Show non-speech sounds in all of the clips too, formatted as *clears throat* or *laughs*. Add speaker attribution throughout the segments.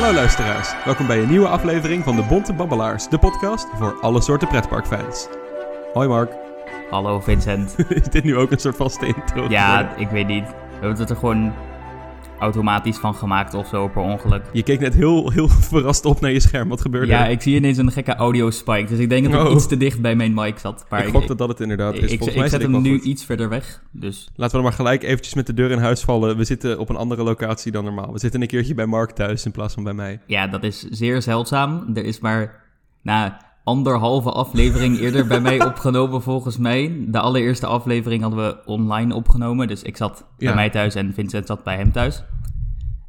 Speaker 1: luisteraars. Welkom bij een nieuwe aflevering van de Bonte Babbelaars, de podcast voor alle soorten pretparkfans. Hoi Mark, *laughs*
Speaker 2: Hallo Vincent.
Speaker 1: is dit nu ook een soort vaste intro?
Speaker 2: Ja, ik weet niet. We hebben het er gewoon automatisch van gemaakt of zo per ongeluk.
Speaker 1: Je keek net heel, heel *laughs* verrast op naar je scherm, wat gebeurde
Speaker 2: Ja,
Speaker 1: er?
Speaker 2: ik zie ineens een gekke audio spike, dus ik denk dat ik
Speaker 1: Oh.
Speaker 2: iets te dicht bij mijn mic zat. Maar
Speaker 1: ik gok dat dat het inderdaad
Speaker 2: ik,
Speaker 1: is.
Speaker 2: ik-
Speaker 1: Volgens
Speaker 2: ik
Speaker 1: mij
Speaker 2: zet
Speaker 1: zit ik
Speaker 2: hem
Speaker 1: wel
Speaker 2: nu
Speaker 1: goed.
Speaker 2: iets verder weg, dus
Speaker 1: Laten we dan maar gelijk eventjes met de deur in huis vallen. We zitten op een andere locatie dan normaal. We zitten een keertje bij Mark thuis in plaats van bij mij.
Speaker 2: ja, dat is zeer zeldzaam. Er is maar na anderhalve aflevering eerder bij mij opgenomen volgens mij. De allereerste aflevering hadden we online opgenomen, dus ik zat
Speaker 1: Ja.
Speaker 2: bij mij thuis en Vincent zat bij hem thuis.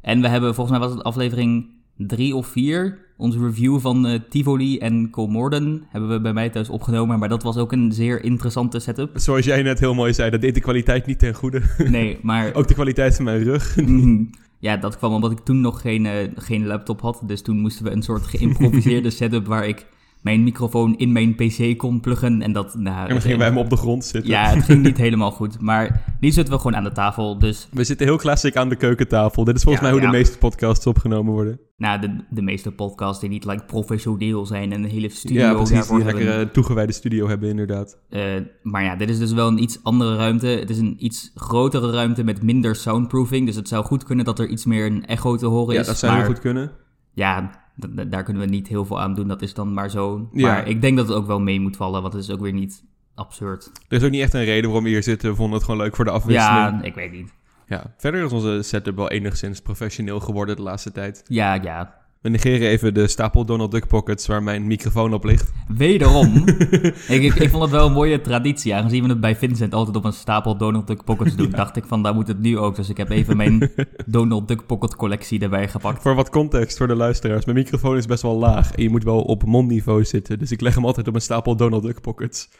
Speaker 2: En we hebben volgens mij was het aflevering drie of vier. Onze review van eh, Tivoli en Colmorden hebben we bij mij thuis opgenomen. Maar dat was ook een zeer interessante setup.
Speaker 1: Zoals jij net heel mooi zei, dat deed de kwaliteit niet ten goede. *laughs*
Speaker 2: Nee, maar
Speaker 1: Ook de kwaliteit van mijn rug.
Speaker 2: Mhm. Ja, dat kwam omdat ik toen nog geen, eh, geen laptop had. Dus toen moesten we een soort
Speaker 1: *laughs*
Speaker 2: geïmproviseerde setup waar ik mijn microfoon in mijn PC kon pluggen. En dat. Nou,
Speaker 1: En dan gingen wij hem op de grond zitten.
Speaker 2: Ja, het ging niet helemaal goed. Maar nu zitten we gewoon aan de tafel. Dus
Speaker 1: We zitten heel klassiek aan de keukentafel. Dit is volgens
Speaker 2: Ja,
Speaker 1: mij hoe de
Speaker 2: ja.
Speaker 1: meeste podcasts opgenomen worden.
Speaker 2: nou, de, de meeste podcasts die niet like, professioneel zijn en een hele studio
Speaker 1: ja, precies.
Speaker 2: daarvoor
Speaker 1: Die
Speaker 2: hebben.
Speaker 1: lekker eh, toegewijde studio hebben, inderdaad.
Speaker 2: Eh, maar ja, dit is dus wel een iets andere ruimte. Het is een iets grotere ruimte met minder soundproofing. Dus het zou goed kunnen dat er iets meer een echo te horen
Speaker 1: Ja,
Speaker 2: is.
Speaker 1: dat zou heel
Speaker 2: maar-
Speaker 1: goed kunnen.
Speaker 2: Ja, d- d- daar kunnen we niet heel veel aan doen. Dat is dan maar zo.
Speaker 1: Ja.
Speaker 2: Maar ik denk dat het ook wel mee moet vallen, want het is ook weer niet absurd.
Speaker 1: Er is ook niet echt een reden waarom we hier zitten. We vonden het gewoon leuk voor de afwisseling.
Speaker 2: Ja, ik weet niet.
Speaker 1: Ja. Verder is onze setup wel enigszins professioneel geworden de laatste tijd.
Speaker 2: Ja, ja.
Speaker 1: We negeren even de stapel Donald Duck pockets waar mijn microfoon op ligt. *laughs*
Speaker 2: Wederom. ik, ik, ik vond het wel een mooie traditie. Aangezien we het bij Vincent altijd op een stapel Donald Duck Pockets doen, dacht ik van daar moet het nu ook. Dus ik heb
Speaker 1: *laughs*
Speaker 2: even mijn Donald Duck Pocket collectie erbij gepakt.
Speaker 1: Voor wat context voor de luisteraars. Mijn microfoon is best wel laag en je moet wel op mondniveau zitten. Dus ik leg hem altijd op een stapel Donald Duck pockets.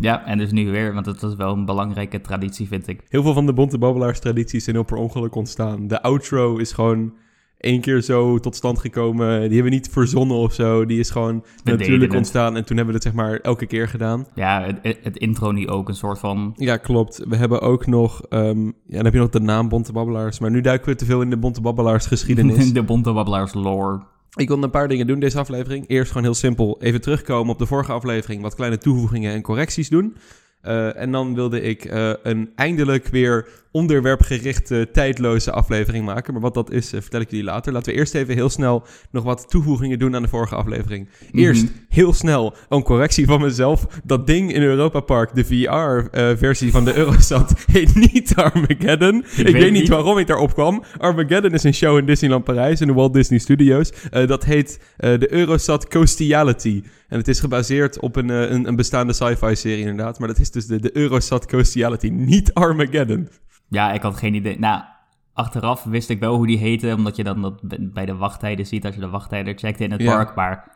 Speaker 2: Ja, en dus nu weer, want dat was wel een belangrijke traditie, vind ik.
Speaker 1: Heel veel van de bonte babbelaars tradities zijn heel per ongeluk ontstaan. De outro is gewoon één keer zo tot stand gekomen. Die hebben we niet verzonnen of zo. Die is gewoon
Speaker 2: deden
Speaker 1: natuurlijk
Speaker 2: het.
Speaker 1: ontstaan. En toen hebben we dat zeg maar elke keer gedaan.
Speaker 2: Ja, het, het intro nu ook een soort van
Speaker 1: Ja, klopt. We hebben ook nog... ehm, ja, dan heb je nog de naam bonte babbelaars. Maar nu duiken we te veel in de bonte
Speaker 2: *laughs*
Speaker 1: babbelaars geschiedenis.
Speaker 2: de Bonte Wabbelaars lore.
Speaker 1: Ik wil een paar dingen doen deze aflevering. Eerst gewoon heel simpel even terugkomen op de vorige aflevering. Wat kleine toevoegingen en correcties doen. Eh, en dan wilde ik eh, een eindelijk weer onderwerpgerichte, tijdloze aflevering maken. Maar wat dat is, eh, vertel ik jullie later. Laten we eerst even heel snel nog wat toevoegingen doen aan de vorige aflevering. Eerst heel snel een correctie van mezelf. Dat ding in Europa Park, de VR-versie van de Eurosat, *laughs* heet niet Armageddon. Ik,
Speaker 2: weet
Speaker 1: weet, niet
Speaker 2: niet.
Speaker 1: waarom ik daarop kwam. Armageddon is een show in Disneyland Parijs, in de Walt Disney Studios. Eh, dat heet eh, de Eurosat Coastiality. En het is gebaseerd op een, eh, een, een bestaande sci-fi-serie inderdaad. Maar dat is dus de, de Eurosat Coastiality, niet Armageddon.
Speaker 2: Ja, ik had geen idee. Nou, achteraf wist ik wel hoe die heette, omdat je dan dat b- bij de wachttijden ziet als je de wachttijden checkt in het
Speaker 1: Ja.
Speaker 2: park. Maar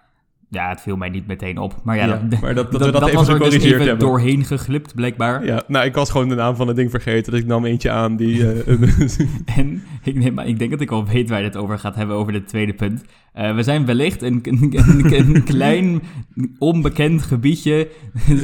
Speaker 2: ja, het viel mij niet meteen op. Maar ja,
Speaker 1: Ja,
Speaker 2: dat,
Speaker 1: maar dat- dat we
Speaker 2: dat,
Speaker 1: dat even
Speaker 2: was er dus
Speaker 1: gecorrigeerd
Speaker 2: even
Speaker 1: hebben.
Speaker 2: doorheen geglipt, blijkbaar.
Speaker 1: Ja, nou, ik was gewoon de naam van het ding vergeten. Dus ik nam eentje aan die...
Speaker 2: *laughs*
Speaker 1: eh,
Speaker 2: En ik, neem, maar ik denk dat ik al weet waar je het over gaat hebben, over dit tweede punt. Eh, we zijn wellicht een, een,
Speaker 1: *laughs*
Speaker 2: een- een klein, onbekend gebiedje,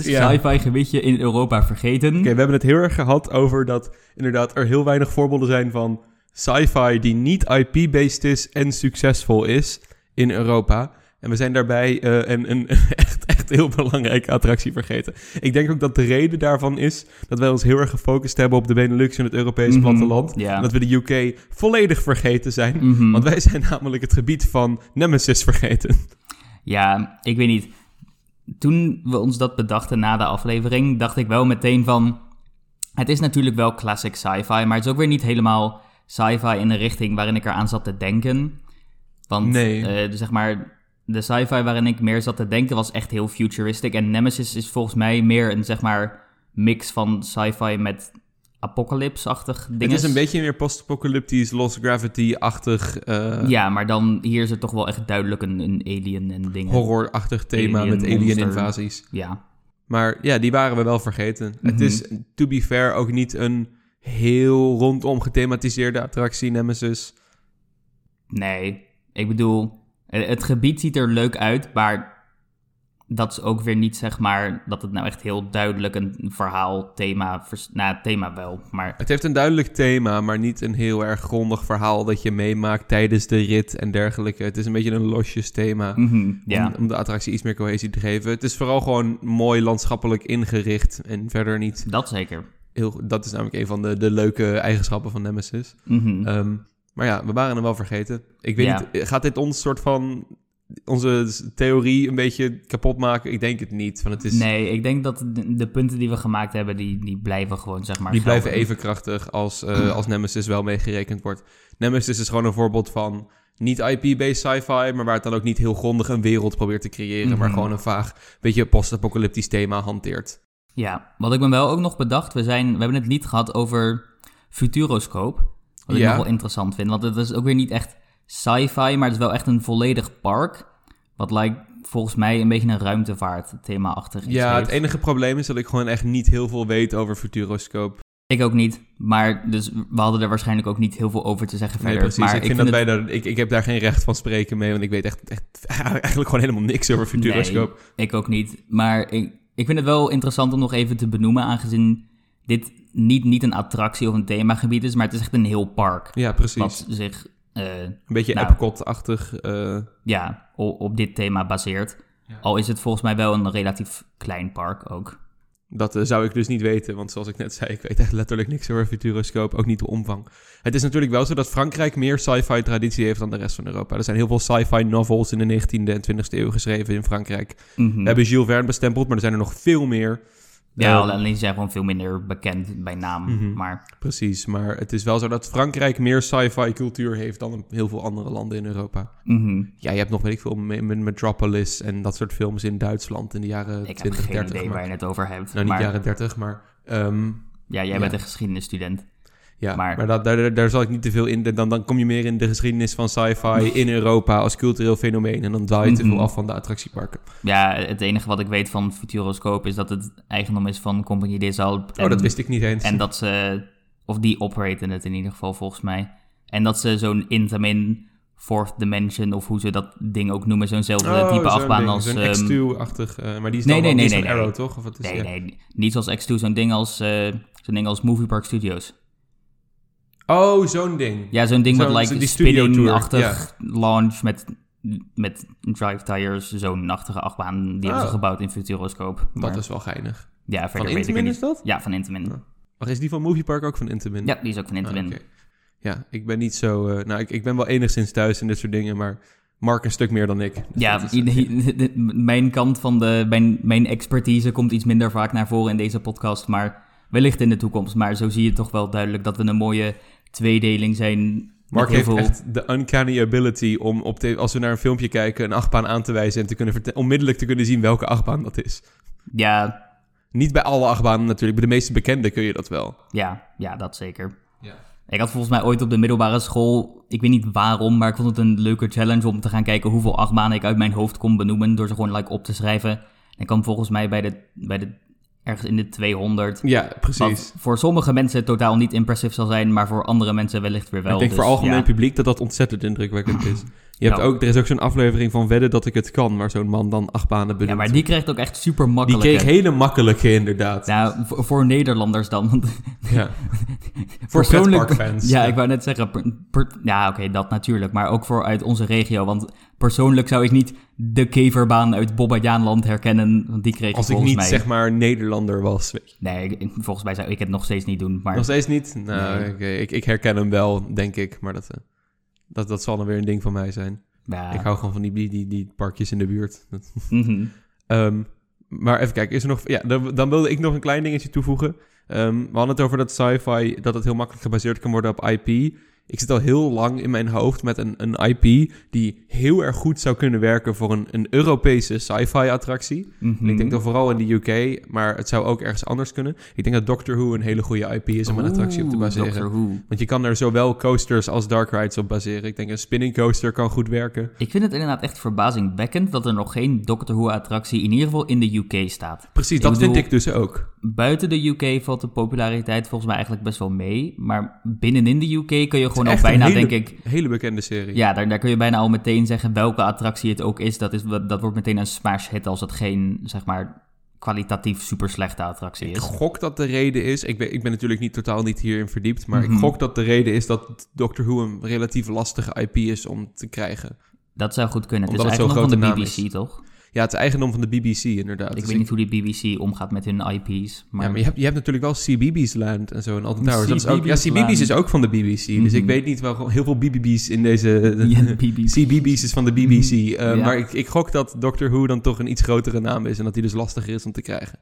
Speaker 1: Ja.
Speaker 2: sci-fi gebiedje in Europa vergeten.
Speaker 1: Oké, we hebben het heel erg gehad over dat inderdaad er heel weinig voorbeelden zijn van sci-fi die niet IP-based is en succesvol is in Europa. En we zijn daarbij eh, een, een *laughs* echt, echt heel belangrijke attractie vergeten. Ik denk ook dat de reden daarvan is dat wij ons heel erg gefocust hebben op de Benelux en het Europese
Speaker 2: Mhm,
Speaker 1: platteland.
Speaker 2: ja.
Speaker 1: En dat we de UK volledig vergeten zijn.
Speaker 2: Mhm.
Speaker 1: Want wij zijn namelijk het gebied van Nemesis vergeten.
Speaker 2: Ja, ik weet niet. Toen we ons dat bedachten na de aflevering, dacht ik wel meteen van... Het is natuurlijk wel classic sci-fi, maar het is ook weer niet helemaal sci-fi in de richting waarin ik eraan zat te denken. Want
Speaker 1: Nee.
Speaker 2: eh, zeg maar, de sci-fi waarin ik meer zat te denken was echt heel futuristic. En Nemesis is volgens mij meer een zeg maar mix van sci-fi met apocalypse-achtig dingen.
Speaker 1: Het is een beetje meer post-apocalyptisch, Lost Gravity-achtig, eh,
Speaker 2: Ja, maar dan hier is het toch wel echt duidelijk een, een alien en dingen.
Speaker 1: horror-achtig thema
Speaker 2: Alien,
Speaker 1: met
Speaker 2: monster.
Speaker 1: alien-invasies.
Speaker 2: Ja.
Speaker 1: Maar ja, die waren we wel vergeten.
Speaker 2: Mhm.
Speaker 1: Het is, to be fair, ook niet een heel rondom gethematiseerde attractie, Nemesis.
Speaker 2: Nee, ik bedoel, eh, het gebied ziet er leuk uit, maar dat is ook weer niet zeg maar dat het nou echt heel duidelijk een verhaal, thema, vers, nou thema wel, maar
Speaker 1: Het heeft een duidelijk thema, maar niet een heel erg grondig verhaal dat je meemaakt tijdens de rit en dergelijke. Het is een beetje een losjes thema.
Speaker 2: mhm,
Speaker 1: *laughs*
Speaker 2: ja.
Speaker 1: Om, om de attractie iets meer cohesie te geven. Het is vooral gewoon mooi landschappelijk ingericht en verder niet
Speaker 2: Dat zeker.
Speaker 1: heel... Dat is namelijk een van de, de leuke eigenschappen van Nemesis.
Speaker 2: Mhm.
Speaker 1: Ehm, maar ja, we waren hem wel vergeten. Ik weet
Speaker 2: Ja.
Speaker 1: niet, eh, gaat dit ons soort van... onze theorie een beetje kapot maken? Ik denk het niet, want het is...
Speaker 2: Nee, ik denk dat de, de punten die we gemaakt hebben, die, die blijven gewoon zeg maar
Speaker 1: Die blijven
Speaker 2: gelden.
Speaker 1: even krachtig als, eh, als Nemesis wel meegerekend wordt. Nemesis is gewoon een voorbeeld van niet IP-based sci-fi, maar waar het dan ook niet heel grondig een wereld probeert te creëren, maar
Speaker 2: Mhm.
Speaker 1: gewoon een vaag, beetje post-apocalyptisch thema hanteert.
Speaker 2: Ja, wat ik me wel ook nog bedacht, we, zijn, we hebben het niet gehad over Futuroscope. Wat ik
Speaker 1: Ja.
Speaker 2: nog wel interessant vind, want het is ook weer niet echt sci-fi, maar het is wel echt een volledig park. Wat lijkt volgens mij een beetje een ruimtevaart thema achter iets
Speaker 1: Ja,
Speaker 2: heeft.
Speaker 1: het enige probleem is dat ik gewoon echt niet heel veel weet over Futuroscope.
Speaker 2: Ik ook niet, maar dus we hadden er waarschijnlijk ook niet heel veel over te zeggen
Speaker 1: Nee,
Speaker 2: verder.
Speaker 1: precies.
Speaker 2: maar
Speaker 1: ik, vind dat wij daar, ik, ik heb daar geen recht van spreken mee, want ik weet echt, echt *laughs* eigenlijk gewoon helemaal niks over Futuroscope.
Speaker 2: Nee, ik ook niet. Maar ik, ik vind het wel interessant om nog even te benoemen, aangezien dit niet, niet een attractie of een themagebied is, maar het is echt een heel park.
Speaker 1: Ja, precies.
Speaker 2: Wat zich, eh,
Speaker 1: Een beetje
Speaker 2: Nou.
Speaker 1: Epcot-achtig. eh,
Speaker 2: ja, o- op dit thema baseert.
Speaker 1: Ja.
Speaker 2: Al is het volgens mij wel een relatief klein park ook.
Speaker 1: Dat eh, zou ik dus niet weten, want zoals ik net zei, ik weet echt letterlijk niks over Futuroscope, ook niet de omvang. Het is natuurlijk wel zo dat Frankrijk meer sci-fi traditie heeft dan de rest van Europa. Er zijn heel veel sci-fi novels in de 19e en 20e eeuw geschreven in Frankrijk.
Speaker 2: Mhm.
Speaker 1: We hebben Jules Verne bestempeld, maar er zijn er nog veel meer.
Speaker 2: Ja,
Speaker 1: Eh,
Speaker 2: alleen ze zijn gewoon veel minder bekend bij naam.
Speaker 1: Mhm.
Speaker 2: Maar
Speaker 1: precies, maar het is wel zo dat Frankrijk meer sci-fi cultuur heeft dan heel veel andere landen in Europa.
Speaker 2: mhm,
Speaker 1: Ja, je hebt nog, weet ik veel, Me- Me- Metropolis en dat soort films in Duitsland in de jaren
Speaker 2: ik heb
Speaker 1: 20,
Speaker 2: geen
Speaker 1: 30.
Speaker 2: idee
Speaker 1: maar-
Speaker 2: waar je het over hebt.
Speaker 1: Nou, niet
Speaker 2: maar,
Speaker 1: jaren 30, maar... ehm,
Speaker 2: ja, jij
Speaker 1: ja.
Speaker 2: bent een geschiedenisstudent.
Speaker 1: Ja, maar,
Speaker 2: Maar-
Speaker 1: dat, daar, daar- daar zal ik niet te veel in. Dan, dan kom je meer in de geschiedenis van sci-fi in Europa als cultureel fenomeen. En dan daal je te veel
Speaker 2: Mhm.
Speaker 1: af van de attractieparken. Oh,
Speaker 2: Ja, het enige wat ik weet van Futuroscope is dat het eigendom is van Compagnie des Alpes.
Speaker 1: oh, dat wist ik niet eens.
Speaker 2: En dat ze, of die operaten het in ieder geval volgens mij. En dat ze zo'n Intamin Fourth Dimension, of hoe ze dat ding ook noemen, zo'nzelfde
Speaker 1: Oh,
Speaker 2: type
Speaker 1: zo'n
Speaker 2: afbaan
Speaker 1: ding,
Speaker 2: als...
Speaker 1: Zo'n
Speaker 2: ehm,
Speaker 1: X2-achtig... eh, maar die is dan wel-
Speaker 2: nee, nee,
Speaker 1: die
Speaker 2: nee,
Speaker 1: is van
Speaker 2: nee,
Speaker 1: Arrow, toch? Of wat is
Speaker 2: nee,
Speaker 1: ja.
Speaker 2: nee, niet zoals X2, zo'n ding als, eh, zo'n ding als Movie Park Studios.
Speaker 1: Oh, zo'n ding.
Speaker 2: Ja, zo'n ding
Speaker 1: Zo'n-
Speaker 2: wat
Speaker 1: zo'n-
Speaker 2: lijkt
Speaker 1: die studio tour,
Speaker 2: spinning-achtig launch met, met drive tires, zo'n nachtige achtbaan. Die hebben ze
Speaker 1: Oh.
Speaker 2: gebouwd in Futuroscope.
Speaker 1: Dat
Speaker 2: Maar-
Speaker 1: is wel geinig.
Speaker 2: ja, verder
Speaker 1: Van
Speaker 2: weet ik
Speaker 1: Intamin
Speaker 2: het
Speaker 1: is
Speaker 2: niet.
Speaker 1: dat?
Speaker 2: Ja, van Intamin.
Speaker 1: Wacht, is die van Movie Park ook van Intamin?
Speaker 2: Ja, die is ook van
Speaker 1: Ah,
Speaker 2: Intamin.
Speaker 1: oké. Ja, ik ben niet zo... eh, nou, ik, ik ben wel enigszins thuis in dit soort dingen, maar... Mark een stuk meer dan ik. Dus
Speaker 2: Ja,
Speaker 1: dat is-
Speaker 2: i- i- de- mijn kant van de. Mijn, mijn expertise komt iets minder vaak naar voren in deze podcast. Maar wellicht in de toekomst. Maar zo zie je toch wel duidelijk dat we een mooie tweedeling zijn. met
Speaker 1: Mark
Speaker 2: heel
Speaker 1: heeft
Speaker 2: veel-
Speaker 1: echt de uncanny ability om op te- als we naar een filmpje kijken een achtbaan aan te wijzen en te kunnen verte- onmiddellijk te kunnen zien welke achtbaan dat is.
Speaker 2: Ja,
Speaker 1: Niet bij alle achtbanen natuurlijk, bij de meeste bekende kun je dat wel.
Speaker 2: ja, ja, dat zeker.
Speaker 1: Ja.
Speaker 2: Ik had volgens mij ooit op de middelbare school. Ik weet niet waarom, maar ik vond het een leuke challenge om te gaan kijken hoeveel achtbanen ik uit mijn hoofd kon benoemen. Door ze gewoon like, op te schrijven. En kwam volgens mij bij de, bij de. ergens in de 200.
Speaker 1: precies.
Speaker 2: Wat voor sommige mensen totaal niet impressief zal zijn, maar voor andere mensen wellicht weer wel.
Speaker 1: ik denk
Speaker 2: Dus
Speaker 1: voor algemeen
Speaker 2: ja. Nou.
Speaker 1: publiek dat dat ontzettend indrukwekkend is. Je hebt
Speaker 2: Ja.
Speaker 1: ook, er is ook zo'n aflevering van Wedden dat ik het kan, waar zo'n man dan achtbanen
Speaker 2: Ja,
Speaker 1: benoemt.
Speaker 2: maar die krijgt ook echt super
Speaker 1: die
Speaker 2: makkelijk.
Speaker 1: kreeg hele makkelijke inderdaad.
Speaker 2: Nou, voor, voor Nederlanders dan. want
Speaker 1: *laughs* Ja. voor
Speaker 2: persoonlijk-
Speaker 1: pretparkfans.
Speaker 2: Ja, ik wou net zeggen. per- per- ja, oké, dat natuurlijk. Maar ook voor uit onze regio. Want persoonlijk zou ik niet de keverbaan uit Bobbejaanland herkennen. Want die kreeg
Speaker 1: Als ik
Speaker 2: volgens
Speaker 1: niet
Speaker 2: mij.
Speaker 1: zeg maar Nederlander was. weet je.
Speaker 2: Nee, ik- volgens mij zou ik het nog steeds niet doen. Maar
Speaker 1: Nog steeds niet? Nou,
Speaker 2: Nee.
Speaker 1: oké, ik, ik herken hem wel, denk ik. Maar dat, eh, dat, dat zal dan weer een ding van mij zijn.
Speaker 2: ja.
Speaker 1: Ik hou gewoon van die, die, die, die parkjes in de buurt. Dat-
Speaker 2: Mhm.
Speaker 1: Ehm, maar even kijken, is er nog... Ja, dan, dan wilde ik nog een klein dingetje toevoegen. Ehm, we hadden het over dat sci-fi, dat het heel makkelijk gebaseerd kan worden op IP. Ik zit al heel lang in mijn hoofd met een, een IP die heel erg goed zou kunnen werken voor een, een Europese sci-fi attractie.
Speaker 2: Mhm.
Speaker 1: En Ik denk dan vooral in de UK, maar het zou ook ergens anders kunnen. Ik denk dat Doctor Who een hele goede IP is om een attractie op te
Speaker 2: Oeh,
Speaker 1: baseren.
Speaker 2: Doctor Who.
Speaker 1: Want je kan er zowel coasters als dark rides op baseren. Ik denk een spinning coaster kan goed werken.
Speaker 2: Ik vind het inderdaad echt verbazingwekkend dat er nog geen Doctor Who-attractie in ieder geval in de UK staat.
Speaker 1: Precies,
Speaker 2: Ik
Speaker 1: dat
Speaker 2: bedoel-
Speaker 1: vind ik dus ook.
Speaker 2: Buiten de UK valt de populariteit volgens mij eigenlijk best wel mee. Maar binnenin de UK kun je gewoon al
Speaker 1: echt
Speaker 2: bijna,
Speaker 1: een hele,
Speaker 2: denk ik...
Speaker 1: hele bekende serie.
Speaker 2: Ja, daar, daar kun je bijna al meteen zeggen welke attractie het ook is. Dat, is, dat wordt meteen een smash hit als het geen, zeg maar, kwalitatief super slechte attractie
Speaker 1: Ik
Speaker 2: is.
Speaker 1: gok dat de reden is, ik ben, ik ben natuurlijk niet totaal niet hierin verdiept, maar
Speaker 2: Mhm.
Speaker 1: ik gok dat de reden is dat Doctor Who een relatief lastige IP is om te krijgen.
Speaker 2: Dat zou goed kunnen. Het
Speaker 1: Omdat
Speaker 2: is
Speaker 1: het zo'n
Speaker 2: eigenlijk nog van de
Speaker 1: grote
Speaker 2: BBC,
Speaker 1: naam
Speaker 2: toch?
Speaker 1: Ja, het is eigendom van de BBC inderdaad.
Speaker 2: Ik
Speaker 1: Dus
Speaker 2: weet niet hoe die BBC omgaat met hun IP's. Maar,
Speaker 1: Ja, maar je hebt, je hebt natuurlijk wel CBBS Land en zo en Alton Towers. Dat is ook, ja,
Speaker 2: CBBS
Speaker 1: CBBS is ook van de BBC, dus
Speaker 2: Mhm.
Speaker 1: ik weet niet wel heel veel BBB's in deze...
Speaker 2: *laughs* Ja, de
Speaker 1: *laughs*
Speaker 2: BBC.
Speaker 1: CBBS is van de BBC, eh,
Speaker 2: Mhm. Ja.
Speaker 1: maar ik, ik gok dat Doctor Who dan toch een iets grotere naam is en dat die dus lastiger is om te krijgen.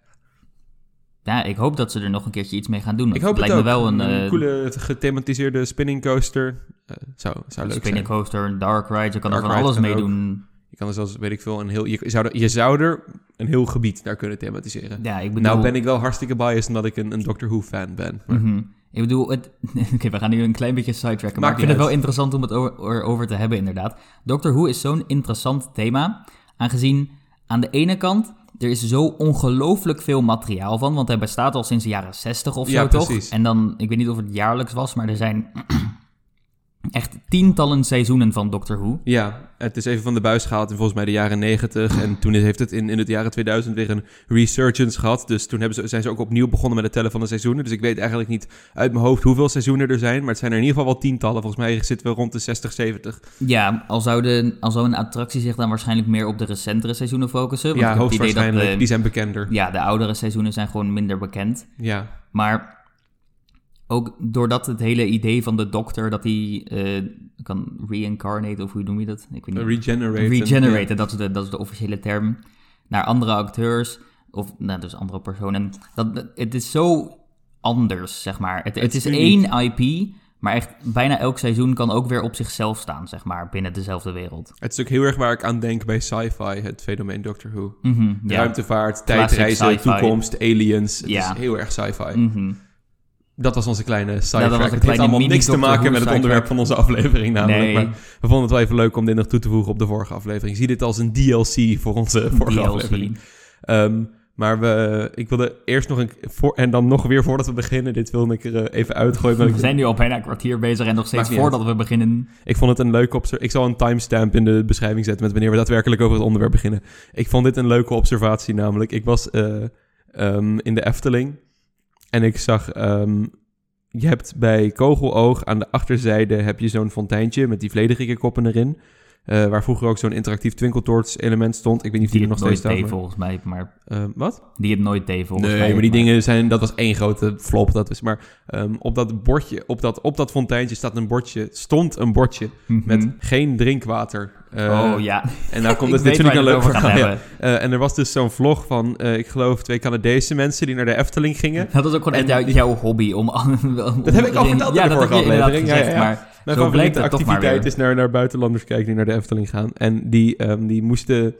Speaker 2: Ja, ik hoop dat ze er nog een keertje iets mee gaan doen. want
Speaker 1: ik hoop
Speaker 2: lijkt
Speaker 1: het ook.
Speaker 2: me wel een, eh,
Speaker 1: coole gethematiseerde spinning coaster. Eh, zou, zou leuk
Speaker 2: spinning
Speaker 1: zijn.
Speaker 2: coaster, een dark ride. Je kan
Speaker 1: Dark
Speaker 2: er van
Speaker 1: ride
Speaker 2: alles
Speaker 1: kan
Speaker 2: mee
Speaker 1: ook.
Speaker 2: doen.
Speaker 1: Je kan er zelfs, weet ik veel, een heel, je, zou er, je zou er een heel gebied naar kunnen thematiseren.
Speaker 2: Ja, ik bedoel...
Speaker 1: nou ben ik wel hartstikke biased omdat ik een, een Doctor Who fan ben. Maar
Speaker 2: Mhm. Ik bedoel, het... *laughs* oké, we gaan nu een klein beetje sidetracken, maar
Speaker 1: Maakt
Speaker 2: ik vind
Speaker 1: niet
Speaker 2: het wel
Speaker 1: uit.
Speaker 2: interessant om het over- erover te hebben inderdaad. Doctor Who is zo'n interessant thema, aangezien aan de ene kant er is zo ongelooflijk veel materiaal van, want hij bestaat al sinds de jaren 60 of zo
Speaker 1: Ja,
Speaker 2: toch?
Speaker 1: precies.
Speaker 2: En dan, ik weet niet of het jaarlijks was, maar er zijn *clears throat* echt tientallen seizoenen van Doctor Who.
Speaker 1: ja, het is even van de buis gehaald in volgens mij de jaren 90. En toen heeft het in, in het jaren 2000 weer een resurgence gehad. Dus toen hebben ze, zijn ze ook opnieuw begonnen met het tellen van de seizoenen. Dus ik weet eigenlijk niet uit mijn hoofd hoeveel seizoenen er zijn. Maar het zijn er in ieder geval wel tientallen. Volgens mij zitten we rond de 60, 70.
Speaker 2: Ja, al zou, de, al zou een attractie zich dan waarschijnlijk meer op de recentere seizoenen focussen. Want
Speaker 1: ja,
Speaker 2: ik heb het idee dat eh,
Speaker 1: hoogstwaarschijnlijk.
Speaker 2: de-
Speaker 1: Die zijn bekender.
Speaker 2: ja, de oudere seizoenen zijn gewoon minder bekend.
Speaker 1: Ja,
Speaker 2: Maar ook doordat het hele idee van de dokter dat hij eh, kan reincarnate, of hoe noem je dat? Ik weet niet.
Speaker 1: regenerate.
Speaker 2: Regenerate, dat, is de, dat is de officiële term. Naar andere acteurs, of nou, dus andere personen. Dat, dat- het is zo anders, zeg maar. Het, het
Speaker 1: is
Speaker 2: is
Speaker 1: uniek.
Speaker 2: één IP, maar echt bijna elk seizoen kan ook weer op zichzelf staan, zeg maar, binnen dezelfde wereld.
Speaker 1: Het is ook heel erg waar ik aan denk bij sci-fi, het fenomeen Doctor Who.
Speaker 2: Mhm, ja.
Speaker 1: Ruimtevaart,
Speaker 2: Classic
Speaker 1: tijdreizen,
Speaker 2: sci-fi.
Speaker 1: toekomst, aliens. Het
Speaker 2: Ja.
Speaker 1: is heel erg sci-fi.
Speaker 2: Mhm.
Speaker 1: Dat was onze kleine
Speaker 2: was een
Speaker 1: sci-fi. Het heeft
Speaker 2: kleine
Speaker 1: allemaal
Speaker 2: mini
Speaker 1: niks te
Speaker 2: Doctor
Speaker 1: maken
Speaker 2: Who
Speaker 1: met het
Speaker 2: sci-fi.
Speaker 1: onderwerp van onze aflevering namelijk.
Speaker 2: Nee.
Speaker 1: Maar we vonden het wel even leuk om dit nog toe te voegen op de vorige aflevering. Zie dit als een DLC voor onze vorige
Speaker 2: DLC.
Speaker 1: aflevering. Ehm, maar we, ik wilde eerst nog een... Voor, en dan nog weer voordat we beginnen, dit wilde ik er eh, even uitgooien. maar
Speaker 2: We
Speaker 1: ik-
Speaker 2: zijn nu al bijna een kwartier bezig en nog steeds
Speaker 1: Maakt niet uit.
Speaker 2: voordat we beginnen.
Speaker 1: Ik vond het een leuke observatie. Ik zal een timestamp in de beschrijving zetten met wanneer we daadwerkelijk over het onderwerp beginnen. Ik vond dit een leuke observatie namelijk. Ik was eh, ehm, in de Efteling en ik zag... ehm, je hebt bij Kogeloog aan de achterzijde heb je zo'n fonteintje met die vledigikkenkoppen erin. eh, waar vroeger ook zo'n interactief twinkeltoorts element stond. Ik weet niet of die,
Speaker 2: Die het
Speaker 1: er nog
Speaker 2: nooit
Speaker 1: steeds
Speaker 2: deed
Speaker 1: staat. maar-
Speaker 2: volgens mij, maar
Speaker 1: Ehm, wat?
Speaker 2: die het nooit deed volgens
Speaker 1: nee,
Speaker 2: mij.
Speaker 1: maar die dingen zijn, dat was één grote flop. Dat is, maar ehm, op dat bordje, op dat, op dat fonteintje staat een bordje, stond een bordje
Speaker 2: Mhm.
Speaker 1: met geen drinkwater. Eh,
Speaker 2: oh ja,
Speaker 1: En nou komt
Speaker 2: ik
Speaker 1: het,
Speaker 2: weet
Speaker 1: dit vind
Speaker 2: waar
Speaker 1: ik
Speaker 2: je
Speaker 1: een
Speaker 2: het
Speaker 1: leuk verhaal.
Speaker 2: over
Speaker 1: *laughs*
Speaker 2: gaat
Speaker 1: ja.
Speaker 2: hebben.
Speaker 1: Eh, en er was dus zo'n vlog van, eh, ik geloof, twee Canadese mensen die naar de Efteling gingen.
Speaker 2: Dat was ook gewoon echt
Speaker 1: En-
Speaker 2: jouw, jouw hobby om... *laughs* om-
Speaker 1: Dat heb ik al verteld in
Speaker 2: ja,
Speaker 1: de
Speaker 2: dat
Speaker 1: vorige
Speaker 2: heb je inderdaad
Speaker 1: aflevering, ja,
Speaker 2: gezegd,
Speaker 1: ja, ja.
Speaker 2: maar
Speaker 1: Mijn
Speaker 2: zo blijkt
Speaker 1: favoriete
Speaker 2: het toch maar
Speaker 1: activiteit
Speaker 2: weer.
Speaker 1: is naar, naar buitenlanders kijken die naar de Efteling gaan. En die, ehm, die moesten...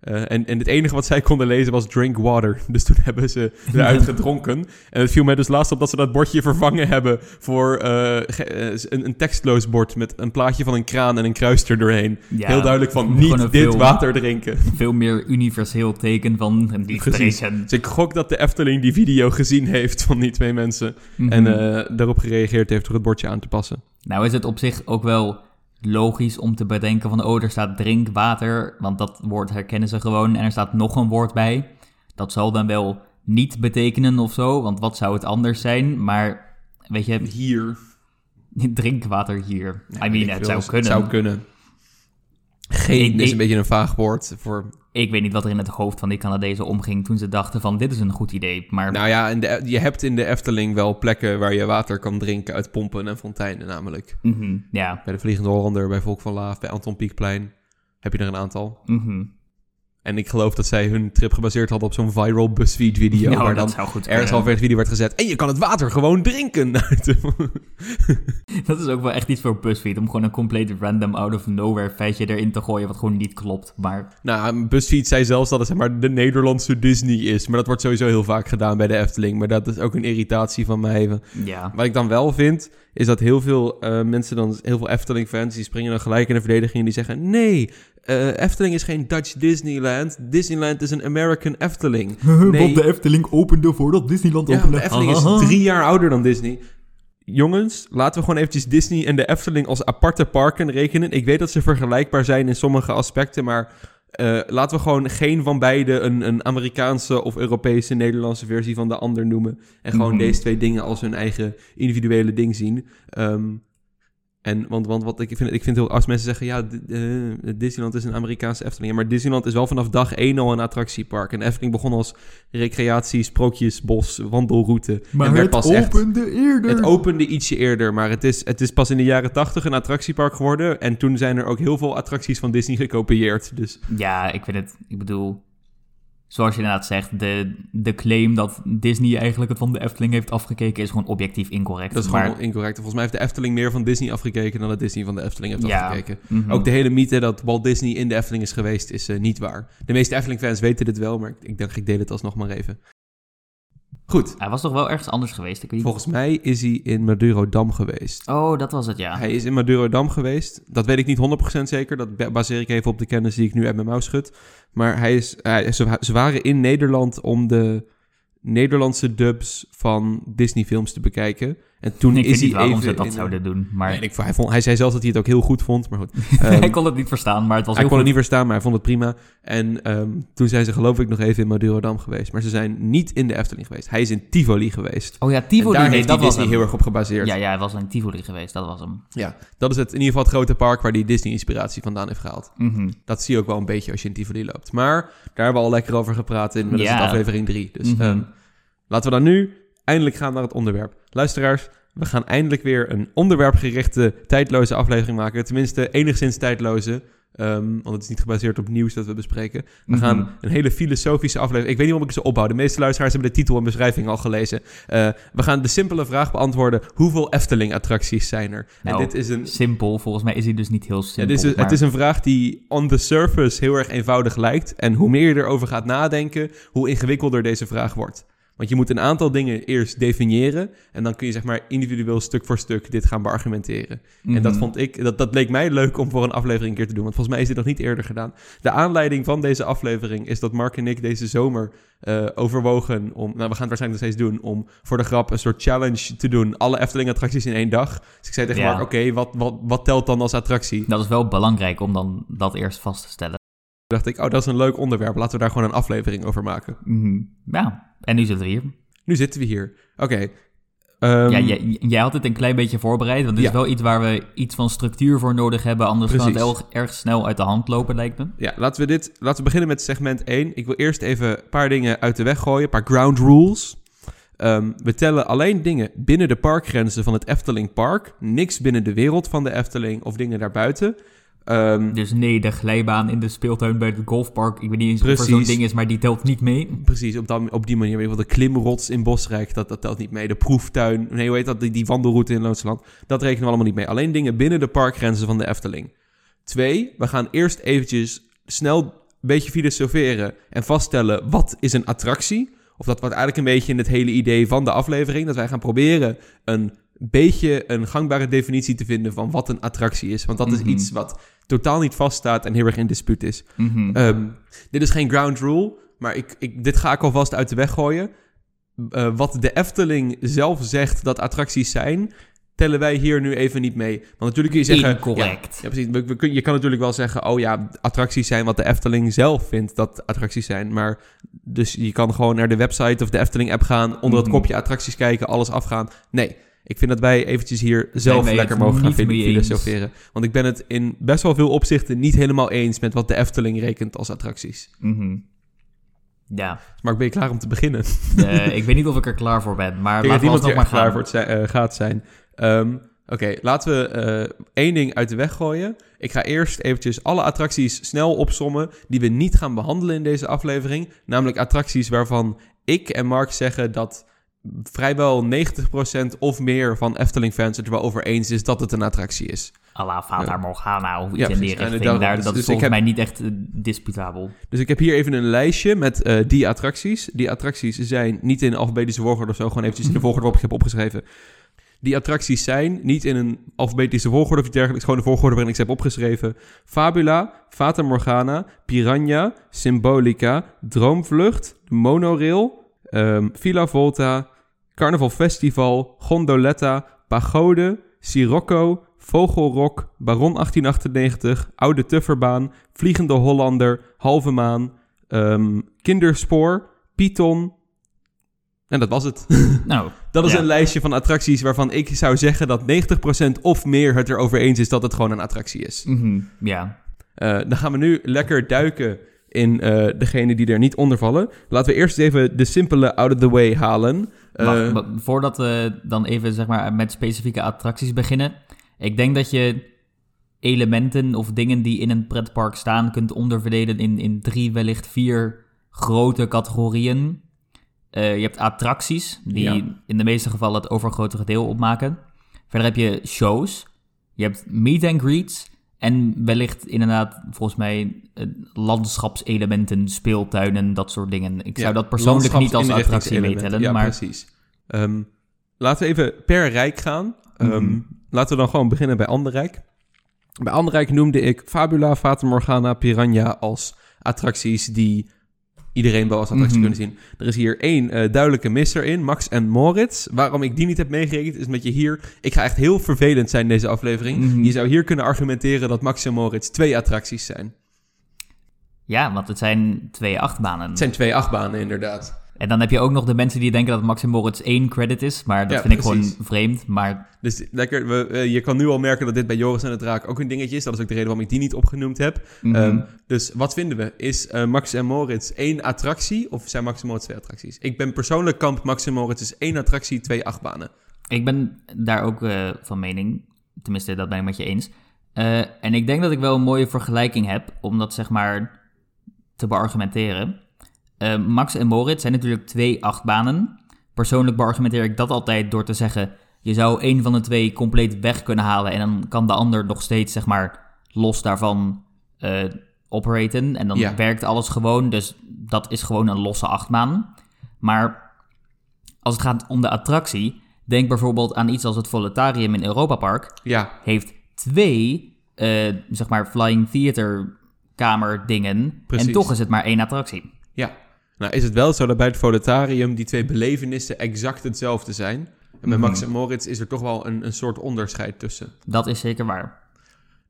Speaker 1: eh, en, en het enige wat zij konden lezen was drink water. *laughs* Dus toen hebben ze
Speaker 2: *laughs*
Speaker 1: eruit gedronken. En het viel mij dus laatst op dat ze dat bordje vervangen hebben... voor eh, ge- eh, een, een tekstloos bord met een plaatje van een kraan en een kruis er doorheen.
Speaker 2: Ja,
Speaker 1: Heel duidelijk van,
Speaker 2: gewoon een
Speaker 1: niet dit
Speaker 2: film.
Speaker 1: water drinken.
Speaker 2: Veel meer universeel teken
Speaker 1: *laughs*
Speaker 2: van die
Speaker 1: Precies.
Speaker 2: streken.
Speaker 1: Dus ik gok dat de Efteling die video gezien heeft van die twee mensen.
Speaker 2: Mhm.
Speaker 1: En eh, daarop gereageerd heeft door het bordje aan te passen.
Speaker 2: Nou is het op zich ook wel logisch om te bedenken van... oh, er staat drinkwater, want dat woord herkennen ze gewoon. En er staat nog een woord bij. Dat zal dan wel niet betekenen of zo, want wat zou het anders zijn? Maar weet je,
Speaker 1: Hier.
Speaker 2: *laughs* drinkwater hier. I
Speaker 1: Ik
Speaker 2: mean,
Speaker 1: wil,
Speaker 2: het zou
Speaker 1: het
Speaker 2: kunnen.
Speaker 1: zou kunnen. Geen
Speaker 2: Ik-
Speaker 1: is
Speaker 2: ik-
Speaker 1: een beetje een vaag woord voor...
Speaker 2: Ik weet niet wat er in het hoofd van die Canadezen omging toen ze dachten van dit is een goed idee. Maar
Speaker 1: Nou ja, in de, je hebt in de Efteling wel plekken waar je water kan drinken uit pompen en fonteinen namelijk.
Speaker 2: mhm, ja,
Speaker 1: Bij de Vliegende Hollander, bij Volk van Laaf, bij Anton Pieckplein heb je er een aantal.
Speaker 2: mhm.
Speaker 1: En ik geloof dat zij hun trip gebaseerd hadden op zo'n viral BuzzFeed video.
Speaker 2: nou,
Speaker 1: waar
Speaker 2: dat
Speaker 1: dan
Speaker 2: zou goed
Speaker 1: ergens
Speaker 2: kunnen.
Speaker 1: halverwege het video werd gezet. En je kan het water gewoon drinken. *laughs*
Speaker 2: *laughs* Dat is ook wel echt iets voor BuzzFeed, om gewoon een compleet random out of nowhere feitje erin te gooien wat gewoon niet klopt. Maar
Speaker 1: Nou, BuzzFeed zei zelfs dat het zeg maar, de Nederlandse Disney is. Maar dat wordt sowieso heel vaak gedaan bij de Efteling. Maar dat is ook een irritatie van mij.
Speaker 2: ja,
Speaker 1: Wat ik dan wel vind, is dat heel veel eh, mensen, dan, heel veel Efteling-fans, die springen dan gelijk in de verdediging en die zeggen... Nee, eh, Efteling is geen Dutch Disneyland. Disneyland is een American Efteling. Nee,
Speaker 2: Efteling opende voordat Disneyland
Speaker 1: ja, de Efteling is drie jaar ouder dan Disney. jongens, laten we gewoon eventjes Disney en de Efteling als aparte parken rekenen. Ik weet dat ze vergelijkbaar zijn in sommige aspecten, maar eh, laten we gewoon geen van beide een, een Amerikaanse of Europese, Nederlandse versie van de ander noemen. En gewoon
Speaker 2: Mhm.
Speaker 1: deze twee dingen als hun eigen individuele ding zien. Ehm, en, want, want wat ik vind, ik vind heel, als mensen zeggen, ja, d- eh, Disneyland is een Amerikaanse Efteling. Ja, maar Disneyland is wel vanaf dag 1 al een attractiepark. En de Efteling begon als recreatie, sprookjesbos, wandelroute. en werd pas echt
Speaker 2: eerder.
Speaker 1: het opende ietsje eerder, maar het is, het is pas in de jaren tachtig een attractiepark geworden. En toen zijn er ook heel veel attracties van Disney gekopieerd. Dus
Speaker 2: Ja, ik vind het. Ik bedoel, zoals je inderdaad zegt, de, de claim dat Disney eigenlijk het van de Efteling heeft afgekeken is gewoon objectief incorrect.
Speaker 1: dat is
Speaker 2: Maar-
Speaker 1: gewoon incorrect. Volgens mij heeft de Efteling meer van Disney afgekeken dan dat Disney van de Efteling heeft
Speaker 2: Ja.
Speaker 1: afgekeken.
Speaker 2: Mhm.
Speaker 1: Ook de hele mythe dat Walt Disney in de Efteling is geweest, is eh, niet waar. De meeste Efteling-fans weten dit wel, maar ik, ik denk, ik deel het alsnog maar even. Goed,
Speaker 2: Hij was toch wel ergens anders geweest? Ik weet niet.
Speaker 1: volgens mij is hij in Madurodam geweest.
Speaker 2: Oh, dat was het, ja.
Speaker 1: Hij is in Madurodam geweest. Dat weet ik niet 100% zeker. Dat ba- baseer ik even op de kennis die ik nu uit mijn mouw schud. Maar hij is, hij- ze, wa- ze waren in Nederland om de Nederlandse dubs van Disney-films te bekijken. En toen
Speaker 2: ik
Speaker 1: is
Speaker 2: weet
Speaker 1: hij
Speaker 2: niet waarom
Speaker 1: even.
Speaker 2: ze dat
Speaker 1: in-
Speaker 2: zouden doen, maar
Speaker 1: Nee, ik, hij, vond, hij zei zelfs dat hij het ook heel goed vond. Maar goed. Ehm,
Speaker 2: *laughs* hij kon het niet verstaan, maar het was
Speaker 1: hij
Speaker 2: heel
Speaker 1: kon het
Speaker 2: goed.
Speaker 1: niet verstaan, maar hij vond het prima. En ehm, toen zijn ze, geloof ik, nog even in Madurodam geweest. Maar ze zijn niet in de Efteling geweest. Hij is in Tivoli geweest.
Speaker 2: Oh ja,
Speaker 1: en
Speaker 2: Tivoli,
Speaker 1: daar
Speaker 2: nee,
Speaker 1: heeft
Speaker 2: dat
Speaker 1: hij
Speaker 2: was
Speaker 1: Disney
Speaker 2: hem.
Speaker 1: heel erg op gebaseerd.
Speaker 2: Ja, ja, hij was in Tivoli geweest, dat was hem.
Speaker 1: Ja, dat is het, in ieder geval het grote park waar die Disney-inspiratie vandaan heeft gehaald.
Speaker 2: Mhm.
Speaker 1: Dat zie je ook wel een beetje als je in Tivoli loopt. Maar daar hebben we al lekker over gepraat in dat is
Speaker 2: Ja.
Speaker 1: het aflevering 3. Dus
Speaker 2: Mhm.
Speaker 1: ehm, laten we dan nu eindelijk gaan naar het onderwerp. Luisteraars, we gaan eindelijk weer een onderwerpgerichte, tijdloze aflevering maken. Tenminste, enigszins tijdloze. ehm, want het is niet gebaseerd op nieuws dat we bespreken. We
Speaker 2: Mhm.
Speaker 1: gaan een hele filosofische aflevering. Ik weet niet waarom ik ze opbouw. De meeste luisteraars hebben de titel en beschrijving al gelezen. Eh, we gaan de simpele vraag beantwoorden: hoeveel Efteling-attracties zijn er?
Speaker 2: Nou,
Speaker 1: en dit is een
Speaker 2: Simpel, volgens mij is hij dus niet heel simpel.
Speaker 1: ja, dit is een-
Speaker 2: maar-
Speaker 1: Het is een vraag die on the surface heel erg eenvoudig lijkt. En hoe meer je erover gaat nadenken, hoe ingewikkelder deze vraag wordt. Want je moet een aantal dingen eerst definiëren. En dan kun je zeg maar individueel stuk voor stuk dit gaan beargumenteren. En dat,
Speaker 2: Mhm.
Speaker 1: vond ik, dat, dat leek mij leuk om voor een aflevering een keer te doen. Want volgens mij is dit nog niet eerder gedaan. De aanleiding van deze aflevering is dat Mark en ik deze zomer eh, overwogen om... Nou, we gaan het waarschijnlijk nog steeds doen. Om voor de grap een soort challenge te doen. Alle Efteling-attracties in één dag. Dus ik zei tegen
Speaker 2: Ja.
Speaker 1: Mark, oké, wat, wat, wat telt dan als attractie?
Speaker 2: Dat is wel belangrijk om dan dat eerst vast te stellen.
Speaker 1: Toen dacht ik, oh, dat is een leuk onderwerp. Laten we daar gewoon een aflevering over maken.
Speaker 2: Mhm. Ja, en nu zitten we hier.
Speaker 1: Nu zitten we hier. Oké. ehm,
Speaker 2: ja, jij, jij had het een klein beetje voorbereid, want het is
Speaker 1: Ja.
Speaker 2: wel iets waar we iets van structuur voor nodig hebben, anders kan het
Speaker 1: Precies.
Speaker 2: erg, erg snel uit de hand lopen, lijkt me.
Speaker 1: ja, laten we dit... Laten we beginnen met segment 1. Ik wil eerst even een paar dingen uit de weg gooien. Een paar ground rules. Ehm, we tellen alleen dingen binnen de parkgrenzen van het Efteling Park. Niks binnen de wereld van de Efteling of dingen daarbuiten. Ehm,
Speaker 2: Dus nee, de glijbaan in de speeltuin bij het golfpark, ik weet niet eens of er zo'n
Speaker 1: Precies.
Speaker 2: ding is, maar die telt niet mee.
Speaker 1: Precies, op, dat- op die manier. Weet je wel, de klimrots in Bosrijk, dat, dat telt niet mee. De proeftuin, nee, hoe heet dat? Die, die wandelroute in Loonsland. Dat rekenen we allemaal niet mee. Alleen dingen binnen de parkgrenzen van de Efteling. Twee, we gaan eerst eventjes snel een beetje filosoferen en vaststellen wat is een attractie. Of dat wordt eigenlijk een beetje in het hele idee van de aflevering. Dat wij gaan proberen een beetje een gangbare definitie te vinden van wat een attractie is. Want dat
Speaker 2: Mhm.
Speaker 1: is iets wat totaal niet vaststaat en heel erg in dispuut is.
Speaker 2: Mhm.
Speaker 1: Ehm, dit is geen ground rule, maar ik, ik, dit ga ik alvast uit de weg gooien. Eh, wat de Efteling zelf zegt dat attracties zijn, tellen wij hier nu even niet mee. Want natuurlijk kun je zeggen... Ja,
Speaker 2: Incorrect.
Speaker 1: ja, precies. We, we kun, je kan natuurlijk wel zeggen, oh ja, attracties zijn wat de Efteling zelf vindt dat attracties zijn. Maar dus je kan gewoon naar de website of de Efteling-app gaan, onder het
Speaker 2: Mhm.
Speaker 1: kopje attracties kijken, alles afgaan. Nee, ik vind dat wij eventjes hier zelf
Speaker 2: wij
Speaker 1: lekker
Speaker 2: het
Speaker 1: mogen gaan
Speaker 2: niet
Speaker 1: fil-
Speaker 2: mee eens.
Speaker 1: filosoferen. Want ik ben het in best wel veel opzichten niet helemaal eens met wat de Efteling rekent als attracties.
Speaker 2: Mhm. Ja,
Speaker 1: Maar ik ben je klaar om te beginnen.
Speaker 2: Eh, ik weet niet of ik er klaar voor ben, maar
Speaker 1: Ik denk dat iemand
Speaker 2: laten we alsnog
Speaker 1: hier
Speaker 2: maar
Speaker 1: echt klaar
Speaker 2: gaan.
Speaker 1: voor het zijn- eh, gaat zijn. Ehm, Oké, laten we eh, één ding uit de weg gooien. Ik ga eerst eventjes alle attracties snel opsommen die we niet gaan behandelen in deze aflevering. Namelijk attracties waarvan ik en Mark zeggen dat vrijwel 90% of meer van Efteling-fans het er wel over eens is dat het een attractie is.
Speaker 2: Alla Fata
Speaker 1: Ja.
Speaker 2: Morgana of iets
Speaker 1: Ja,
Speaker 2: Nou, in die
Speaker 1: precies. En
Speaker 2: richting.
Speaker 1: daarom-
Speaker 2: Daar,
Speaker 1: dus-
Speaker 2: dat
Speaker 1: dus
Speaker 2: is
Speaker 1: ik
Speaker 2: volgens
Speaker 1: heb-
Speaker 2: mij niet echt eh,
Speaker 1: *laughs*
Speaker 2: disputabel.
Speaker 1: Dus ik heb hier even een lijstje met eh, die attracties. Die attracties zijn niet in alfabetische volgorde of zo, gewoon eventjes in de volgorde waarop ik heb opgeschreven. Die attracties zijn niet in een alfabetische volgorde of iets dergelijks, gewoon de volgorde waarin ik ze heb opgeschreven. Fabula, Fata Morgana, Piranha, Symbolica, Droomvlucht, Monorail, ehm Villa Volta, Carnaval Festival, Gondoletta, Pagode, Sirocco, Vogelrok, Baron 1898, Oude Tufferbaan, Vliegende Hollander, Halve Maan, ehm, Kinderspoor, Python. En dat was het. *laughs*
Speaker 2: Nou,
Speaker 1: Dat is
Speaker 2: Ja.
Speaker 1: een lijstje van attracties waarvan ik zou zeggen dat 90% of meer het erover eens is dat het gewoon een attractie is.
Speaker 2: mhm, ja.
Speaker 1: Eh, dan gaan we nu lekker duiken in eh degene die er niet onder vallen. Laten we eerst even de simpele out of the way halen. Eh,
Speaker 2: Wacht, wa- voordat we dan even zeg maar, met specifieke attracties beginnen. Ik denk dat je elementen of dingen die in een pretpark staan kunt onderverdelen in, in drie, wellicht vier grote categorieën. Eh, je hebt attracties, die
Speaker 1: Ja.
Speaker 2: in de meeste gevallen het overgrote deel opmaken. Verder heb je shows. Je hebt meet and greets. En wellicht inderdaad, volgens mij, eh, landschapselementen, speeltuinen, dat soort dingen. Ik zou
Speaker 1: ja,
Speaker 2: dat persoonlijk niet als attractie
Speaker 1: landschapsinrichtingselement.
Speaker 2: meetellen,
Speaker 1: Ja,
Speaker 2: maar
Speaker 1: precies. Ehm, laten we even per rijk gaan. Ehm,
Speaker 2: Mhm.
Speaker 1: Laten we dan gewoon beginnen bij Anderrijk. Bij Anderrijk noemde ik Fabula, Fata Morgana, Piranha als attracties die iedereen wel als attractie
Speaker 2: Mhm.
Speaker 1: kunnen zien. Er is hier één eh, duidelijke misser in, Max en Moritz. Waarom ik die niet heb meegerekend is met je hier... Ik ga echt heel vervelend zijn in deze aflevering.
Speaker 2: Mhm.
Speaker 1: Je zou hier kunnen argumenteren dat Max en Moritz twee attracties zijn.
Speaker 2: Ja, want het zijn twee achtbanen.
Speaker 1: Het zijn twee achtbanen inderdaad.
Speaker 2: En dan heb je ook nog de mensen die denken dat Max en Moritz één credit is. Maar dat
Speaker 1: Ja,
Speaker 2: vind ik
Speaker 1: precies.
Speaker 2: gewoon vreemd. Maar
Speaker 1: Dus lekker, we, eh, je kan nu al merken dat dit bij Joris en het Raak ook een dingetje is. Dat is ook de reden waarom ik die niet opgenoemd heb.
Speaker 2: mhm.
Speaker 1: Ehm, dus wat vinden we? Is eh, Max en Moritz één attractie of zijn Max en Moritz twee attracties? Ik ben persoonlijk kamp Max en Moritz is één attractie, twee achtbanen.
Speaker 2: ik ben daar ook eh, van mening. Tenminste, dat ben ik met je eens. Eh, en ik denk dat ik wel een mooie vergelijking heb om dat zeg maar te beargumenteren. Eh, Max en Moritz zijn natuurlijk twee achtbanen. Persoonlijk beargumenteer ik dat altijd door te zeggen... je zou één van de twee compleet weg kunnen halen... en dan kan de ander nog steeds, zeg maar, los daarvan eh operaten. En dan
Speaker 1: Ja.
Speaker 2: werkt alles gewoon, dus dat is gewoon een losse achtbaan. Maar als het gaat om de attractie... denk bijvoorbeeld aan iets als het Voletarium in Europa Park
Speaker 1: Ja,
Speaker 2: heeft twee, eh, zeg maar, flying theater kamer dingen.
Speaker 1: Precies.
Speaker 2: En toch is het maar één attractie.
Speaker 1: ja. Nou is het wel zo dat bij het Voletarium die twee belevenissen exact hetzelfde zijn. En bij Max en Moritz is er toch wel een, een soort onderscheid tussen.
Speaker 2: Dat is zeker waar.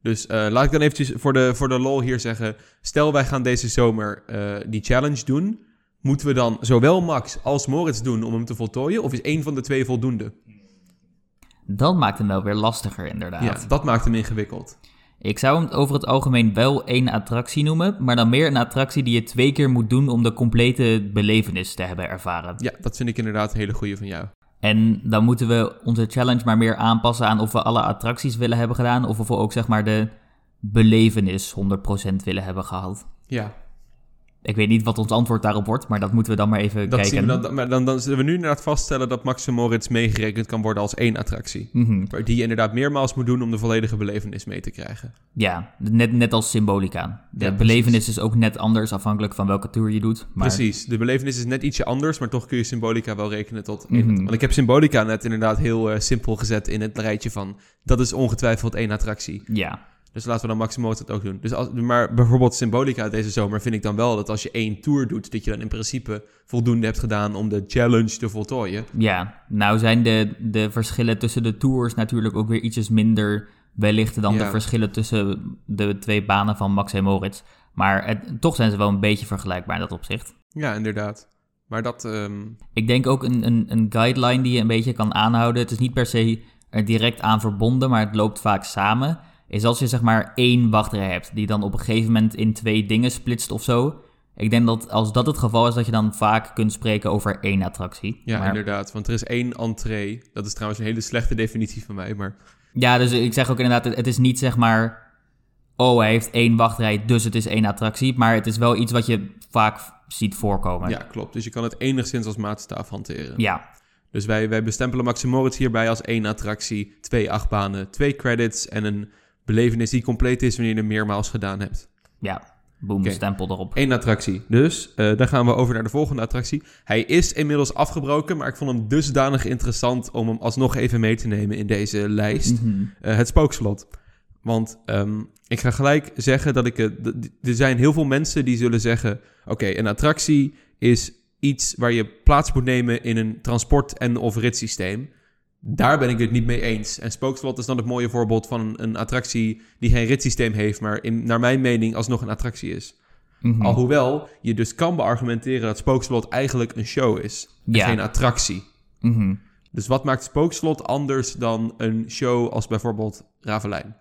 Speaker 1: Dus eh, laat ik dan eventjes voor de, voor de lol hier zeggen... stel wij gaan deze zomer eh, die challenge doen... moeten we dan zowel Max als Moritz doen om hem te voltooien... of is één van de twee voldoende?
Speaker 2: Dat maakt hem wel weer lastiger,
Speaker 1: Ja,
Speaker 2: inderdaad.
Speaker 1: dat maakt hem ingewikkeld.
Speaker 2: Ik zou hem over het algemeen wel één attractie noemen, maar dan meer een attractie die je twee keer moet doen om de complete belevenis te hebben ervaren.
Speaker 1: Ja, dat vind ik inderdaad een hele goeie van jou.
Speaker 2: En dan moeten we onze challenge maar meer aanpassen aan of we alle attracties willen hebben gedaan of of we ook zeg maar de belevenis 100% willen hebben gehad.
Speaker 1: Ja,
Speaker 2: Ik weet niet wat ons antwoord daarop wordt, maar dat moeten we dan maar even
Speaker 1: dat
Speaker 2: kijken.
Speaker 1: zien we dan, maar dan, dan zullen we nu inderdaad vaststellen... dat Max en Moritz meegerekend kan worden als één attractie.
Speaker 2: Mhm.
Speaker 1: Waar Die je inderdaad meermaals moet doen om de volledige belevenis mee te krijgen.
Speaker 2: Ja, net, net als symbolica. De
Speaker 1: Ja, precies.
Speaker 2: belevenis is ook net anders afhankelijk van welke tour je doet. Maar
Speaker 1: Precies, de belevenis is net ietsje anders, maar toch kun je symbolica wel rekenen tot één.
Speaker 2: Mhm.
Speaker 1: Want ik heb symbolica net inderdaad heel eh, simpel gezet in het rijtje van dat is ongetwijfeld één attractie.
Speaker 2: ja,
Speaker 1: Dus laten we dan Maximo dat ook doen. Dus als, maar bijvoorbeeld symbolica deze zomer vind ik dan wel dat als je één tour doet, dat je dan in principe voldoende hebt gedaan om de challenge te voltooien.
Speaker 2: ja, nou zijn de, de verschillen tussen de tours natuurlijk ook weer ietsjes minder wellicht dan
Speaker 1: Ja.
Speaker 2: de verschillen tussen de twee banen van Max en Moritz. Maar het- toch zijn ze wel een beetje vergelijkbaar in dat opzicht.
Speaker 1: Ja, inderdaad. Maar dat, ehm,
Speaker 2: Ik denk ook een, een, een guideline die je een beetje kan aanhouden. Het is niet per se er direct aan verbonden, maar het loopt vaak samen. Is als je zeg maar één wachtrij hebt, die dan op een gegeven moment in twee dingen splitst of zo. Ik denk dat als dat het geval is, dat je dan vaak kunt spreken over één attractie.
Speaker 1: ja,
Speaker 2: Maar-
Speaker 1: inderdaad. Want er is één entree. Dat is trouwens een hele slechte definitie van mij, maar
Speaker 2: ja, dus ik zeg ook inderdaad, het- het is niet zeg maar. Oh, hij heeft één wachtrij, dus het is één attractie. Maar het is wel iets wat je vaak ziet voorkomen.
Speaker 1: ja, klopt. Dus je kan het enigszins als maatstaf hanteren.
Speaker 2: ja.
Speaker 1: Dus wij, wij bestempelen Max en Moritz hierbij als één attractie, twee achtbanen, twee credits en een belevenis die compleet is wanneer je hem meermaals gedaan hebt.
Speaker 2: ja. Boom,
Speaker 1: Oké.
Speaker 2: stempel erop.
Speaker 1: Eén attractie. Dus eh, dan gaan we over naar de volgende attractie. Hij is inmiddels afgebroken, maar ik vond hem dusdanig interessant om hem alsnog even mee te nemen in deze lijst.
Speaker 2: Mhm.
Speaker 1: Eh, het spookslot. Want ehm, ik ga gelijk zeggen dat ik... het- d- d- er zijn heel veel mensen die zullen zeggen... Oké, een attractie is iets waar je plaats moet nemen in een transport- en of ritssysteem. Daar ben ik het niet mee eens. En Spookslot is dan het mooie voorbeeld van een attractie die geen ritssysteem heeft, maar in, naar mijn mening alsnog een attractie is.
Speaker 2: Mhm.
Speaker 1: Alhoewel je dus kan beargumenteren dat Spookslot eigenlijk een show is, en
Speaker 2: Ja.
Speaker 1: geen attractie.
Speaker 2: Mhm.
Speaker 1: Dus wat maakt Spookslot anders dan een show als bijvoorbeeld Ravelijn?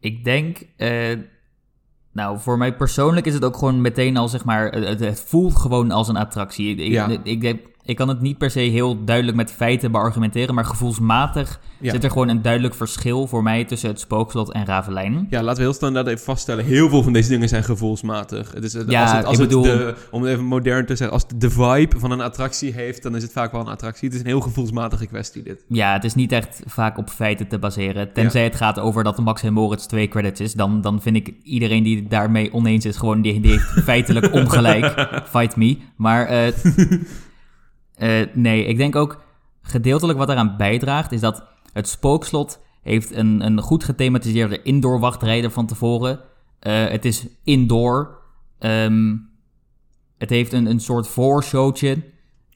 Speaker 2: Ik denk, eh, nou, voor mij persoonlijk is het ook gewoon meteen al, zeg maar, het, het- het voelt gewoon als een attractie. Ik,
Speaker 1: Ja.
Speaker 2: ik, ik, denk- ik kan het niet per se heel duidelijk met feiten beargumenteren, maar gevoelsmatig
Speaker 1: Ja.
Speaker 2: zit er gewoon een duidelijk verschil voor mij tussen het spookslot en Ravelijn.
Speaker 1: Ja, laten we heel standaard even vaststellen. Heel veel van deze dingen zijn gevoelsmatig. Het is, het-
Speaker 2: Ja,
Speaker 1: als het, als
Speaker 2: ik
Speaker 1: het
Speaker 2: bedoel-
Speaker 1: de, om het even modern te zeggen, als het de vibe van een attractie heeft, dan is het vaak wel een attractie. Het is een heel gevoelsmatige kwestie, dit.
Speaker 2: Ja, het is niet echt vaak op feiten te baseren. Tenzij het gaat over dat Max en Moritz twee credits is. Dan, dan vind ik iedereen die het daarmee oneens is, gewoon die, die heeft feitelijk ongelijk. Fight me. Maar eh, eh, nee, ik denk ook gedeeltelijk wat daaraan bijdraagt is dat het spookslot heeft een, een goed gethematiseerde indoor wachtrijder van tevoren. Eh, het is indoor. Ehm, het heeft een, een soort voorshowtje.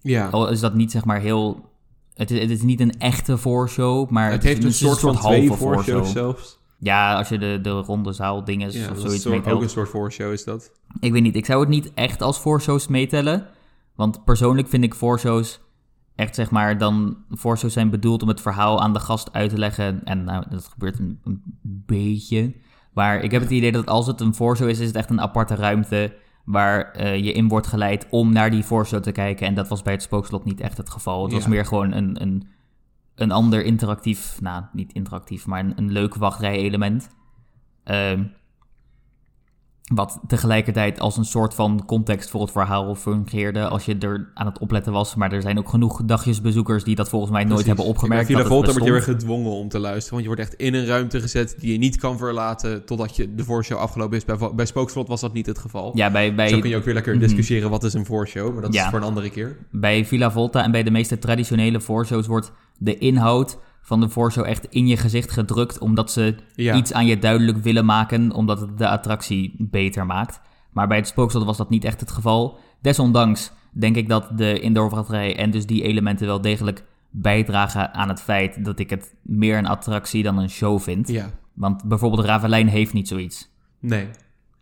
Speaker 1: Ja.
Speaker 2: Al is dat niet zeg maar heel. Het is, het is niet een echte voorshow, maar
Speaker 1: het heeft
Speaker 2: is
Speaker 1: een soort, van twee voorshows
Speaker 2: voorshow.
Speaker 1: zelfs.
Speaker 2: Ja, als je de, de ronde zaal dingen
Speaker 1: Ja,
Speaker 2: of
Speaker 1: dat is
Speaker 2: zoiets
Speaker 1: een soort- ook
Speaker 2: meetelt.
Speaker 1: een soort voorshow is dat.
Speaker 2: Ik weet niet, ik zou het niet echt als voorshows meetellen. Want persoonlijk vind ik voorshows echt zeg maar dan... Voorshows zijn bedoeld om het verhaal aan de gast uit te leggen. En nou, dat gebeurt een, een beetje. Maar ik heb het idee dat als het een voorshow is, is het echt een aparte ruimte... waar eh, je in wordt geleid om naar die voorshow te kijken. En dat was bij het Spookslot niet echt het geval. Het was
Speaker 1: Ja.
Speaker 2: meer gewoon een, een, een ander interactief... Nou, niet interactief, maar een, een leuk wachtrij-element. Ehm, wat tegelijkertijd als een soort van context voor het verhaal fungeerde. Als je er aan het opletten was. Maar er zijn ook genoeg dagjesbezoekers die dat volgens mij nooit hebben opgemerkt.
Speaker 1: Via
Speaker 2: dat
Speaker 1: de
Speaker 2: het
Speaker 1: Volta word je weer
Speaker 2: bestond.
Speaker 1: gedwongen om te luisteren. Want je wordt echt in een ruimte gezet die je niet kan verlaten totdat je de voorshow afgelopen is. Bij, vo- bij Spookslot was dat niet het geval.
Speaker 2: Ja, bij,
Speaker 1: Zo kun je
Speaker 2: bij,
Speaker 1: ook weer lekker
Speaker 2: Mhm.
Speaker 1: discussiëren wat is een voorshow. Maar dat
Speaker 2: Ja.
Speaker 1: is voor een andere keer.
Speaker 2: bij Villa Volta en bij de meeste traditionele voorshows wordt de inhoud van de voorshow echt in je gezicht gedrukt. Omdat ze
Speaker 1: Ja.
Speaker 2: iets aan je duidelijk willen maken. Omdat het de attractie beter maakt. Maar bij het spookslot was dat niet echt het geval. Desondanks denk ik dat de indoorwachtrij en dus die elementen wel degelijk bijdragen aan het feit dat ik het meer een attractie dan een show vind.
Speaker 1: Ja,
Speaker 2: Want bijvoorbeeld Ravelijn heeft niet zoiets.
Speaker 1: nee.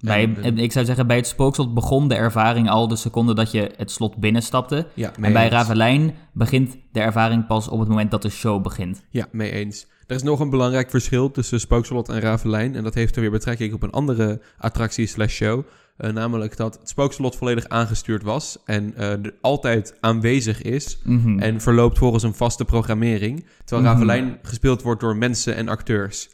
Speaker 2: Bij,
Speaker 1: En, en-
Speaker 2: ik zou zeggen, bij het spookslot begon de ervaring al de seconde dat je het slot binnenstapte.
Speaker 1: ja, mee
Speaker 2: En bij
Speaker 1: eens.
Speaker 2: Ravelijn begint de ervaring pas op het moment dat de show begint.
Speaker 1: Ja, mee eens. Er is nog een belangrijk verschil tussen Spookslot en Ravelijn. En dat heeft er weer betrekking op een andere attractie slash show. Eh, namelijk dat het Spookslot volledig aangestuurd was. En eh, er altijd aanwezig is. En verloopt volgens een vaste programmering. Terwijl
Speaker 2: Mhm.
Speaker 1: Ravelijn gespeeld wordt door mensen en acteurs.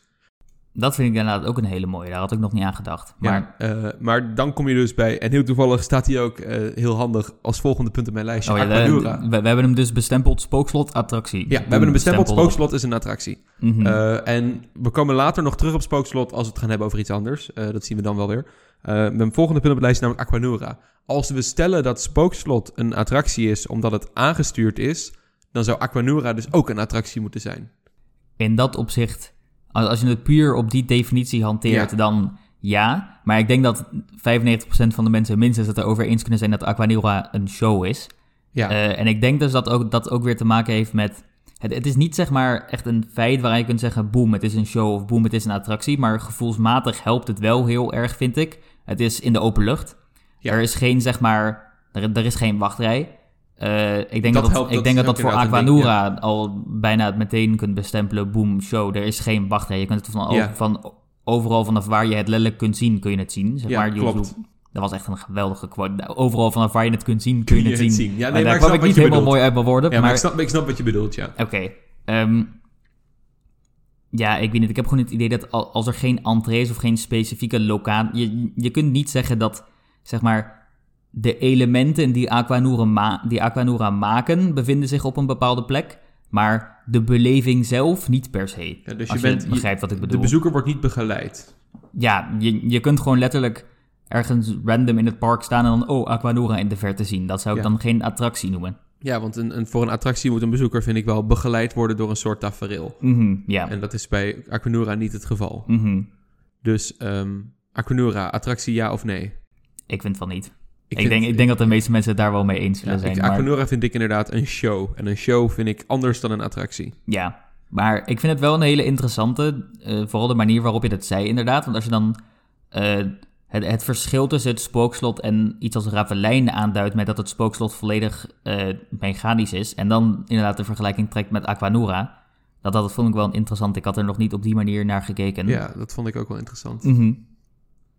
Speaker 2: Dat vind ik inderdaad ook een hele mooie. Daar had ik nog niet aan gedacht. Maar
Speaker 1: Maar, eh, maar dan kom je dus bij... En heel toevallig staat hij ook eh, heel handig als volgende punt op mijn lijstje.
Speaker 2: Oh ja, we,
Speaker 1: Aquanura.
Speaker 2: we- we hebben hem dus bestempeld spookslot attractie.
Speaker 1: Ja, we hebben een bestempeld.
Speaker 2: Stempel op.
Speaker 1: Spookslot is een attractie.
Speaker 2: Mhm.
Speaker 1: Eh, en we komen later nog terug op Spookslot als we het gaan hebben over iets anders. Eh, dat zien we dan wel weer. Eh, mijn volgende punt op het lijstje is namelijk Aquanura. Als we stellen dat Spookslot een attractie is omdat het aangestuurd is, dan zou Aquanura dus ook een attractie moeten zijn.
Speaker 2: In dat opzicht, als, als je het puur op die definitie hanteert,
Speaker 1: Ja.
Speaker 2: dan ja. Maar ik denk dat 95% van de mensen minstens het erover eens kunnen zijn dat Aquanura een show is.
Speaker 1: Ja,
Speaker 2: Eh, en ik denk dus dat ook, dat ook weer te maken heeft met... Het, het is niet zeg maar echt een feit waarin je kunt zeggen... boem, het is een show of boem, het is een attractie. Maar gevoelsmatig helpt het wel heel erg, vind ik. Het is in de open lucht.
Speaker 1: Ja.
Speaker 2: Er is geen, zeg maar... Er, er is geen wachtrij. Eh, ik denk
Speaker 1: Dat
Speaker 2: dat dat,
Speaker 1: helpt,
Speaker 2: ik
Speaker 1: dat
Speaker 2: denk
Speaker 1: is
Speaker 2: dat, dat
Speaker 1: ook
Speaker 2: voor
Speaker 1: inderdaad een
Speaker 2: Aquanura al bijna meteen kunt bestempelen... boem, show, er is geen wachtrij. Je kunt het van,
Speaker 1: Ja.
Speaker 2: van overal vanaf waar je het letterlijk kunt zien, kun je het zien. Zeg
Speaker 1: Ja,
Speaker 2: maar, je hoeft-
Speaker 1: klopt.
Speaker 2: Dat was echt een geweldige quote. Overal vanaf waar je het kunt zien, kun je, het zien.
Speaker 1: Ja,
Speaker 2: Maar
Speaker 1: nee, maar
Speaker 2: daar
Speaker 1: ik
Speaker 2: kwam
Speaker 1: snap
Speaker 2: ik
Speaker 1: wat
Speaker 2: niet
Speaker 1: je
Speaker 2: helemaal
Speaker 1: bedoelt.
Speaker 2: mooi uit mijn woorden.
Speaker 1: Ja, maar,
Speaker 2: maar
Speaker 1: Ik, snap, ik snap wat je bedoelt, ja.
Speaker 2: oké. ehm, ja, ik weet niet. Ik heb gewoon het idee dat al- als er geen entree is of geen specifieke locatie... Je, je kunt niet zeggen dat, zeg maar, de elementen die Aquanura, ma- die Aquanura maken... bevinden zich op een bepaalde plek, maar de beleving zelf niet per se.
Speaker 1: Ja, dus
Speaker 2: als
Speaker 1: je bent-
Speaker 2: je
Speaker 1: je-
Speaker 2: begrijpt wat ik
Speaker 1: De
Speaker 2: bedoel.
Speaker 1: bezoeker wordt niet begeleid.
Speaker 2: Ja, je, je kunt gewoon letterlijk ergens random in het park staan... en dan, oh, Aquanura in de verte zien. Dat zou ik
Speaker 1: Ja.
Speaker 2: dan geen attractie noemen.
Speaker 1: Ja, want een, een, voor een attractie moet een bezoeker, vind ik wel, begeleid worden door een soort tafereel.
Speaker 2: Mhm, ja.
Speaker 1: En dat is bij Aquanura niet het geval.
Speaker 2: Mhm.
Speaker 1: Dus ehm Aquanura, attractie ja of nee?
Speaker 2: Ik vind van niet. Ik,
Speaker 1: vind-
Speaker 2: denk, ik denk dat de meeste mensen het daar wel mee eens zullen
Speaker 1: Ja,
Speaker 2: zijn.
Speaker 1: ik,
Speaker 2: maar-
Speaker 1: Aquanura vind ik inderdaad een show. En een show vind ik anders dan een
Speaker 2: Mhm.
Speaker 1: attractie.
Speaker 2: Ja, maar ik vind het wel een hele interessante, eh, vooral de manier waarop je dat zei inderdaad. Want als je dan eh, het, het verschil tussen het spookslot en iets als Ravelijn aanduidt met dat het spookslot volledig eh, mechanisch is. En dan inderdaad de vergelijking trekt met Aquanura. Dat, dat vond ik wel interessant. Ik had er nog niet op die manier naar gekeken.
Speaker 1: Ja, dat vond ik ook wel interessant.
Speaker 2: Mhm.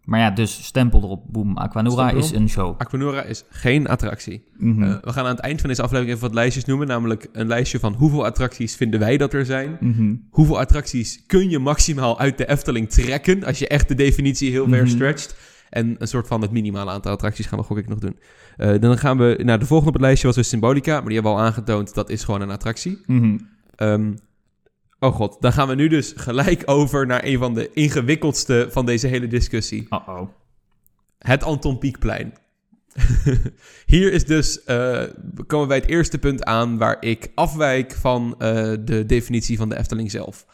Speaker 2: Maar ja, dus stempel erop, boem. Aquanura
Speaker 1: Stempel
Speaker 2: is
Speaker 1: erop.
Speaker 2: een show.
Speaker 1: Aquanura is geen attractie.
Speaker 2: Mhm.
Speaker 1: Eh, we gaan aan het eind van deze aflevering even wat lijstjes noemen. Namelijk een lijstje van hoeveel attracties vinden wij dat er zijn.
Speaker 2: Mhm.
Speaker 1: Hoeveel attracties kun je maximaal uit de Efteling trekken? Als je echt de definitie heel ver
Speaker 2: Mhm.
Speaker 1: stretcht. En een soort van het minimale aantal attracties gaan we gok ik nog doen. Eh, dan gaan we naar de volgende op het lijstje was dus Symbolica. Maar die hebben we al aangetoond, dat is gewoon een attractie.
Speaker 2: Mhm.
Speaker 1: Ehm, oh god, dan gaan we nu dus gelijk *laughs* over naar een van de ingewikkeldste van deze hele discussie.
Speaker 2: Uh-oh.
Speaker 1: Het Anton Pieckplein. *laughs* Hier is dus, eh, komen we bij het eerste punt aan waar ik afwijk van eh, de definitie van de Efteling zelf.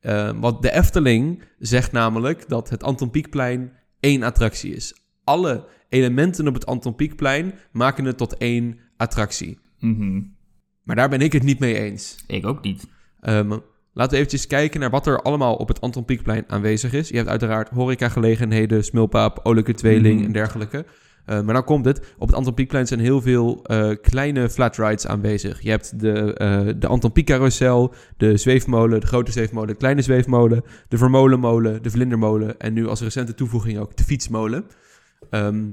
Speaker 1: Eh, want de Efteling zegt namelijk dat het Anton Pieckplein één attractie is. Alle elementen op het Anton Pieckplein maken het tot één attractie.
Speaker 2: Mhm.
Speaker 1: Maar daar ben ik het niet mee eens.
Speaker 2: Ik ook niet.
Speaker 1: Ehm, laten we eventjes kijken naar wat er allemaal op het Anton Pieckplein aanwezig is. Je hebt uiteraard horecagelegenheden, Smulpaap, Olijke Tweeling
Speaker 2: Mhm.
Speaker 1: en dergelijke. Eh, maar dan komt het. Op het Anton Pieckplein zijn heel veel eh, kleine flat rides aanwezig. Je hebt de, eh, de Anton Pieck Carousel, de zweefmolen, de grote zweefmolen, de kleine zweefmolen, de vermolenmolen, de vlindermolen en nu als recente toevoeging ook de fietsmolen. Ehm,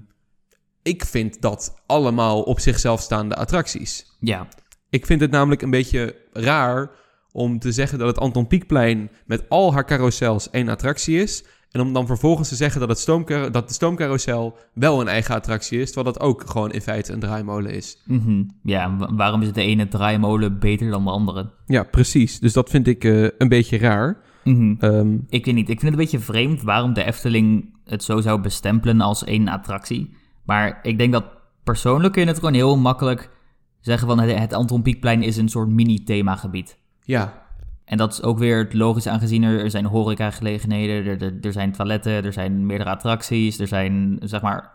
Speaker 1: ik vind dat allemaal op zichzelf staande attracties.
Speaker 2: Ja.
Speaker 1: Ik vind het namelijk een beetje raar om te zeggen dat het Anton Pieckplein met al haar carousels één attractie is. En om dan vervolgens te zeggen dat, het stoomcar- dat de stoomcarousel wel een eigen attractie is. Terwijl dat ook gewoon in feite een draaimolen is.
Speaker 2: Mhm. Ja, wa- waarom is de ene draaimolen beter dan de andere?
Speaker 1: Ja, precies. Dus dat vind ik een beetje raar. Ehm,
Speaker 2: Ik weet niet, ik vind het een beetje vreemd waarom de Efteling het zo zou bestempelen als één attractie. Maar ik denk dat persoonlijk kun je het gewoon heel makkelijk zeggen van het het Anton Pieckplein is een soort mini-themagebied.
Speaker 1: ja,
Speaker 2: En dat is ook weer het logisch aangezien er, er zijn horecagelegenheden, er, er, er zijn toiletten, er zijn meerdere attracties, er zijn zeg maar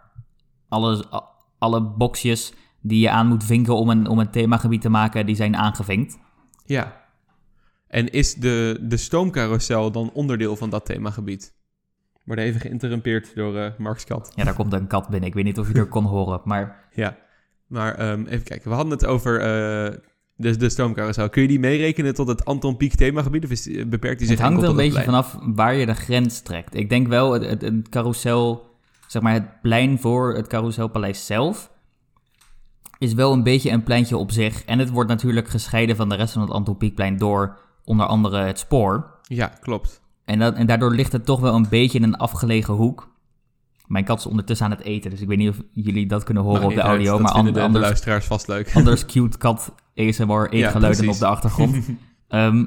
Speaker 2: alles, a- alle boxjes die je aan moet vinken om een, om een themagebied te maken, die zijn aangevinkt.
Speaker 1: ja. En is de, de stoomcarousel dan onderdeel van dat themagebied? Worden even geïnterrumpeerd door eh Mark's kat.
Speaker 2: Ja, daar komt een kat binnen. Ik weet niet of je er kon horen,
Speaker 1: *laughs*
Speaker 2: maar
Speaker 1: Ja, maar ehm, even kijken. We hadden het over eh, de, de stoomcarousel. Kun je die meerekenen tot het Anton Pieck themagebied? Of is, eh, beperkt die
Speaker 2: het
Speaker 1: zich
Speaker 2: hangt er
Speaker 1: enkel
Speaker 2: een
Speaker 1: tot het
Speaker 2: beetje
Speaker 1: plein?
Speaker 2: vanaf waar je de grens trekt. Ik denk wel, het, het, het carousel, zeg maar het plein voor het carouselpaleis zelf, is wel een beetje een pleintje op zich. En het wordt natuurlijk gescheiden van de rest van het Anton Pieckplein door onder andere het spoor.
Speaker 1: Ja, klopt.
Speaker 2: En, dat, en daardoor ligt het toch wel een beetje in een afgelegen hoek. Mijn kat is ondertussen aan het eten, dus ik weet niet of jullie dat kunnen horen
Speaker 1: Maakt
Speaker 2: op de
Speaker 1: niet uit.
Speaker 2: audio.
Speaker 1: Dat
Speaker 2: maar
Speaker 1: vinden
Speaker 2: an-
Speaker 1: de, de
Speaker 2: anders
Speaker 1: luisteraars vast leuk.
Speaker 2: *laughs* anders cute kat ASMR eetgeluiden
Speaker 1: precies.
Speaker 2: op de achtergrond.
Speaker 1: *laughs*
Speaker 2: Ehm,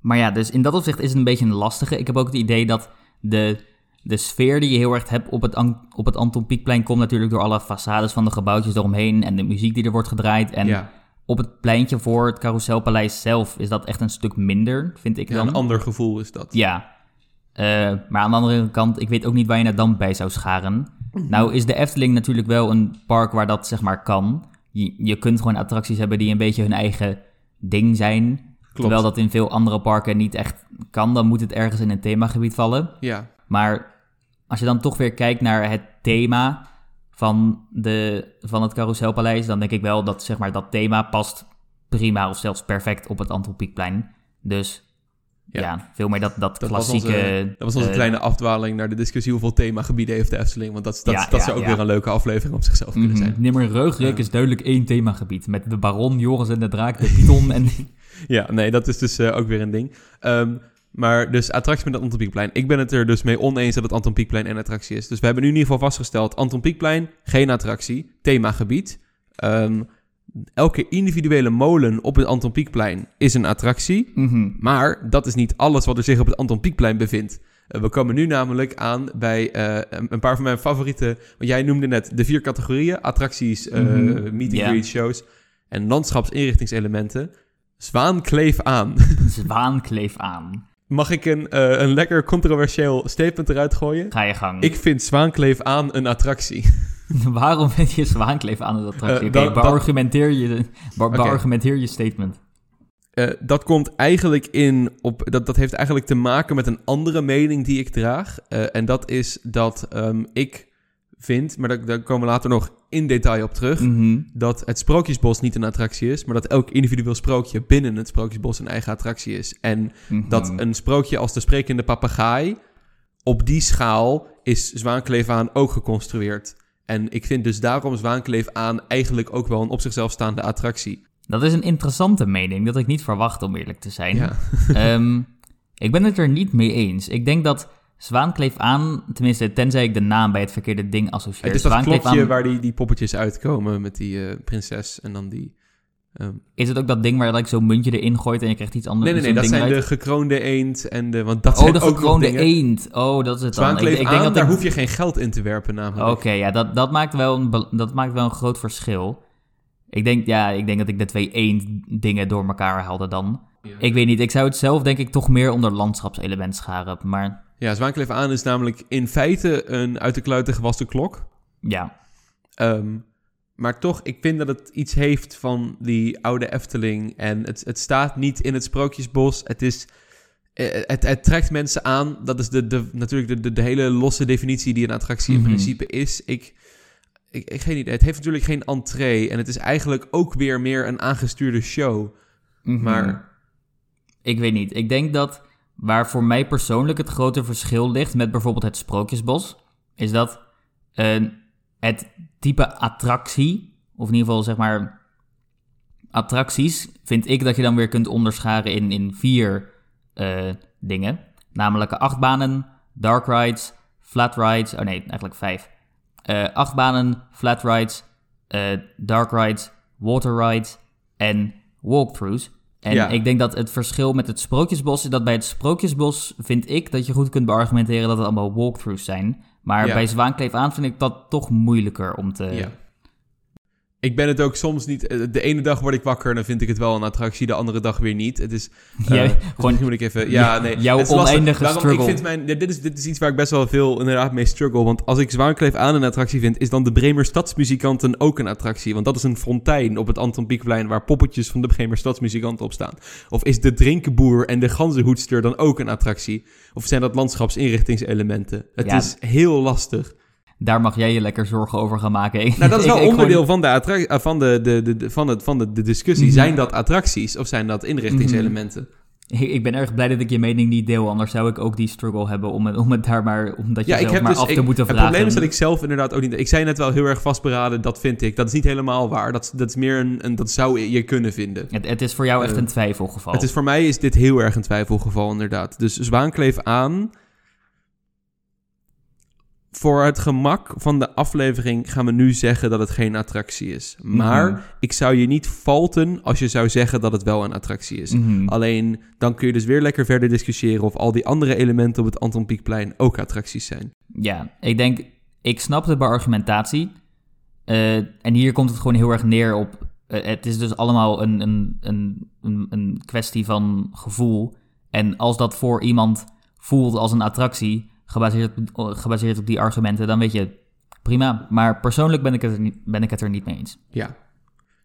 Speaker 2: maar ja, dus in dat opzicht is het een beetje een lastige. Ik heb ook het idee dat de, de sfeer die je heel erg hebt op het, An- op het Anton Pieckplein... komt natuurlijk door alle façades van de gebouwtjes eromheen... en de muziek die er wordt gedraaid. En
Speaker 1: ja,
Speaker 2: op het pleintje voor het Carouselpaleis zelf is dat echt een stuk minder, vind ik
Speaker 1: Ja, *laughs*
Speaker 2: dan.
Speaker 1: een ander gevoel is dat.
Speaker 2: Ja. Eh, maar aan de andere kant, ik weet ook niet waar je naar dan bij zou scharen. Nou is de Efteling natuurlijk wel een park waar dat zeg maar kan. Je, je kunt gewoon attracties hebben die een beetje hun eigen ding zijn. Terwijl dat in veel andere parken niet echt kan. Dan moet het ergens in een themagebied vallen.
Speaker 1: Ja,
Speaker 2: Maar als je dan toch weer kijkt naar het thema van, de, van het Carouselpaleis... dan denk ik wel dat zeg maar, dat thema past prima of zelfs perfect op het Anton Pieckplein. Dus ja.
Speaker 1: Ja.
Speaker 2: veel meer dat, dat,
Speaker 1: dat was
Speaker 2: klassieke...
Speaker 1: onze, dat was onze
Speaker 2: eh,
Speaker 1: kleine afdwaling naar de discussie hoeveel themagebieden heeft de Efteling. Want dat, dat,
Speaker 2: Ja,
Speaker 1: dat
Speaker 2: ja,
Speaker 1: zou ook
Speaker 2: ja.
Speaker 1: weer een leuke aflevering op zichzelf
Speaker 2: Mhm.
Speaker 1: kunnen zijn.
Speaker 2: Nimmer Reugreek is duidelijk één themagebied. Met de baron, Joris en de draak, de python *laughs* en...
Speaker 1: Ja, nee, dat is dus eh, ook weer een ding. Ehm, maar dus attractie met het Anton Pieckplein. Ik ben het er dus mee oneens dat het Anton Pieckplein een attractie is. Dus we hebben nu in ieder geval vastgesteld... Anton Pieckplein, geen attractie, themagebied. Ehm, elke individuele molen op het Anton Pieckplein is een attractie.
Speaker 2: Mhm.
Speaker 1: Maar dat is niet alles wat er zich op het Anton Pieckplein bevindt. Eh, we komen nu namelijk aan bij eh, een een paar van mijn favoriete... Want jij noemde net de vier categorieën. Attracties, eh
Speaker 2: Mhm.
Speaker 1: meet and
Speaker 2: Ja.
Speaker 1: greet shows en landschapsinrichtingselementen. Zwaan kleef aan. *laughs*
Speaker 2: Zwaan kleef aan.
Speaker 1: Mag ik een, eh, een lekker controversieel statement eruit gooien?
Speaker 2: Ga je gang.
Speaker 1: Ik vind Zwaan kleef aan een attractie.
Speaker 2: *laughs* Waarom ben je zwaankleef aan het attractie?
Speaker 1: Eh,
Speaker 2: Oké,
Speaker 1: dan- dan-
Speaker 2: beargumenteer je, bar-
Speaker 1: Oké.
Speaker 2: beargumenteer je statement.
Speaker 1: Eh, dat komt eigenlijk in op. Dat, dat heeft eigenlijk te maken met een andere mening die ik draag. Eh, en dat is dat ehm, ik vind, maar daar, daar komen we later nog in detail op terug.
Speaker 2: Mhm.
Speaker 1: Dat het Sprookjesbos niet een attractie is, maar dat elk individueel sprookje binnen het Sprookjesbos een eigen attractie is. En
Speaker 2: Mhm.
Speaker 1: dat een sprookje als de sprekende papegaai, op die schaal is Zwaankleef aan ook geconstrueerd. En ik vind dus daarom Zwaankleef aan eigenlijk ook wel een op zichzelf staande attractie.
Speaker 2: Dat is een interessante mening, dat ik niet verwacht om eerlijk te zijn.
Speaker 1: Ja.
Speaker 2: *laughs* Ehm, ik ben het er niet mee eens. Ik denk dat Zwaankleef aan, tenminste tenzij ik de naam bij het verkeerde ding associeer.
Speaker 1: Het is dat
Speaker 2: Zwaankleef
Speaker 1: klokje
Speaker 2: aan-
Speaker 1: waar die, die poppetjes uitkomen met die eh, prinses en dan die... ehm,
Speaker 2: Is het ook dat ding waar like, zo'n muntje erin gooit en je krijgt iets anders?
Speaker 1: nee, nee, nee,
Speaker 2: zo'n
Speaker 1: dat
Speaker 2: ding
Speaker 1: zijn de
Speaker 2: uit?
Speaker 1: gekroonde eend en de... Want dat
Speaker 2: Oh,
Speaker 1: zijn
Speaker 2: de
Speaker 1: ook nog
Speaker 2: gekroonde
Speaker 1: dingen.
Speaker 2: eend. Oh, dat is het dan.
Speaker 1: Zwaankleef aan,
Speaker 2: dat
Speaker 1: daar
Speaker 2: ik-
Speaker 1: hoef je geen geld in te werpen namelijk.
Speaker 2: Oké, ja, dat, dat, maakt wel een, bel- dat maakt wel een groot verschil. Ik denk, ja, ik denk dat ik de twee eend-dingen door elkaar haalde dan. Ik weet niet, ik zou het zelf denk ik toch meer onder landschapselement scharen. Maar
Speaker 1: Ja, Zwaankleef aan is namelijk in feite een uit de kluiten gewassen klok.
Speaker 2: ja,
Speaker 1: Ehm, maar toch, ik vind dat het iets heeft van die oude Efteling. En het, het staat niet in het Sprookjesbos. Het, is, eh, het, het trekt mensen aan. Dat is de, de, natuurlijk de, de, de hele losse definitie die een attractie
Speaker 2: Mhm.
Speaker 1: in principe is. Ik, ik, ik geen idee. Het heeft natuurlijk geen entree. En het is eigenlijk ook weer meer een aangestuurde show.
Speaker 2: Mhm.
Speaker 1: Maar-
Speaker 2: Ik weet niet. Ik denk dat waar voor mij persoonlijk het grote verschil ligt met bijvoorbeeld het Sprookjesbos, is dat eh, het type attractie, of in ieder geval zeg maar attracties, vind ik dat je dan weer kunt onderscharen in, in vier eh, dingen. Namelijk achtbanen, dark rides, flat rides, oh nee, eigenlijk vijf. Eh, achtbanen, flat rides, eh, dark rides, water rides en walkthroughs. En
Speaker 1: Ja.
Speaker 2: ik denk dat het verschil met het Sprookjesbos is dat bij het Sprookjesbos vind ik dat je goed kunt beargumenteren dat het allemaal walkthroughs zijn. Maar
Speaker 1: Ja.
Speaker 2: bij Zwaankleef aan vind ik dat toch moeilijker om te...
Speaker 1: Ja. Ik ben het ook soms niet. eh, De ene dag word ik wakker en dan vind ik het wel een attractie, de andere dag weer niet. Het is. eh,
Speaker 2: *laughs* Jij-
Speaker 1: dus
Speaker 2: gewoon-
Speaker 1: misschien moet ik even. Ja,
Speaker 2: Ja,
Speaker 1: nee.
Speaker 2: jouw
Speaker 1: het is lastig.
Speaker 2: oneindige
Speaker 1: Daarom,
Speaker 2: struggle.
Speaker 1: Ik vind mijn, dit, is, dit is iets waar ik best wel veel inderdaad mee struggle. Want als ik Zwaankleef aan een attractie vind, is dan de Bremer Stadsmuzikanten ook een attractie. Want dat is een fontein op het Anton Pieckplein waar poppetjes van de Bremer Stadsmuzikanten op staan. Of is de Drinkenboer en de Ganzenhoedster dan ook een attractie? Of zijn dat landschapsinrichtingselementen? Het
Speaker 2: Ja.
Speaker 1: is heel lastig.
Speaker 2: Daar mag jij je lekker zorgen over gaan maken. Ik-
Speaker 1: Nou, dat is
Speaker 2: ik-
Speaker 1: wel
Speaker 2: ik
Speaker 1: onderdeel
Speaker 2: gewoon-
Speaker 1: van, de, attrac- eh, van, de, de, de, de- van, het, van de, de discussie.
Speaker 2: Mhm.
Speaker 1: Zijn dat attracties of zijn dat inrichtingselementen?
Speaker 2: Ik, ik ben erg blij dat ik je mening niet deel, anders zou ik ook die struggle hebben om het, om het daar maar, omdat je
Speaker 1: Ja, ik
Speaker 2: zelf
Speaker 1: heb
Speaker 2: maar
Speaker 1: dus.
Speaker 2: af te
Speaker 1: ik-
Speaker 2: moeten
Speaker 1: het
Speaker 2: vragen.
Speaker 1: probleem is dat ik zelf inderdaad ook niet. Ik zei net wel heel erg vastberaden, dat vind ik. Dat is niet helemaal waar. Dat, is- dat is meer een, een. Dat zou je kunnen vinden.
Speaker 2: het, het is voor jou echt
Speaker 1: Eh,
Speaker 2: een twijfelgeval.
Speaker 1: Het is, voor mij is dit heel erg een twijfelgeval, inderdaad. Dus zwaankleef aan. Voor het gemak van de aflevering gaan we nu zeggen dat het geen attractie is. Maar
Speaker 2: Mhm.
Speaker 1: ik zou je niet falten als je zou zeggen dat het wel een attractie is.
Speaker 2: Mhm.
Speaker 1: Alleen dan kun je dus weer lekker verder discussiëren of al die andere elementen op het Anton Pieckplein ook attracties zijn.
Speaker 2: Ja, ik denk, ik snap de beargumentatie. Eh, en hier komt het gewoon heel erg neer op. eh, het is dus allemaal een, een, een, een, een kwestie van gevoel. En als dat voor iemand voelt als een attractie, gebaseerd op, eh, gebaseerd op die argumenten, dan weet je, prima. Maar persoonlijk ben ik het er niet, ben ik het er niet mee eens.
Speaker 1: Ja.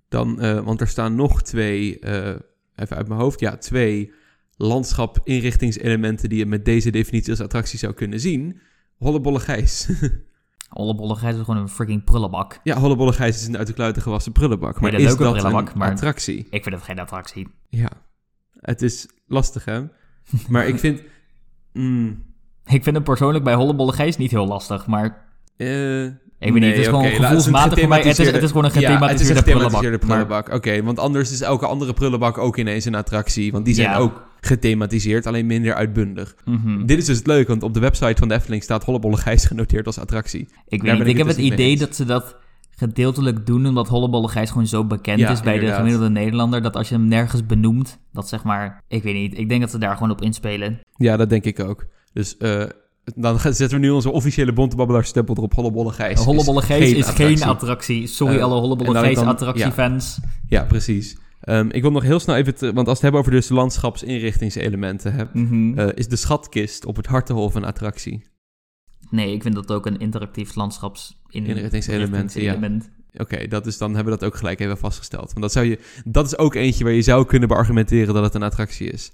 Speaker 1: Dan, eh, want er staan nog twee, eh, even uit mijn hoofd, ja, twee landschap-inrichtingselementen die je met deze definitie als attractie zou kunnen zien. Hollebolle Gijs. *laughs*
Speaker 2: Ollebolle Gijs is gewoon een freaking prullenbak.
Speaker 1: ja, Hollebolle Gijs is een uit de kluiten gewassen prullenbak. Maar
Speaker 2: Nee, dat
Speaker 1: is
Speaker 2: is ook een
Speaker 1: dat
Speaker 2: prullenbak,
Speaker 1: een
Speaker 2: maar-
Speaker 1: attractie?
Speaker 2: Ik vind het geen attractie.
Speaker 1: Ja. Het is lastig, hè? Maar ik vind... mm,
Speaker 2: Ik vind het persoonlijk bij Hollebolle Gijs niet heel lastig, maar
Speaker 1: eh,
Speaker 2: ik weet niet, het is
Speaker 1: Nee,
Speaker 2: gewoon
Speaker 1: oké, laat- het is een
Speaker 2: gevoelsmatig voor mij. Het is, het is gewoon een
Speaker 1: Ja, het is een
Speaker 2: gethematiseerde prullenbak.
Speaker 1: gethematiseerde
Speaker 2: maar-
Speaker 1: prullenbak. Oké, want anders is elke andere prullenbak ook ineens een attractie. Want die zijn
Speaker 2: Ja.
Speaker 1: ook gethematiseerd, alleen minder uitbundig.
Speaker 2: Mhm.
Speaker 1: Dit is dus het leuke, want op de website van de Efteling staat Hollebolle Gijs genoteerd als attractie.
Speaker 2: Ik weet
Speaker 1: Daar
Speaker 2: niet,
Speaker 1: ben
Speaker 2: ik
Speaker 1: ik het
Speaker 2: heb het
Speaker 1: dus niet mee
Speaker 2: idee
Speaker 1: eens.
Speaker 2: dat ze dat gedeeltelijk doen, omdat Hollebolle Gijs gewoon zo bekend
Speaker 1: Ja,
Speaker 2: is bij
Speaker 1: inderdaad.
Speaker 2: de gemiddelde Nederlander, dat als je hem nergens benoemt, dat zeg maar, ik weet niet, ik denk dat ze daar gewoon op inspelen.
Speaker 1: Ja, dat denk ik ook. Dus eh, dan *laughs* gaan- zetten we nu onze officiële Bontebabbelaar stempel erop. Hollebolle Gijs is
Speaker 2: Hollebolle Gijs is geen
Speaker 1: attractie.
Speaker 2: attractie. Sorry
Speaker 1: Eh,
Speaker 2: alle
Speaker 1: en
Speaker 2: Hollebolle
Speaker 1: dan-
Speaker 2: Gijs
Speaker 1: dan-
Speaker 2: attractiefans.
Speaker 1: Ja, precies. Ehm, ik wil nog heel snel even... te- want als we het hebben over dus landschapsinrichtingselementen... Hè,
Speaker 2: Mhm.
Speaker 1: eh, is de schatkist op het Hartenhof een attractie?
Speaker 2: Nee, ik vind dat ook een interactief landschapsins-
Speaker 1: Inrichtingselement, ja.
Speaker 2: inrichtingselement.
Speaker 1: Oké, dat is dan hebben we dat ook gelijk even vastgesteld. Want dat, zou je, dat is ook eentje waar je zou kunnen beargumenteren dat het een attractie is.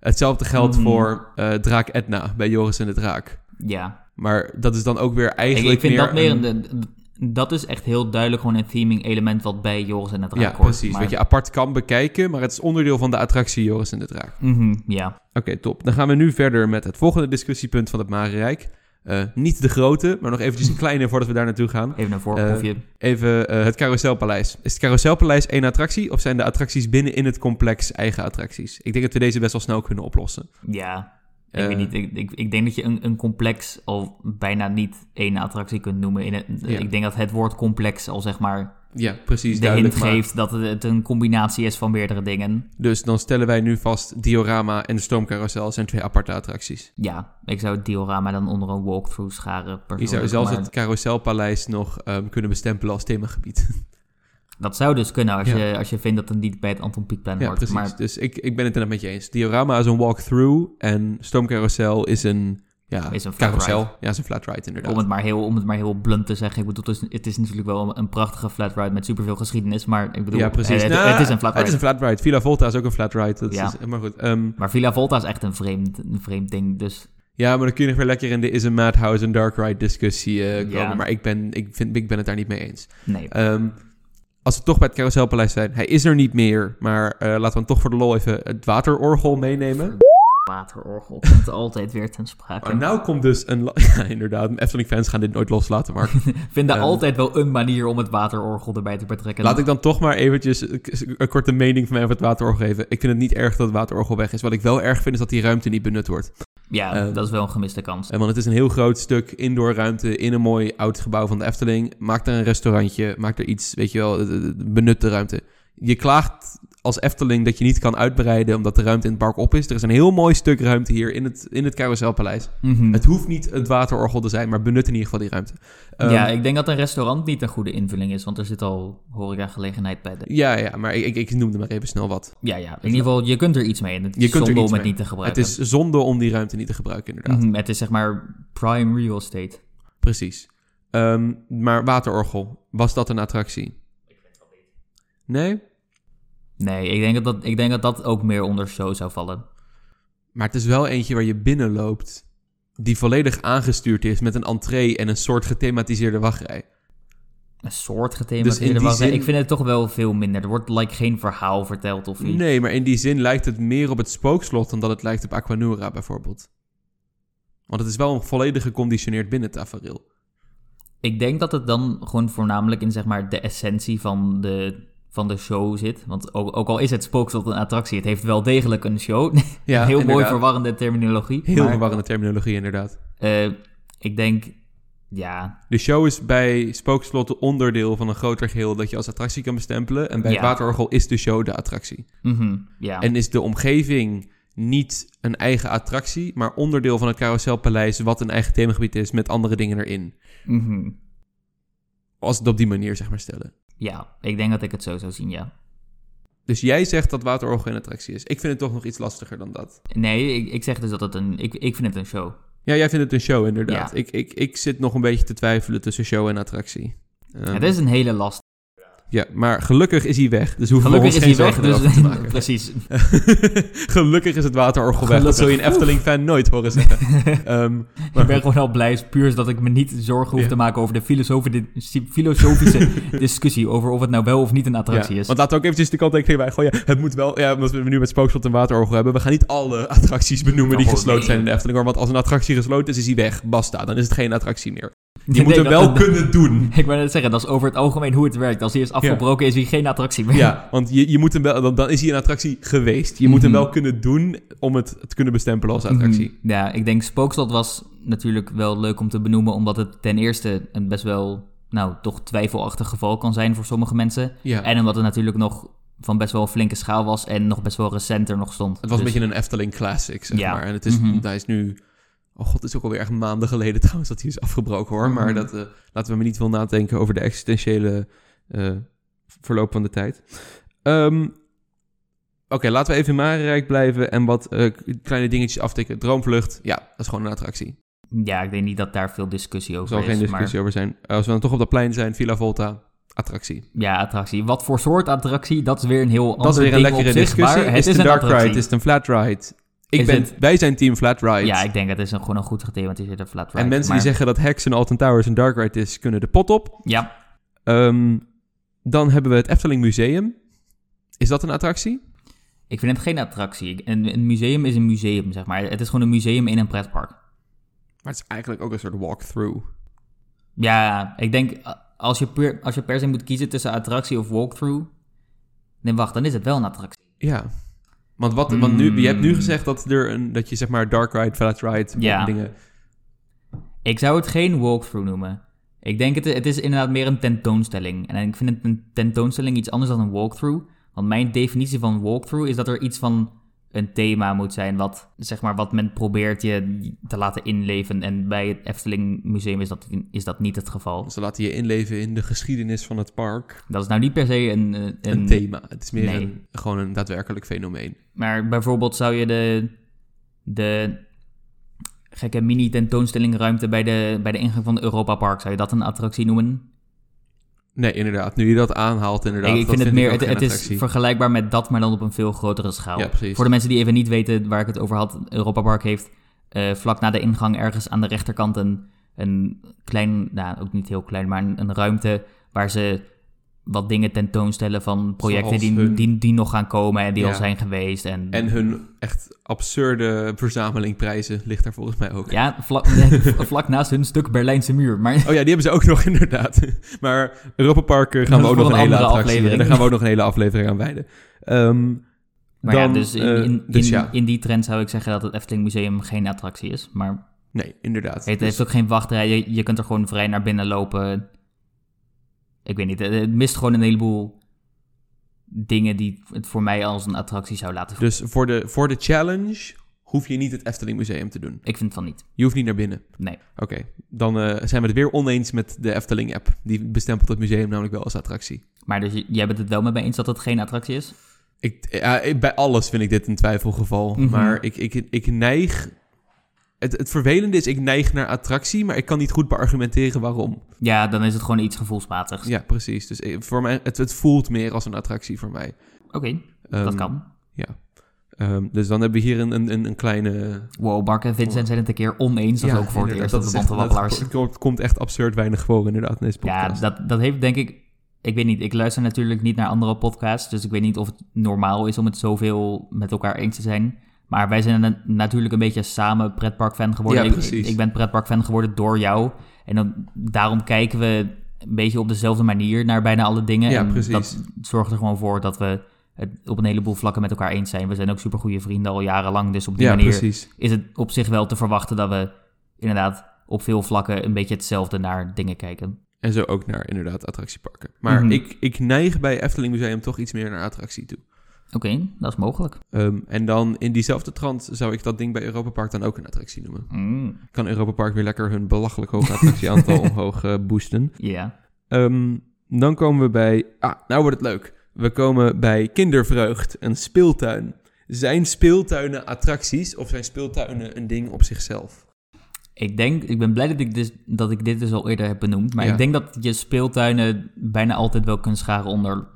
Speaker 1: Hetzelfde geldt
Speaker 2: Mhm.
Speaker 1: voor eh, Draak Etna bij Joris en de Draak.
Speaker 2: Ja.
Speaker 1: Maar dat is dan ook weer
Speaker 2: Ik,
Speaker 1: eigenlijk
Speaker 2: ik vind
Speaker 1: meer
Speaker 2: dat meer...
Speaker 1: een-
Speaker 2: een- dat is echt heel duidelijk gewoon een theming element wat bij Joris en het Draak
Speaker 1: Ja,
Speaker 2: hoort.
Speaker 1: precies.
Speaker 2: maar-
Speaker 1: Wat je apart kan bekijken, maar het is onderdeel van de attractie Joris en de Draak.
Speaker 2: Mhm, ja.
Speaker 1: Oké, top. Dan gaan we nu verder met het volgende discussiepunt van het Marenrijk. Eh, niet de grote, maar nog eventjes een kleine voordat we daar naartoe gaan.
Speaker 2: Even een voorproefje.
Speaker 1: Even eh, het Carouselpaleis. Is het Carouselpaleis één attractie of zijn de attracties binnen in het complex eigen attracties? Ik denk dat we deze best wel snel kunnen oplossen.
Speaker 2: ja. Ik
Speaker 1: Eh,
Speaker 2: weet niet, ik, ik, ik denk dat je een, een complex al bijna niet één attractie kunt noemen. In het,
Speaker 1: Ja.
Speaker 2: Ik denk dat het woord complex al zeg maar
Speaker 1: Ja, precies.
Speaker 2: de hint
Speaker 1: duidelijk. maar-
Speaker 2: geeft dat het een combinatie is van meerdere dingen.
Speaker 1: Dus dan stellen wij nu vast Diorama en de Stoomcarousel zijn twee aparte attracties.
Speaker 2: Ja, ik zou het diorama dan onder een walkthrough scharen.
Speaker 1: Je zou
Speaker 2: persoonlijk,
Speaker 1: zelfs
Speaker 2: maar
Speaker 1: het Carouselpaleis nog ehm, kunnen bestempelen als themagebied.
Speaker 2: Dat zou dus kunnen als,
Speaker 1: Ja.
Speaker 2: je, als je vindt dat het niet bij het Anton Pieckplein
Speaker 1: Ja,
Speaker 2: hoort.
Speaker 1: precies.
Speaker 2: Maar
Speaker 1: Dus ik, ik ben het inderdaad met je eens. Diorama is een walkthrough en Stoomcarousel is een, ja,
Speaker 2: Is een flat
Speaker 1: carousel. Ja, is een flat ride inderdaad.
Speaker 2: om het, maar heel, om het maar heel blunt te zeggen, ik bedoel, het is, het is natuurlijk wel een, een prachtige flat ride met superveel geschiedenis, maar ik bedoel,
Speaker 1: ja, precies.
Speaker 2: Het,
Speaker 1: Nou,
Speaker 2: het is een flat ride.
Speaker 1: Het is een flat ride. Villa Volta is ook een flat ride. Dat
Speaker 2: Ja.
Speaker 1: is, maar goed. ehm,
Speaker 2: Maar Villa Volta is echt een vreemd, een vreemd ding, dus
Speaker 1: ja, maar dan kun je nog weer lekker in de is een madhouse en dark ride discussie eh, komen.
Speaker 2: Ja.
Speaker 1: Maar ik ben, ik, vind, ik ben het daar niet mee eens.
Speaker 2: nee.
Speaker 1: Ehm, als we toch bij het Carouselpaleis zijn. Hij is er niet meer. Maar eh, laten we hem toch voor de lol even het waterorgel meenemen.
Speaker 2: Waterorgel komt altijd weer ten sprake.
Speaker 1: Maar nou komt dus een... la- *laughs* Ja, inderdaad. Efteling-fans gaan dit nooit loslaten, Mark.
Speaker 2: Vinden
Speaker 1: ehm,
Speaker 2: altijd wel een manier om het waterorgel erbij te betrekken.
Speaker 1: Laat ik dan toch maar eventjes eh, k- een korte mening van mij over het waterorgel geven. Ik vind het niet erg dat het waterorgel weg is. Wat ik wel erg vind is dat die ruimte niet benut wordt.
Speaker 2: Ja,
Speaker 1: ehm,
Speaker 2: dat is wel een gemiste kans.
Speaker 1: Eh, Want het is een heel groot stuk indoor ruimte in een mooi oud gebouw van de Efteling. Maak er een restaurantje, maak er iets, weet je wel, eh, eh, benut de ruimte. Je klaagt als Efteling dat je niet kan uitbreiden omdat de ruimte in het park op is. Er is een heel mooi stuk ruimte hier in het, in het Carouselpaleis.
Speaker 2: Mhm.
Speaker 1: Het hoeft niet het waterorgel te zijn, maar benut in ieder geval die ruimte. Ehm,
Speaker 2: ja, ik denk dat een restaurant niet een goede invulling is, want er zit al horecagelegenheid bij. De...
Speaker 1: ja, ja, maar ik, ik, ik noemde maar even snel wat.
Speaker 2: Ja, ja. In ieder geval, je kunt er iets mee en het is
Speaker 1: Je kunt er
Speaker 2: zonde
Speaker 1: iets
Speaker 2: om het
Speaker 1: mee.
Speaker 2: niet te
Speaker 1: Het
Speaker 2: gebruiken.
Speaker 1: is zonde om die ruimte niet te gebruiken, inderdaad.
Speaker 2: Mhm, het is zeg maar prime real estate.
Speaker 1: Precies. Ehm, maar waterorgel, was dat een attractie? Ik vind het niet. Nee?
Speaker 2: Nee, ik denk dat dat, ik denk dat, dat ook meer onder show zou vallen.
Speaker 1: Maar het is wel eentje waar je binnenloopt... die volledig aangestuurd is met een entree... en een soort gethematiseerde wachtrij.
Speaker 2: Een soort
Speaker 1: Dus in
Speaker 2: gethematiseerde
Speaker 1: die
Speaker 2: dus
Speaker 1: zin-
Speaker 2: Ik vind het toch wel veel minder. Er wordt like geen verhaal verteld of iets.
Speaker 1: Nee, maar in die zin lijkt het meer op het spookslot... dan dat het lijkt op Aquanura bijvoorbeeld. Want het is wel een volledig geconditioneerd binnentafereel.
Speaker 2: Ik denk dat het dan gewoon voornamelijk in zeg maar, de essentie van de, van de show zit. Want ook, ook al is het spookslot een attractie, het heeft wel degelijk een show. *laughs*
Speaker 1: Ja,
Speaker 2: Heel mooi
Speaker 1: inderdaad.
Speaker 2: verwarrende terminologie.
Speaker 1: Heel
Speaker 2: maar,
Speaker 1: verwarrende terminologie, inderdaad.
Speaker 2: eh, ik denk, ja,
Speaker 1: De show is bij Spookslot onderdeel van een groter geheel... dat je als attractie kan bestempelen. En bij het
Speaker 2: Ja.
Speaker 1: waterorgel is de show de attractie.
Speaker 2: mhm, ja.
Speaker 1: En is de omgeving niet een eigen attractie, maar onderdeel van het carouselpaleis, wat een eigen themagebied is met andere dingen erin.
Speaker 2: mhm.
Speaker 1: Als we het op die manier zeg maar stellen.
Speaker 2: ja, ik denk dat ik het zo zou zien, ja.
Speaker 1: Dus jij zegt dat waterorgel een attractie is. Ik vind het toch nog iets lastiger dan dat.
Speaker 2: Nee, ik, ik zeg dus dat het een... Ik, ik vind het een show.
Speaker 1: Ja, jij vindt het een show inderdaad.
Speaker 2: Ja.
Speaker 1: Ik, ik, ik zit nog een beetje te twijfelen tussen show en attractie. Ehm,
Speaker 2: Het is een hele last.
Speaker 1: Ja, maar gelukkig is hij weg. Dus hoeven
Speaker 2: Gelukkig
Speaker 1: we
Speaker 2: is
Speaker 1: ons
Speaker 2: hij
Speaker 1: geen
Speaker 2: weg,
Speaker 1: zorgen
Speaker 2: *laughs* dus...
Speaker 1: erover te maken.
Speaker 2: precies.
Speaker 1: gelukkig is het waterorgel weg. Dat
Speaker 2: Gelukkig.
Speaker 1: zul je een Efteling-fan nooit horen zeggen.
Speaker 2: *laughs*
Speaker 1: Ehm,
Speaker 2: Ik ben gewoon al blij, puur dat ik me niet zorgen hoef
Speaker 1: Ja.
Speaker 2: te maken over de filosofi- di-
Speaker 1: *laughs*
Speaker 2: filosofische discussie over of het nou wel of niet een attractie
Speaker 1: Ja,
Speaker 2: is. *laughs*
Speaker 1: Want laten we ook eventjes de kanttekening bij gooien. Het moet wel, ja, omdat we nu met Spookslot en Waterorgel hebben. We gaan niet alle *laughs* attracties benoemen die
Speaker 2: Oh,
Speaker 1: gesloten
Speaker 2: nee.
Speaker 1: zijn in de Efteling. Hoor. Want als een attractie gesloten is, is die weg. Basta, dan is het geen attractie meer.
Speaker 2: Ik
Speaker 1: Je
Speaker 2: denk
Speaker 1: moet hem
Speaker 2: dat
Speaker 1: wel
Speaker 2: dat-
Speaker 1: kunnen doen.
Speaker 2: *laughs* Ik wil net zeggen, dat is over het algemeen hoe het werkt. Als hij is afgebroken, is hij geen attractie *laughs* meer.
Speaker 1: Ja, want je, je moet hem wel, dan, dan is hij een attractie geweest. Je moet hem wel kunnen doen om het te kunnen bestempelen als attractie.
Speaker 2: Mhm. Ja, ik denk Spookslot was natuurlijk wel leuk om te benoemen, omdat het ten eerste een best wel, nou, toch twijfelachtig geval kan zijn voor sommige mensen.
Speaker 1: Ja.
Speaker 2: En omdat het natuurlijk nog van best wel een flinke schaal was en nog best wel recenter nog
Speaker 1: Het
Speaker 2: stond.
Speaker 1: was
Speaker 2: Dus-
Speaker 1: een beetje een Efteling classic, zeg
Speaker 2: Ja.
Speaker 1: maar. En het is,
Speaker 2: Mhm.
Speaker 1: hij is nu... Oh god, het is ook alweer echt maanden geleden *laughs* trouwens dat hij is afgebroken, hoor. Maar
Speaker 2: Mhm.
Speaker 1: dat, eh, laten we maar niet veel nadenken over de existentiële eh, verloop van de tijd. Ehm, Oké, laten we even in Marenrijk blijven en wat eh, k- kleine dingetjes aftikken. Droomvlucht, ja, dat is gewoon een attractie.
Speaker 2: Ja, ik denk niet dat daar veel discussie
Speaker 1: Er
Speaker 2: over
Speaker 1: zal
Speaker 2: is.
Speaker 1: geen
Speaker 2: maar-
Speaker 1: discussie over zijn. Eh, Als we dan toch op dat plein zijn, Villa Volta, attractie.
Speaker 2: Ja, attractie. Wat voor soort attractie? Dat is weer een heel
Speaker 1: Dat is
Speaker 2: ander
Speaker 1: weer een
Speaker 2: ding op
Speaker 1: lekkere
Speaker 2: zich,
Speaker 1: discussie.
Speaker 2: maar
Speaker 1: is het een dark
Speaker 2: attractie.
Speaker 1: ride? Is het een flat ride? Ik
Speaker 2: Is
Speaker 1: ben,
Speaker 2: het-
Speaker 1: Wij zijn team flat ride.
Speaker 2: Ja, ik denk dat is een, gewoon een goed gethematiseerde flat ride.
Speaker 1: en mensen die
Speaker 2: maar-
Speaker 1: zeggen dat Hex en Alton Towers een dark ride is, kunnen de pot op.
Speaker 2: Ja,
Speaker 1: Ehm, dan hebben we het Efteling Museum. Is dat een attractie?
Speaker 2: ik vind het geen attractie. Ik- Een, een museum is een museum, zeg maar. Het is gewoon een museum in een pretpark.
Speaker 1: Maar het is eigenlijk ook een soort walkthrough.
Speaker 2: Ja, ik denk eh, als je per, als je per se moet kiezen tussen attractie of walkthrough... Nee, wacht, dan is het wel een attractie.
Speaker 1: Ja. Want, wat, want nu, je hebt nu gezegd dat, er een, dat je zeg maar dark ride, flat ride
Speaker 2: Ja.
Speaker 1: dingen...
Speaker 2: Ik zou het geen walkthrough noemen. Ik denk het, het is inderdaad meer een tentoonstelling. En ik vind een ten- tentoonstelling iets anders dan een walkthrough. Want mijn definitie van walkthrough is dat er iets van een thema moet zijn. Wat, zeg maar, wat men probeert je te laten inleven. En bij het Efteling Museum is dat, is dat niet het geval.
Speaker 1: Ze laten je inleven in de geschiedenis van het park.
Speaker 2: Dat is nou niet per se een. eh,
Speaker 1: Een, thema. Het is meer
Speaker 2: nee.
Speaker 1: een, gewoon een daadwerkelijk fenomeen.
Speaker 2: Maar bijvoorbeeld zou je de, de gekke mini-tentoonstellingruimte bij de, bij de ingang van het Europa Park, zou je dat een attractie noemen?
Speaker 1: Nee, inderdaad. Nu je dat aanhaalt, inderdaad.
Speaker 2: ik ik
Speaker 1: dat
Speaker 2: vind het meer,
Speaker 1: ook
Speaker 2: het,
Speaker 1: geen
Speaker 2: het is
Speaker 1: attractie.
Speaker 2: vergelijkbaar met dat, maar dan op een veel grotere schaal.
Speaker 1: Ja, precies.
Speaker 2: Voor de mensen die even niet weten waar ik het over had, Europa Park heeft eh, vlak na de ingang ergens aan de rechterkant een, een klein, nou ook niet heel klein, maar een, een ruimte waar ze wat dingen tentoonstellen van projecten
Speaker 1: Zoals
Speaker 2: die,
Speaker 1: hun-
Speaker 2: die, die nog gaan komen en die
Speaker 1: Ja.
Speaker 2: al zijn geweest. En,
Speaker 1: En hun echt absurde verzameling prijzen ligt daar volgens mij ook.
Speaker 2: Ja, vlak, *laughs* nee, v- vlak naast hun stuk Berlijnse muur.
Speaker 1: *laughs*
Speaker 2: Maar
Speaker 1: Oh ja, die hebben ze ook nog inderdaad. Maar Europa Park eh,
Speaker 2: *laughs*
Speaker 1: gaan we
Speaker 2: Dat
Speaker 1: ook
Speaker 2: is
Speaker 1: nog
Speaker 2: voor
Speaker 1: een
Speaker 2: een
Speaker 1: hele
Speaker 2: andere
Speaker 1: attractie.
Speaker 2: aflevering.
Speaker 1: en *laughs* Daar gaan we ook nog een hele aflevering aan wijden. Ehm,
Speaker 2: Maar
Speaker 1: dan,
Speaker 2: ja, dus, in,
Speaker 1: eh,
Speaker 2: in, in,
Speaker 1: dus ja.
Speaker 2: in die trend zou ik zeggen dat het Efteling Museum geen attractie is. Maar het
Speaker 1: Nee, inderdaad.
Speaker 2: heeft
Speaker 1: Dus-
Speaker 2: ook geen wachtrij. Je, je kunt er gewoon vrij naar binnen lopen. Ik weet niet, het, het mist gewoon een heleboel dingen die het voor mij als een attractie zou laten voelen.
Speaker 1: dus voor, de, voor de challenge hoef je niet het Efteling Museum te doen.
Speaker 2: Ik vind van niet.
Speaker 1: Je hoeft niet naar binnen.
Speaker 2: Nee.
Speaker 1: Oké, dan eh, zijn we het weer oneens met de Efteling-app. Die bestempelt het museum namelijk wel als attractie.
Speaker 2: Maar dus, j- jij bent het wel met me eens dat het geen attractie is?
Speaker 1: Ik, eh, ja, ik- bij alles vind ik dit een twijfelgeval.
Speaker 2: Mhm.
Speaker 1: Maar ik, ik, ik neig... Het, het vervelende is, ik neig naar attractie, maar ik kan niet goed beargumenteren waarom.
Speaker 2: Ja, dan is het gewoon iets gevoelsmatigs.
Speaker 1: Ja, precies. Dus eh, voor mij, het, het voelt meer als een attractie voor mij.
Speaker 2: Oké, dat
Speaker 1: Ehm,
Speaker 2: kan.
Speaker 1: ehm, dus dan hebben we hier een, een, een- een kleine...
Speaker 2: Wow, Mark en Vincent zijn het een keer oneens. Dat is ook voor het eerst
Speaker 1: inderdaad,
Speaker 2: dat we
Speaker 1: is echt-
Speaker 2: wandelwabbelaars.
Speaker 1: dat komt- komt echt absurd weinig voor inderdaad in deze
Speaker 2: Ja,
Speaker 1: podcast.
Speaker 2: dat, dat heeft denk ik... Ik weet niet, ik luister natuurlijk niet naar andere podcasts... dus ik weet niet of het normaal is om het zoveel met elkaar eens te zijn. Maar wij zijn na- natuurlijk een beetje samen pretparkfan geworden.
Speaker 1: Ja,
Speaker 2: Ik-
Speaker 1: precies.
Speaker 2: Ik, ik ben pretparkfan geworden door jou. En dan, daarom kijken we een beetje op dezelfde manier naar bijna alle dingen.
Speaker 1: Ja,
Speaker 2: en
Speaker 1: precies.
Speaker 2: dat zorgt er gewoon voor dat we het op een heleboel vlakken met elkaar eens zijn. We zijn ook supergoeie vrienden al jarenlang, dus op die
Speaker 1: ja,
Speaker 2: manier
Speaker 1: precies.
Speaker 2: is het op zich wel te verwachten... dat we inderdaad op veel vlakken een beetje hetzelfde naar dingen kijken.
Speaker 1: En zo ook naar inderdaad attractieparken. Maar
Speaker 2: Mhm.
Speaker 1: ik, ik neig bij Efteling Museum toch iets meer naar attractie toe.
Speaker 2: Oké, dat is mogelijk.
Speaker 1: Ehm, en dan in diezelfde trant zou ik dat ding bij Europa Park dan ook een attractie noemen.
Speaker 2: Mm,
Speaker 1: Kan Europa Park weer lekker hun belachelijk hoge attractieaantal
Speaker 2: *laughs*
Speaker 1: omhoog eh, boosten.
Speaker 2: Ja.
Speaker 1: Ehm, dan komen we bij... Ah, nou wordt het leuk. We komen bij kindervreugd, een speeltuin. Zijn speeltuinen attracties of zijn speeltuinen een ding op zichzelf?
Speaker 2: Ik denk, ik ben blij dat ik, dus, dat ik dit dus al eerder heb benoemd, maar
Speaker 1: Ja.
Speaker 2: ik denk dat je speeltuinen bijna altijd wel kunt scharen onder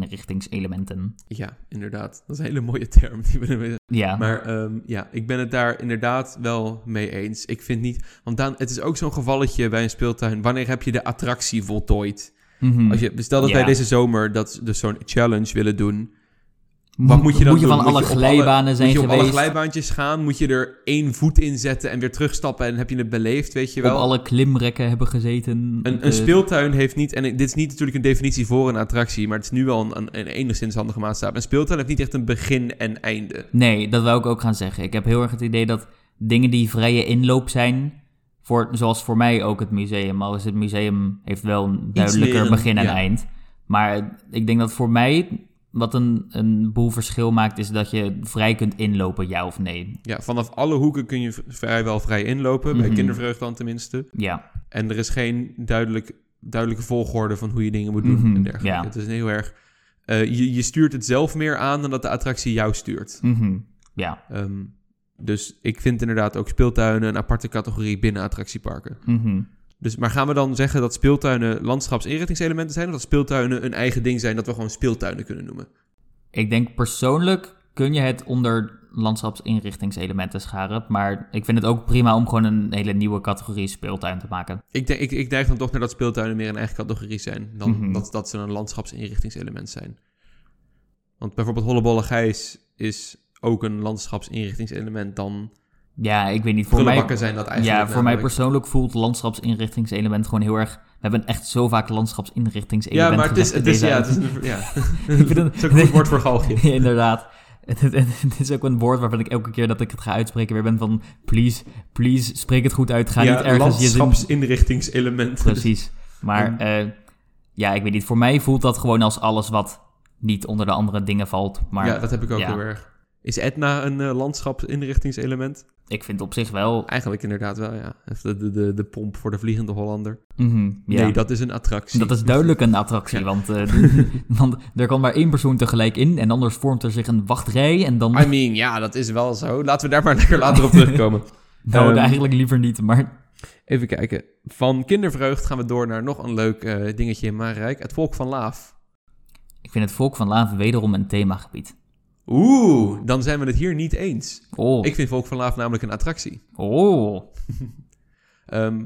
Speaker 2: landschapsinrichtingselementen.
Speaker 1: Ja, inderdaad. Dat is een hele mooie term die we er
Speaker 2: Ja,
Speaker 1: Maar ehm, ja, ik ben het daar inderdaad wel mee eens. Ik vind niet. Want dan, het is ook zo'n gevalletje bij een speeltuin. Wanneer heb je de attractie voltooid?
Speaker 2: Mhm.
Speaker 1: Als je, stel dat wij
Speaker 2: Ja.
Speaker 1: deze zomer dat, ze dus zo'n challenge willen doen.
Speaker 2: Moet-
Speaker 1: Wat moet je dan
Speaker 2: Moet je
Speaker 1: doen?
Speaker 2: van
Speaker 1: Moet
Speaker 2: alle
Speaker 1: je op alle-
Speaker 2: glijbanen zijn
Speaker 1: moet je op alle
Speaker 2: geweest,
Speaker 1: glijbaantjes gaan? Moet je er één voet in zetten en weer terugstappen? En heb je het beleefd, weet je wel?
Speaker 2: op alle klimrekken hebben gezeten.
Speaker 1: Een,
Speaker 2: Eh,
Speaker 1: een speeltuin heeft niet, en dit is niet natuurlijk een definitie voor een attractie, maar het is nu wel een, een, een enigszins handige maatstaf. Een speeltuin heeft niet echt een begin en einde.
Speaker 2: Nee, dat wou ik ook gaan zeggen. Ik heb heel erg het idee dat dingen die vrije inloop zijn, voor, zoals voor mij ook het museum, al is het museum heeft wel een duidelijker
Speaker 1: meer een-
Speaker 2: begin en
Speaker 1: ja.
Speaker 2: eind. Maar ik denk dat voor mij wat een, een boel verschil maakt, is dat je vrij kunt inlopen, ja of nee.
Speaker 1: Ja, vanaf alle hoeken kun je v- vrijwel vrij inlopen,
Speaker 2: Mhm.
Speaker 1: bij kindervreugd dan tenminste.
Speaker 2: Ja,
Speaker 1: En er is geen duidelijk, duidelijke volgorde van hoe je dingen moet doen
Speaker 2: Mhm,
Speaker 1: en dergelijke.
Speaker 2: ja.
Speaker 1: Het is heel erg... eh, je, je stuurt het zelf meer aan dan dat de attractie jou stuurt.
Speaker 2: mhm, ja.
Speaker 1: Ehm, Dus ik vind inderdaad ook speeltuinen een aparte categorie binnen attractieparken.
Speaker 2: Mhm.
Speaker 1: Dus, maar gaan we dan zeggen dat speeltuinen landschapsinrichtingselementen zijn? Of dat speeltuinen een eigen ding zijn dat we gewoon speeltuinen kunnen noemen?
Speaker 2: Ik denk persoonlijk kun je het onder landschapsinrichtingselementen scharen. Maar ik vind het ook prima om gewoon een hele nieuwe categorie speeltuin te maken.
Speaker 1: Ik, denk, ik, ik neig dan toch naar dat speeltuinen meer een eigen categorie zijn. Dan
Speaker 2: Mhm.
Speaker 1: dat, dat ze een landschapsinrichtingselement zijn. Want bijvoorbeeld Hollebolle Gijs is ook een landschapsinrichtingselement dan...
Speaker 2: Ja, ik weet niet. Voor mij,
Speaker 1: Prullenbakken zijn dat eigenlijk.
Speaker 2: ja, voor mij
Speaker 1: namelijk.
Speaker 2: persoonlijk voelt landschapsinrichtingselement gewoon heel erg... We hebben echt zo vaak landschapsinrichtingselement
Speaker 1: Ja, maar het is, het
Speaker 2: gezegd in
Speaker 1: is,
Speaker 2: deze
Speaker 1: ja, het is
Speaker 2: uitzending.
Speaker 1: een, ja.
Speaker 2: *laughs* Ik vind
Speaker 1: *laughs*
Speaker 2: het-
Speaker 1: het is ook een goed woord voor
Speaker 2: *laughs*
Speaker 1: galgje.
Speaker 2: Ja, Inderdaad. Het, het- het- het is ook een woord waarvan ik elke keer dat ik het ga uitspreken weer ben van... Please, please, spreek het goed uit. Ga
Speaker 1: ja,
Speaker 2: niet ergens je zin...
Speaker 1: landschapsinrichtingselement.
Speaker 2: Precies. Maar eh, ja, ik weet niet. Voor mij voelt dat gewoon als alles wat niet onder de andere dingen valt. Maar
Speaker 1: ja, dat heb ik ook
Speaker 2: ja.
Speaker 1: heel erg. Is Etna een eh, landschapsinrichtingselement?
Speaker 2: ik vind op zich wel...
Speaker 1: Eigenlijk inderdaad wel, ja. Of De, de, de, de pomp voor de vliegende Hollander.
Speaker 2: mhm, ja.
Speaker 1: Nee, dat is een attractie.
Speaker 2: Dat is duidelijk een attractie,
Speaker 1: Ja.
Speaker 2: want,
Speaker 1: *laughs*
Speaker 2: eh, *laughs* de- want er kan maar één persoon tegelijk in en anders vormt er zich een wachtrij en dan
Speaker 1: I mean, Ah, ja, dat is wel zo. Laten we daar maar lekker later op
Speaker 2: *laughs*
Speaker 1: terugkomen.
Speaker 2: nou
Speaker 1: ehm,
Speaker 2: eigenlijk liever niet, maar
Speaker 1: Even kijken. Van kindervreugd gaan we door naar nog een leuk eh, dingetje in Maarrijk. Het volk van Laaf.
Speaker 2: ik vind het Volk van Laaf wederom een themagebied.
Speaker 1: Oeh, dan zijn we het hier niet eens.
Speaker 2: Oh,
Speaker 1: Ik vind volk van Laaf namelijk een attractie.
Speaker 2: oh.
Speaker 1: Ehm,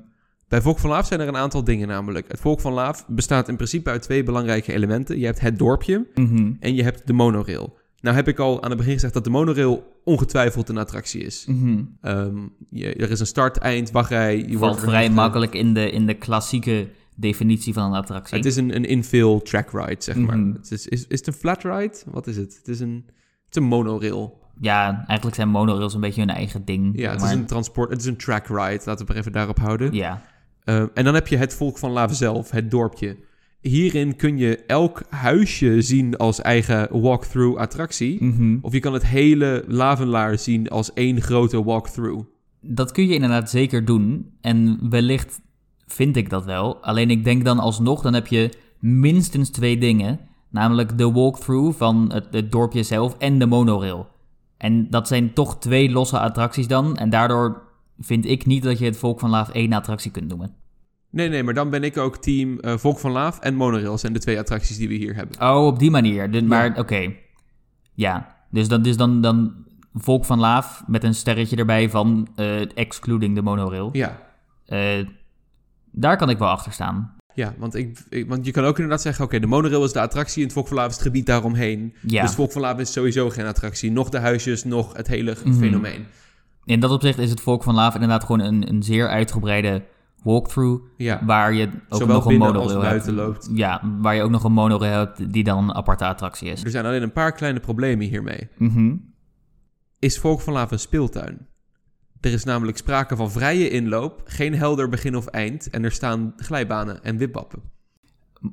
Speaker 1: bij Volk van Laaf zijn er een aantal dingen namelijk. Het Volk van Laaf bestaat in principe uit twee belangrijke elementen. Je hebt het dorpje
Speaker 2: Mhm.
Speaker 1: en je hebt de monorail. Nou heb ik al aan het begin gezegd dat de monorail ongetwijfeld een attractie is.
Speaker 2: Mhm.
Speaker 1: Ehm, je- er is een start, eind, wachtrij. Je wordt
Speaker 2: Valt
Speaker 1: er
Speaker 2: vrij
Speaker 1: echt, eh,
Speaker 2: makkelijk in de, in de klassieke definitie van een attractie.
Speaker 1: Het is een, een infill track ride, zeg maar.
Speaker 2: Mhm.
Speaker 1: het is, is, is het een flat ride? Wat is het? Het is een, het is een monorail.
Speaker 2: Ja, eigenlijk zijn monorails een beetje hun eigen ding.
Speaker 1: Ja, het
Speaker 2: maar-
Speaker 1: is een transport. Het is een track ride. Laten we het maar even daarop houden.
Speaker 2: Ja,
Speaker 1: Uh, en dan heb je het volk van Laaf zelf, het dorpje. Hierin kun je elk huisje zien als eigen walkthrough attractie.
Speaker 2: Mhm.
Speaker 1: Of je kan het hele Lavenlaar zien als één grote walkthrough.
Speaker 2: dat kun je inderdaad zeker doen. En wellicht vind ik dat wel. Alleen ik denk dan alsnog, dan heb je minstens twee dingen. Namelijk de walkthrough van het, het dorpje zelf en de monorail. En dat zijn toch twee losse attracties dan. En daardoor vind ik niet dat je het Volk van Laaf één attractie kunt noemen.
Speaker 1: Nee, nee, maar dan ben ik ook team eh, Volk van Laaf en Monorail zijn de twee attracties die we hier hebben.
Speaker 2: Oh, op die manier. Dus, Maar oké. Ja, dus, dan, dus dan, dan Volk van Laaf met een sterretje erbij van eh, excluding de monorail.
Speaker 1: Ja,
Speaker 2: Eh, daar kan ik wel achter staan.
Speaker 1: ja want, ik, ik- want je kan ook inderdaad zeggen, oké, de Monorail is de attractie en het Volk van Laaf is het gebied daaromheen.
Speaker 2: Ja,
Speaker 1: Dus Volk van Laaf is sowieso geen attractie. Nog de huisjes, nog het hele
Speaker 2: Mhm.
Speaker 1: fenomeen.
Speaker 2: in dat opzicht is het Volk van Laaf inderdaad gewoon een, een zeer uitgebreide walkthrough.
Speaker 1: Ja,
Speaker 2: Waar je ook
Speaker 1: Zowel
Speaker 2: nog een
Speaker 1: binnen
Speaker 2: monorail
Speaker 1: als buiten
Speaker 2: hebt.
Speaker 1: loopt.
Speaker 2: Ja, waar je ook nog een monorail hebt die dan een aparte attractie is.
Speaker 1: er zijn alleen een paar kleine problemen hiermee.
Speaker 2: Mhm.
Speaker 1: is Volk van Laaf een speeltuin. Er is namelijk sprake van vrije inloop, geen helder begin of eind en er staan glijbanen en wipwappen.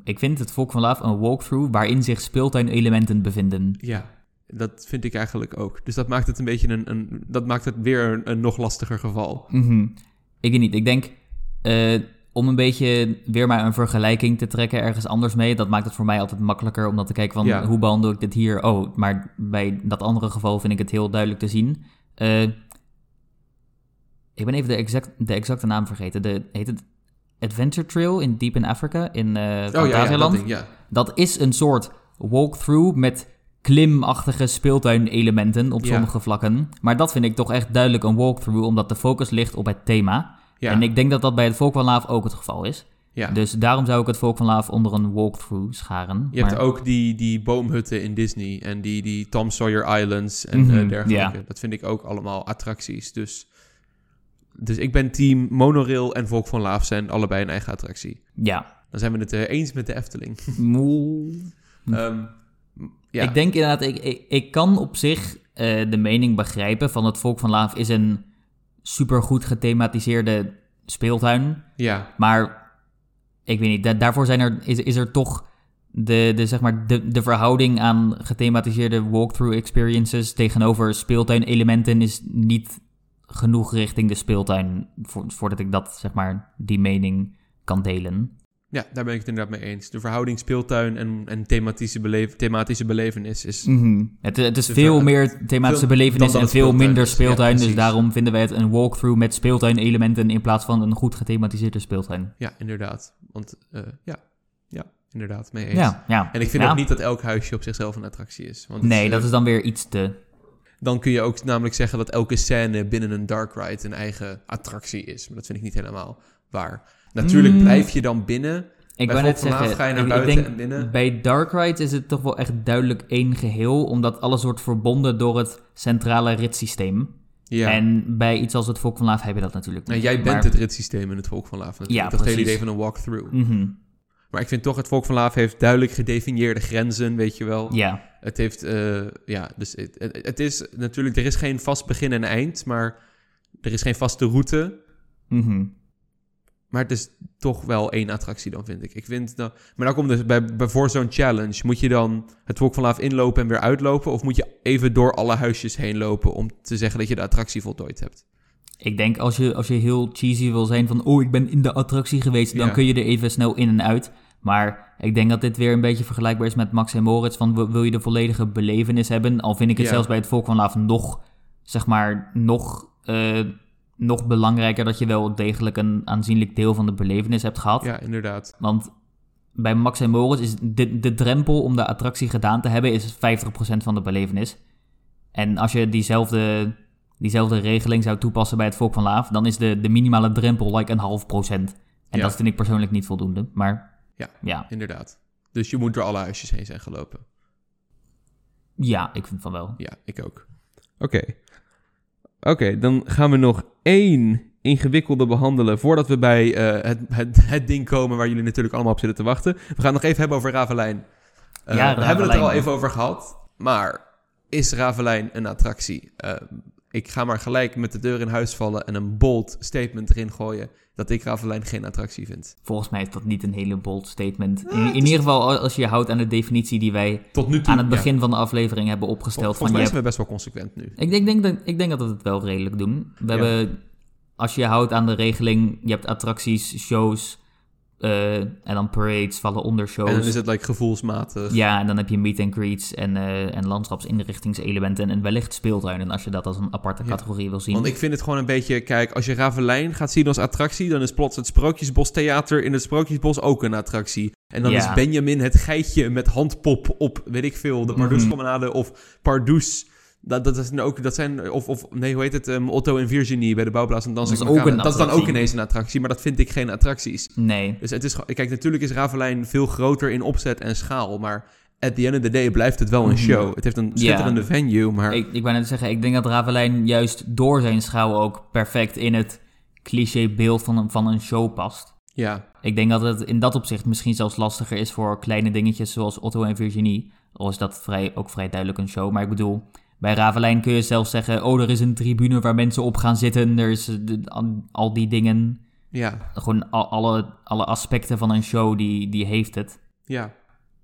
Speaker 2: Ik vind het Volk van Laaf een walkthrough waarin zich speeltuinelementen bevinden.
Speaker 1: Ja, dat vind ik eigenlijk ook. Dus dat maakt het een beetje een, een dat maakt het weer een, een nog lastiger geval.
Speaker 2: Mhm. Ik weet niet. Ik denk eh, om een beetje weer maar een vergelijking te trekken ergens anders mee. Dat maakt het voor mij altijd makkelijker om dan te kijken van
Speaker 1: Ja.
Speaker 2: hoe behandel ik dit hier. Oh, maar bij dat andere geval vind ik het heel duidelijk te zien. Eh, ik ben even de, exact, de exacte naam vergeten. De, heet het Adventure Trail in Deep in Africa in eh
Speaker 1: Oh dat,
Speaker 2: Fantasialand?
Speaker 1: ding, ja.
Speaker 2: Dat is een soort walkthrough met klimachtige speeltuinelementen op
Speaker 1: Ja.
Speaker 2: sommige vlakken. Maar dat vind ik toch echt duidelijk een walkthrough, omdat de focus ligt op het thema.
Speaker 1: Ja,
Speaker 2: En ik denk dat dat bij het Volk van Laaf ook het geval is.
Speaker 1: ja.
Speaker 2: Dus daarom zou ik het Volk van Laaf onder een walkthrough scharen.
Speaker 1: Je hebt
Speaker 2: Maar-
Speaker 1: ook die, die boomhutten in Disney en die, die Tom Sawyer Islands en
Speaker 2: Mhm,
Speaker 1: eh, dergelijke. Dat vind ik ook allemaal attracties. Dus, dus ik ben team Monorail en Volk van Laaf zijn allebei een eigen attractie.
Speaker 2: Ja.
Speaker 1: Dan zijn we het eh, eens met de Efteling.
Speaker 2: *laughs* Moe.
Speaker 1: Ehm, ja.
Speaker 2: Ik denk inderdaad, ik, ik, ik kan op zich eh, de mening begrijpen van het Volk van Laaf is een supergoed gethematiseerde speeltuin.
Speaker 1: ja,
Speaker 2: Maar ik weet niet, da- daarvoor zijn er, is, is er toch de, de, zeg maar de, de verhouding aan gethematiseerde walkthrough experiences tegenover speeltuinelementen is niet genoeg richting de speeltuin. vo- voordat ik dat, zeg maar, die mening kan delen.
Speaker 1: Ja, daar ben ik het inderdaad mee eens. De verhouding speeltuin en, en thematische, beleef, thematische belevenis is...
Speaker 2: Mhm. het, het is
Speaker 1: Dus,
Speaker 2: veel
Speaker 1: eh,
Speaker 2: meer
Speaker 1: veel-
Speaker 2: thematische
Speaker 1: dan
Speaker 2: belevenis
Speaker 1: dat
Speaker 2: en
Speaker 1: het
Speaker 2: veel
Speaker 1: speeltuin
Speaker 2: minder
Speaker 1: is. Ja,
Speaker 2: speeltuin. dus
Speaker 1: precies.
Speaker 2: daarom vinden wij het een walkthrough met speeltuin-elementen in plaats van een goed gethematiseerde speeltuin.
Speaker 1: Ja, inderdaad. Want eh, ja, ja, inderdaad, mee eens.
Speaker 2: Ja, ja.
Speaker 1: En ik vind
Speaker 2: Ja.
Speaker 1: ook niet dat elk huisje op zichzelf een attractie is. Want het
Speaker 2: Nee,
Speaker 1: is,
Speaker 2: dat
Speaker 1: eh,
Speaker 2: is dan weer iets te.
Speaker 1: Dan kun je ook namelijk zeggen dat elke scène binnen een dark ride een eigen attractie is. Maar dat vind ik niet helemaal waar. Natuurlijk
Speaker 2: Mm.
Speaker 1: blijf je dan binnen.
Speaker 2: Ik
Speaker 1: Bij
Speaker 2: wou net
Speaker 1: Volk van
Speaker 2: zeggen,
Speaker 1: Laaf ga je naar
Speaker 2: ik- ik
Speaker 1: buiten
Speaker 2: denk
Speaker 1: en binnen.
Speaker 2: bij Dark Ride is het toch wel echt duidelijk één geheel, omdat alles wordt verbonden door het centrale ritssysteem.
Speaker 1: Ja. En,
Speaker 2: En bij iets als het Volk van Laaf heb je dat natuurlijk niet.
Speaker 1: jij bent
Speaker 2: Maar-
Speaker 1: het ritssysteem in het Volk van Laaf. natuurlijk.
Speaker 2: Ja,
Speaker 1: dat hele
Speaker 2: precies.
Speaker 1: idee van een walkthrough.
Speaker 2: Mhm,
Speaker 1: Maar ik vind toch, het Volk van Laaf heeft duidelijk gedefinieerde grenzen, weet je wel.
Speaker 2: Ja,
Speaker 1: Het heeft, eh, ja, dus het, het- het is natuurlijk, er is geen vast begin en eind, maar er is geen vaste route.
Speaker 2: mhm.
Speaker 1: Maar het is toch wel één attractie dan, vind ik. ik vind dan, maar dan komt dus bij, bij voor zo'n challenge... moet je dan het Volk van Laaf inlopen en weer uitlopen... of moet je even door alle huisjes heen lopen... om te zeggen dat je de attractie voltooid hebt?
Speaker 2: ik denk als je, als je heel cheesy wil zijn van, oh ik ben in de attractie geweest, dan
Speaker 1: Ja.
Speaker 2: kun je er even snel in en uit. Maar ik denk dat dit weer een beetje vergelijkbaar is met Max en Moritz, van wil- wil je de volledige belevenis hebben? Al vind ik het
Speaker 1: Ja.
Speaker 2: zelfs bij het Volk van Laaf nog, zeg maar, nog, eh, nog belangrijker dat je wel degelijk een aanzienlijk deel van de belevenis hebt gehad.
Speaker 1: Ja, inderdaad.
Speaker 2: Want bij Max en Moritz is de, de drempel om de attractie gedaan te hebben is 50% van de belevenis. En als je diezelfde, diezelfde regeling zou toepassen bij het Volk van Laaf, dan is de, de minimale drempel like een half procent. En
Speaker 1: Ja.
Speaker 2: dat vind ik persoonlijk niet voldoende, maar
Speaker 1: Ja.
Speaker 2: ja,
Speaker 1: Inderdaad. Dus je moet door alle huisjes heen zijn gelopen.
Speaker 2: ja ik vind van wel.
Speaker 1: Ja, ik ook. Oké. Oké, dan gaan we nog één ingewikkelde behandelen... voordat we bij eh, het, het, het ding komen... waar jullie natuurlijk allemaal op zitten te wachten. We gaan het nog even hebben over Ravelijn. Eh,
Speaker 2: Ja,
Speaker 1: we hebben het er
Speaker 2: Ravelijn.
Speaker 1: al even over gehad. Maar is Ravelijn een attractie? Eh, ik ga maar gelijk met de deur in huis vallen... en een bold statement erin gooien... dat ik Ravelijn geen attractie vind.
Speaker 2: Volgens mij is dat niet een hele bold statement. In,
Speaker 1: het is-
Speaker 2: in ieder geval als je je houdt aan de definitie die wij
Speaker 1: Tot nu toe.
Speaker 2: aan het
Speaker 1: ja.
Speaker 2: begin van de aflevering hebben opgesteld.
Speaker 1: Vol-
Speaker 2: van,
Speaker 1: Volgens mij
Speaker 2: je
Speaker 1: zijn we best wel consequent nu.
Speaker 2: Ik denk, denk, dat- ik denk dat we het wel redelijk doen. We
Speaker 1: Ja.
Speaker 2: hebben, als je je houdt aan de regeling, je hebt attracties, shows eh, en dan parades vallen onder shows.
Speaker 1: En dan is het like, gevoelsmatig.
Speaker 2: Ja, en dan heb je meet and greets en, eh, en landschapsinrichtingselementen en wellicht speeltuinen als je dat als een aparte
Speaker 1: Ja.
Speaker 2: categorie wil zien.
Speaker 1: Want ik vind het gewoon een beetje, kijk, als je Ravelijn gaat zien als attractie, dan is plots het Sprookjesbos Theater in het Sprookjesbos ook een attractie. En dan
Speaker 2: Ja.
Speaker 1: is Benjamin het geitje met handpop op, weet ik veel,
Speaker 2: Mhm.
Speaker 1: de Pardoespromenade of Pardoes. Dat, dat, is dan ook, dat zijn, of, of nee, hoe heet het, ehm, Otto en Virginie bij de Bouwplaats en Dansen.
Speaker 2: Dat is ook
Speaker 1: Macabra.
Speaker 2: een
Speaker 1: dat is dan ook
Speaker 2: attractie.
Speaker 1: ineens een attractie, maar dat vind ik geen attracties.
Speaker 2: Nee,
Speaker 1: Dus het is, gewoon- kijk, natuurlijk is Ravelijn veel groter in opzet en schaal, maar at the end of the day blijft het wel een show. Het heeft een schitterende venue, maar...
Speaker 2: Mhm. ik, ik wou net zeggen, ik denk dat Ravelijn juist door zijn schouw ook perfect in het clichébeeld van een, van een show past.
Speaker 1: ja,
Speaker 2: Ik denk dat het in dat opzicht misschien zelfs lastiger is voor kleine dingetjes zoals Otto en Virginie. Al is dat vrij, ook vrij duidelijk een show. Maar ik bedoel, bij Ravelijn kun je zelfs zeggen: oh, er is een tribune waar mensen op gaan zitten. Er is eh, de- al- al die dingen.
Speaker 1: ja,
Speaker 2: Gewoon al- alle, alle aspecten van een show, die, die heeft het.
Speaker 1: ja.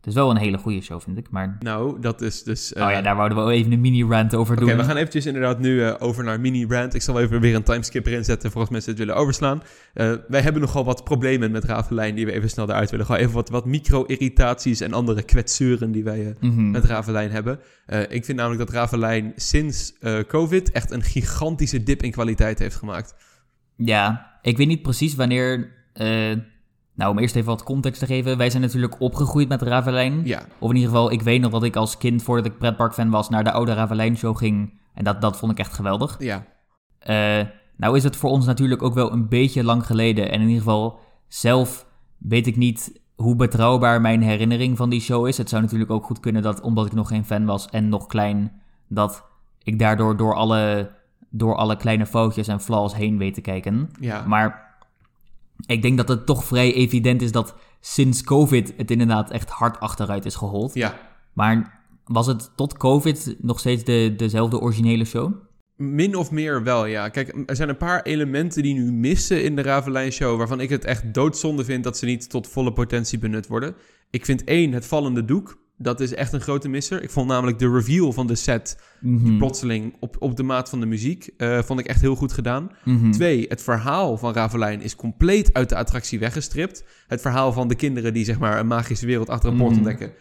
Speaker 2: Het is wel een hele goede show, vind ik. Maar
Speaker 1: Nou, dat is dus... eh,
Speaker 2: oh ja, daar wouden we wel even een mini-rant over
Speaker 1: Oké,
Speaker 2: doen.
Speaker 1: we gaan eventjes inderdaad nu eh, over naar mini-rant. Ik zal even weer een timeskip erin zetten voor als mensen het willen overslaan. Eh, wij hebben nogal wat problemen met Ravelijn die we even snel eruit willen. Gewoon even wat, wat micro-irritaties en andere kwetsuren die wij eh,
Speaker 2: Mhm.
Speaker 1: met Ravelijn hebben. Eh, ik vind namelijk dat Ravelijn sinds eh, COVID echt een gigantische dip in kwaliteit heeft gemaakt.
Speaker 2: Ja, ik weet niet precies wanneer. eh, nou, om eerst even wat context te geven. Wij zijn natuurlijk opgegroeid met Ravelijn.
Speaker 1: Ja.
Speaker 2: Of in ieder geval, ik weet nog dat ik als kind, voordat ik pretparkfan was, naar de oude Ravelijn-show ging. En dat, dat vond ik echt geweldig.
Speaker 1: Ja,
Speaker 2: Eh, nou is het voor ons natuurlijk ook wel een beetje lang geleden. En in ieder geval, zelf weet ik niet hoe betrouwbaar mijn herinnering van die show is. Het zou natuurlijk ook goed kunnen dat, omdat ik nog geen fan was en nog klein, dat ik daardoor door alle, door alle kleine foutjes en flaws heen weet te kijken.
Speaker 1: ja.
Speaker 2: Maar ik denk dat het toch vrij evident is dat sinds COVID het inderdaad echt hard achteruit is gehold.
Speaker 1: ja.
Speaker 2: Maar was het tot COVID nog steeds de, dezelfde originele show?
Speaker 1: Min of meer wel, ja. Kijk, er zijn een paar elementen die nu missen in de Ravelijn-show... waarvan ik het echt doodzonde vind dat ze niet tot volle potentie benut worden. Ik vind één, het vallende doek. Dat is echt een grote misser. Ik vond namelijk de reveal van de set
Speaker 2: Mhm.
Speaker 1: plotseling op, op de maat van de muziek eh, vond ik echt heel goed gedaan.
Speaker 2: Mhm.
Speaker 1: Twee, het verhaal van Ravelijn is compleet uit de attractie weggestript. Het verhaal van de kinderen die zeg maar een magische wereld achter een poort
Speaker 2: Mhm.
Speaker 1: ontdekken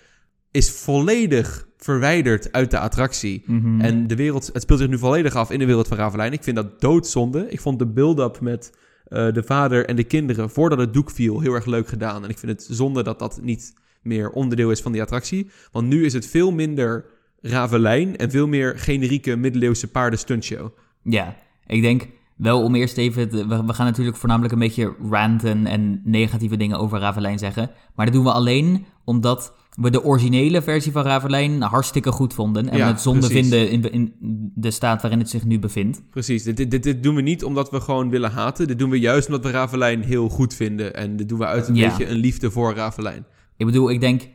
Speaker 1: is volledig verwijderd uit de attractie.
Speaker 2: Mhm.
Speaker 1: En de wereld, het speelt zich nu volledig af in de wereld van Ravelijn. Ik vind dat doodzonde. Ik vond de build-up met eh, de vader en de kinderen voordat het doek viel heel erg leuk gedaan. En ik vind het zonde dat dat niet meer onderdeel is van die attractie. Want nu is het veel minder Ravelijn en veel meer generieke middeleeuwse paardenstuntshow.
Speaker 2: Ja, ik denk wel om eerst even... te- we, we gaan natuurlijk voornamelijk een beetje ranten en negatieve dingen over Ravelijn zeggen. Maar dat doen we alleen omdat we de originele versie van Ravelijn hartstikke goed vonden. En
Speaker 1: Ja,
Speaker 2: we het zonde
Speaker 1: precies.
Speaker 2: vinden in, in de staat waarin het zich nu bevindt.
Speaker 1: Precies, dit, dit, dit doen we niet omdat we gewoon willen haten. Dit doen we juist omdat we Ravelijn heel goed vinden. En dit doen we uit een
Speaker 2: Ja.
Speaker 1: beetje een liefde voor Ravelijn.
Speaker 2: Ik bedoel, ik denk...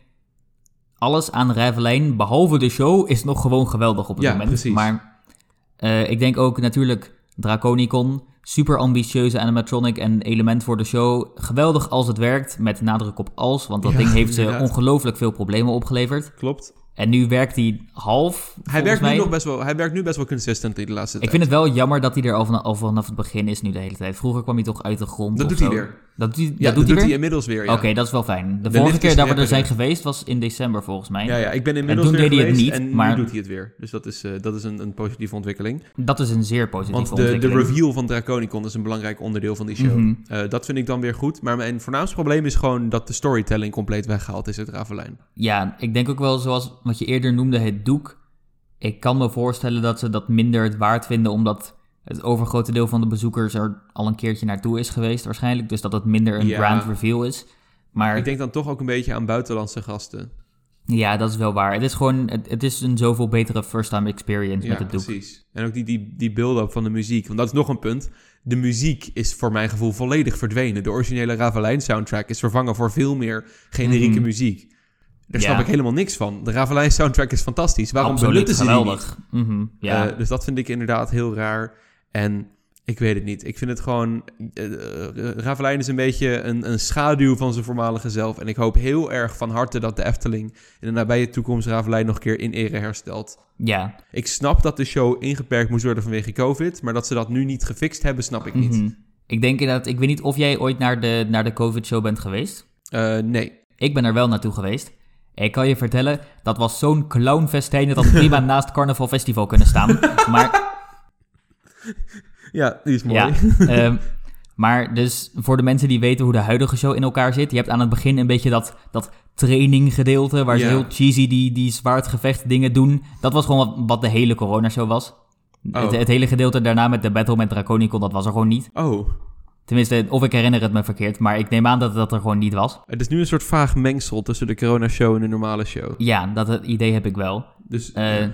Speaker 2: Alles aan Ravelijn, behalve de show, is nog gewoon geweldig op het
Speaker 1: Ja,
Speaker 2: moment.
Speaker 1: precies.
Speaker 2: Maar eh, ik denk ook natuurlijk Draconicon, super ambitieuze animatronic en element voor de show. Geweldig als het werkt, met nadruk op als, want dat
Speaker 1: Ja,
Speaker 2: ding heeft ze
Speaker 1: inderdaad.
Speaker 2: ongelooflijk veel problemen opgeleverd.
Speaker 1: Klopt.
Speaker 2: En nu werkt hij half,
Speaker 1: Hij
Speaker 2: volgens
Speaker 1: werkt,
Speaker 2: mij.
Speaker 1: nu nog best wel, hij werkt nu best wel consistently de laatste
Speaker 2: Ik
Speaker 1: tijd.
Speaker 2: vind het wel jammer dat hij er al vanaf, al vanaf het begin is nu de hele tijd. Vroeger kwam hij toch uit de grond
Speaker 1: Dat
Speaker 2: of
Speaker 1: doet hij
Speaker 2: zo.
Speaker 1: weer.
Speaker 2: Dat, doet-
Speaker 1: Ja,
Speaker 2: dat doet hij weer?
Speaker 1: inmiddels weer, ja.
Speaker 2: Oké, dat is wel fijn. De,
Speaker 1: De
Speaker 2: vorige
Speaker 1: lift
Speaker 2: keer
Speaker 1: is
Speaker 2: dat we er
Speaker 1: rapper,
Speaker 2: zijn
Speaker 1: hè?
Speaker 2: geweest was in december volgens mij.
Speaker 1: Ja, ja, ik ben inmiddels
Speaker 2: toen
Speaker 1: weer
Speaker 2: deed hij het
Speaker 1: geweest
Speaker 2: niet,
Speaker 1: en
Speaker 2: maar-
Speaker 1: nu doet hij het weer. Dus dat is, eh, dat is een, een positieve ontwikkeling.
Speaker 2: Dat is een zeer positieve
Speaker 1: Want de, de
Speaker 2: ontwikkeling.
Speaker 1: reveal van Draconicon is een belangrijk onderdeel van die show.
Speaker 2: Mhm.
Speaker 1: Eh, dat vind ik dan weer goed. Maar mijn voornaamste probleem is gewoon dat de storytelling compleet weggehaald is uit Ravelijn.
Speaker 2: Ja, ik denk ook wel zoals wat je eerder noemde, het doek. Ik kan me voorstellen dat ze dat minder het waard vinden, omdat het overgrote deel van de bezoekers er al een keertje naartoe is geweest waarschijnlijk. Dus dat het minder een
Speaker 1: Ja.
Speaker 2: grand reveal is. Maar
Speaker 1: Ik denk dan toch ook een beetje aan buitenlandse gasten.
Speaker 2: ja, dat is wel waar. Het is gewoon, het, het is een zoveel betere first-time experience met
Speaker 1: Ja,
Speaker 2: het doek.
Speaker 1: precies. En ook die, die, die build-up van de muziek. Want dat is nog een punt. De muziek is voor mijn gevoel volledig verdwenen. De originele Ravelijn soundtrack is vervangen voor veel meer generieke
Speaker 2: Mhm.
Speaker 1: muziek. Daar
Speaker 2: Ja.
Speaker 1: snap ik helemaal niks van. De Ravelijn soundtrack is fantastisch. Waarom
Speaker 2: Absoluut
Speaker 1: benutten ze die niet?
Speaker 2: geweldig. Mhm, ja.
Speaker 1: Eh, dus dat vind ik inderdaad heel raar. En ik weet het niet. Ik vind het gewoon. eh, eh, Ravelijn is een beetje een, een schaduw van zijn voormalige zelf. En ik hoop heel erg van harte dat de Efteling in de nabije toekomst Ravelijn nog een keer in ere herstelt.
Speaker 2: ja.
Speaker 1: Ik snap dat de show ingeperkt moest worden vanwege COVID. Maar dat ze dat nu niet gefixt hebben, snap ik niet.
Speaker 2: Mhm. Ik denk inderdaad, ik weet niet of jij ooit naar de, naar de COVID-show bent geweest.
Speaker 1: Eh, nee.
Speaker 2: Ik ben er wel naartoe geweest. Ik kan je vertellen, dat was zo'n clownfestijn dat had
Speaker 1: *laughs*
Speaker 2: prima naast Carnaval Festival kunnen staan. Maar,
Speaker 1: Ja, die is *laughs* mooi.
Speaker 2: ja, ehm, maar dus voor de mensen die weten hoe de huidige show in elkaar zit. Je hebt aan het begin een beetje dat, dat traininggedeelte waar ze
Speaker 1: Ja.
Speaker 2: heel cheesy die, die zwaardgevecht dingen doen. Dat was gewoon wat, wat de hele coronashow was.
Speaker 1: Oh.
Speaker 2: Het, het hele gedeelte daarna met de battle met Draconicon, dat was er gewoon niet.
Speaker 1: *laughs* Oh,
Speaker 2: Tenminste, of ik herinner het me verkeerd, maar ik neem aan dat dat er gewoon niet was.
Speaker 1: het is nu een soort vaag mengsel tussen de corona-show en de normale show.
Speaker 2: Ja, dat, dat idee heb ik wel.
Speaker 1: Dus
Speaker 2: Eh,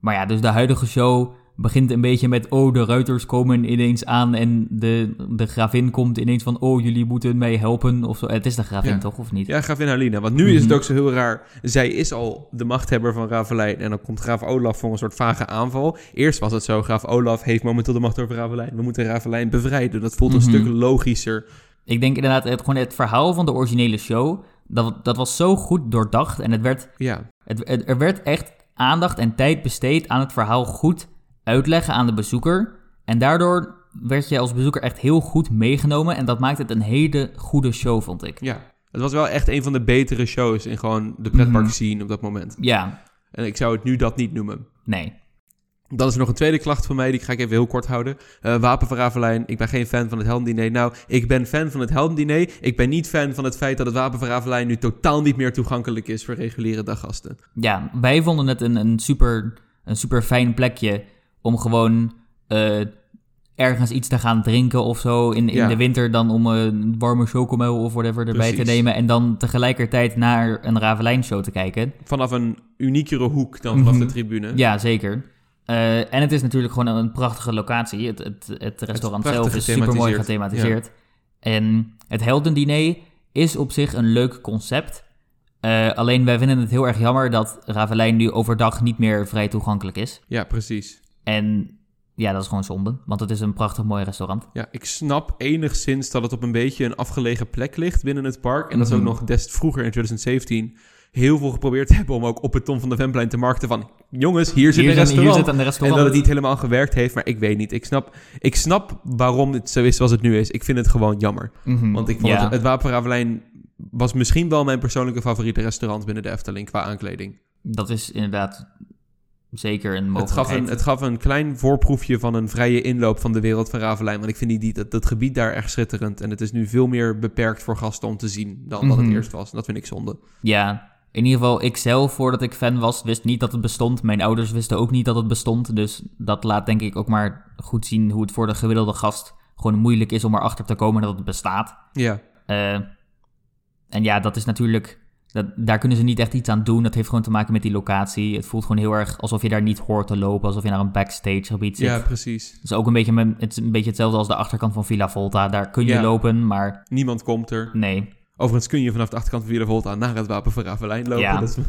Speaker 2: Maar ja, dus de huidige show begint een beetje met... oh, de ruiters komen ineens aan en de, de gravin komt ineens van... oh, jullie moeten mij helpen of zo. Het is de gravin
Speaker 1: Ja.
Speaker 2: toch, of niet?
Speaker 1: Ja, gravin Halina. Want nu is het
Speaker 2: Mhm.
Speaker 1: ook zo heel raar. Zij is al de machthebber van Ravelijn. En dan komt graaf Olaf voor een soort vage aanval. Eerst was het zo, graaf Olaf heeft momenteel de macht over Ravelijn. We moeten Ravelijn bevrijden. Dat voelt
Speaker 2: Mhm.
Speaker 1: een stuk logischer.
Speaker 2: Ik denk inderdaad, het, gewoon het verhaal van de originele show... dat, dat was zo goed doordacht en het werd,
Speaker 1: Ja,
Speaker 2: het, het- er werd echt aandacht en tijd besteed... aan het verhaal goed uitleggen aan de bezoeker. En daardoor werd je als bezoeker echt heel goed meegenomen... en dat maakt het een hele goede show, vond ik.
Speaker 1: ja. Het was wel echt een van de betere shows in gewoon de pretpark
Speaker 2: Mhm.
Speaker 1: scene op dat moment.
Speaker 2: Ja,
Speaker 1: En ik zou het nu dat niet noemen.
Speaker 2: nee.
Speaker 1: Dan is er nog een tweede klacht van mij, die ga ik even heel kort houden. Eh, Wapen van Ravelijn, ik ben geen fan van het helmdiner. Nou, ik ben fan van het helmdiner. Ik ben niet fan van het feit dat het Wapen van Ravelijn nu totaal niet meer toegankelijk is voor reguliere daggasten.
Speaker 2: Ja, wij vonden het een, een, super, een super fijn plekje om gewoon eh, ergens iets te gaan drinken of zo in, in
Speaker 1: Ja.
Speaker 2: de winter. Dan om een warme chocomel of whatever erbij te
Speaker 1: Precies.
Speaker 2: nemen. En dan tegelijkertijd naar een Ravelijn-show te kijken.
Speaker 1: vanaf een uniekere hoek dan vanaf
Speaker 2: Mhm.
Speaker 1: de tribune.
Speaker 2: Ja, zeker. Eh, en het is natuurlijk gewoon een prachtige locatie. Het, het, het restaurant
Speaker 1: prachtig
Speaker 2: zelf is super mooi
Speaker 1: gethematiseerd.
Speaker 2: gethematiseerd. En het heldendiner is op zich een leuk concept. Eh, alleen wij vinden het heel erg jammer dat Ravelijn nu overdag niet meer vrij toegankelijk is.
Speaker 1: Ja, precies.
Speaker 2: En ja, dat is gewoon zonde, want het is een prachtig mooi restaurant.
Speaker 1: Ja, ik snap enigszins dat het op een beetje een afgelegen plek ligt binnen het park. En dat is ook
Speaker 2: Mhm.
Speaker 1: nog des vroeger in 2017 heel veel geprobeerd *laughs* hebben om ook op het Tom van de Venplein te markten van... Jongens, hier zit
Speaker 2: Hier
Speaker 1: een
Speaker 2: zit- hier
Speaker 1: restaurant.
Speaker 2: zit een restaurant.
Speaker 1: En dat het niet helemaal gewerkt heeft, maar ik weet niet. Ik snap, ik snap waarom het zo is zoals het nu is. Ik vind het gewoon jammer.
Speaker 2: Mhm.
Speaker 1: Want ik vond
Speaker 2: Ja.
Speaker 1: het, het Wapenravelijn was misschien wel mijn persoonlijke favoriete restaurant binnen de Efteling qua aankleding.
Speaker 2: Dat is inderdaad zeker een
Speaker 1: Het gaf,
Speaker 2: mogelijkheid.
Speaker 1: een, het gaf een klein voorproefje van een vrije inloop van de wereld van Ravelijn. Want ik vind die, die, dat, dat gebied daar echt schitterend. En het is nu veel meer beperkt voor gasten om te zien dan dat het
Speaker 2: Mhm.
Speaker 1: eerst was. En dat vind ik zonde.
Speaker 2: Ja, in ieder geval, ik zelf, voordat ik fan was, wist niet dat het bestond. Mijn ouders wisten ook niet dat het bestond. Dus dat laat denk ik ook maar goed zien hoe het voor de gemiddelde gast gewoon moeilijk is om erachter te komen dat het bestaat.
Speaker 1: Ja,
Speaker 2: Eh, en ja, dat is natuurlijk. Dat, daar kunnen ze niet echt iets aan doen. Dat heeft gewoon te maken met die locatie. Het voelt gewoon heel erg alsof je daar niet hoort te lopen. Alsof je naar een backstage gebied zit.
Speaker 1: ja precies.
Speaker 2: Het, is ook een beetje, met- het is een beetje hetzelfde als de achterkant van Villa Volta. Daar kun je
Speaker 1: Ja.
Speaker 2: lopen, maar
Speaker 1: Niemand komt er.
Speaker 2: nee.
Speaker 1: Overigens kun je vanaf de achterkant van Villa Volta naar het Wapen van Ravelijn lopen.
Speaker 2: Ja.
Speaker 1: Dat is- Maar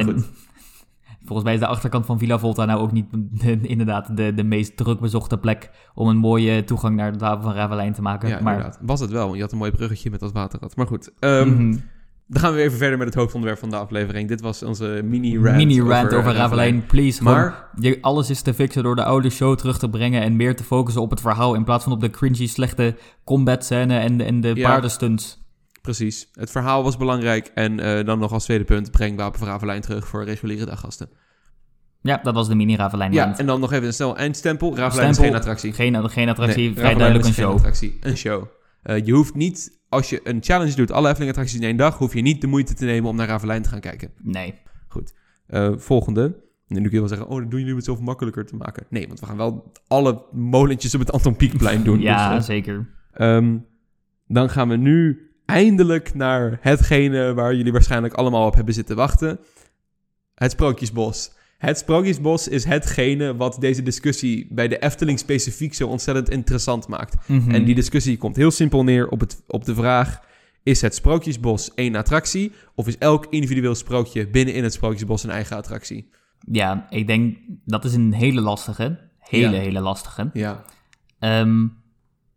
Speaker 2: Alleen,
Speaker 1: goed.
Speaker 2: *laughs* volgens mij is de achterkant van Villa Volta nou ook niet de- inderdaad de, de meest drukbezochte plek om een mooie toegang naar het Wapen van Ravelijn te maken.
Speaker 1: ja,
Speaker 2: maar,
Speaker 1: inderdaad. Was het wel, want je had een mooi bruggetje met dat waterrad. Maar goed, ehm,
Speaker 2: Mhm.
Speaker 1: dan gaan we weer even verder met het hoofdonderwerp van de aflevering. Dit was onze mini-rant
Speaker 2: mini-rant over,
Speaker 1: eh,
Speaker 2: Ravelijn, please.
Speaker 1: Maar-
Speaker 2: Maar je, alles is te fixen door de oude show terug te brengen en meer te focussen op het verhaal in plaats van op de cringy slechte combat scène en, en de
Speaker 1: Ja.
Speaker 2: paardenstunts.
Speaker 1: Precies. Het verhaal was belangrijk. En eh, dan nog als tweede punt, breng Wapen van Ravelijn terug voor reguliere daggasten.
Speaker 2: Ja, dat was de mini-Ravelijn
Speaker 1: Ja,
Speaker 2: rant.
Speaker 1: en dan nog even een snel eindstempel. Ravelijn is
Speaker 2: Stempel.
Speaker 1: geen attractie.
Speaker 2: Geen, geen attractie,
Speaker 1: Nee,
Speaker 2: vrij
Speaker 1: Ravelijn is
Speaker 2: duidelijk een
Speaker 1: geen
Speaker 2: show.
Speaker 1: attractie. Een show. Eh, je hoeft niet, als je een challenge doet, alle Efteling attracties in één dag, hoef je niet de moeite te nemen om naar Ravelijn te gaan kijken.
Speaker 2: Nee.
Speaker 1: Eh, volgende. En nu kun je wel zeggen, oh, dat doen jullie om het zoveel makkelijker te maken. Nee, want we gaan wel alle molentjes op het Anton Pieckplein doen.
Speaker 2: ja,
Speaker 1: Dus, eh,
Speaker 2: zeker.
Speaker 1: Ehm, dan gaan we nu eindelijk naar hetgene waar jullie waarschijnlijk allemaal op hebben zitten wachten. Het Sprookjesbos. Het Sprookjesbos is hetgene wat deze discussie bij de Efteling specifiek zo ontzettend interessant maakt.
Speaker 2: Mhm.
Speaker 1: En die discussie komt heel simpel neer op, het, op de vraag... is het Sprookjesbos één attractie... of is elk individueel sprookje binnen in het Sprookjesbos een eigen attractie?
Speaker 2: Ja, ik denk dat is een hele lastige. Hele,
Speaker 1: Ja.
Speaker 2: hele lastige.
Speaker 1: Ja,
Speaker 2: Ehm,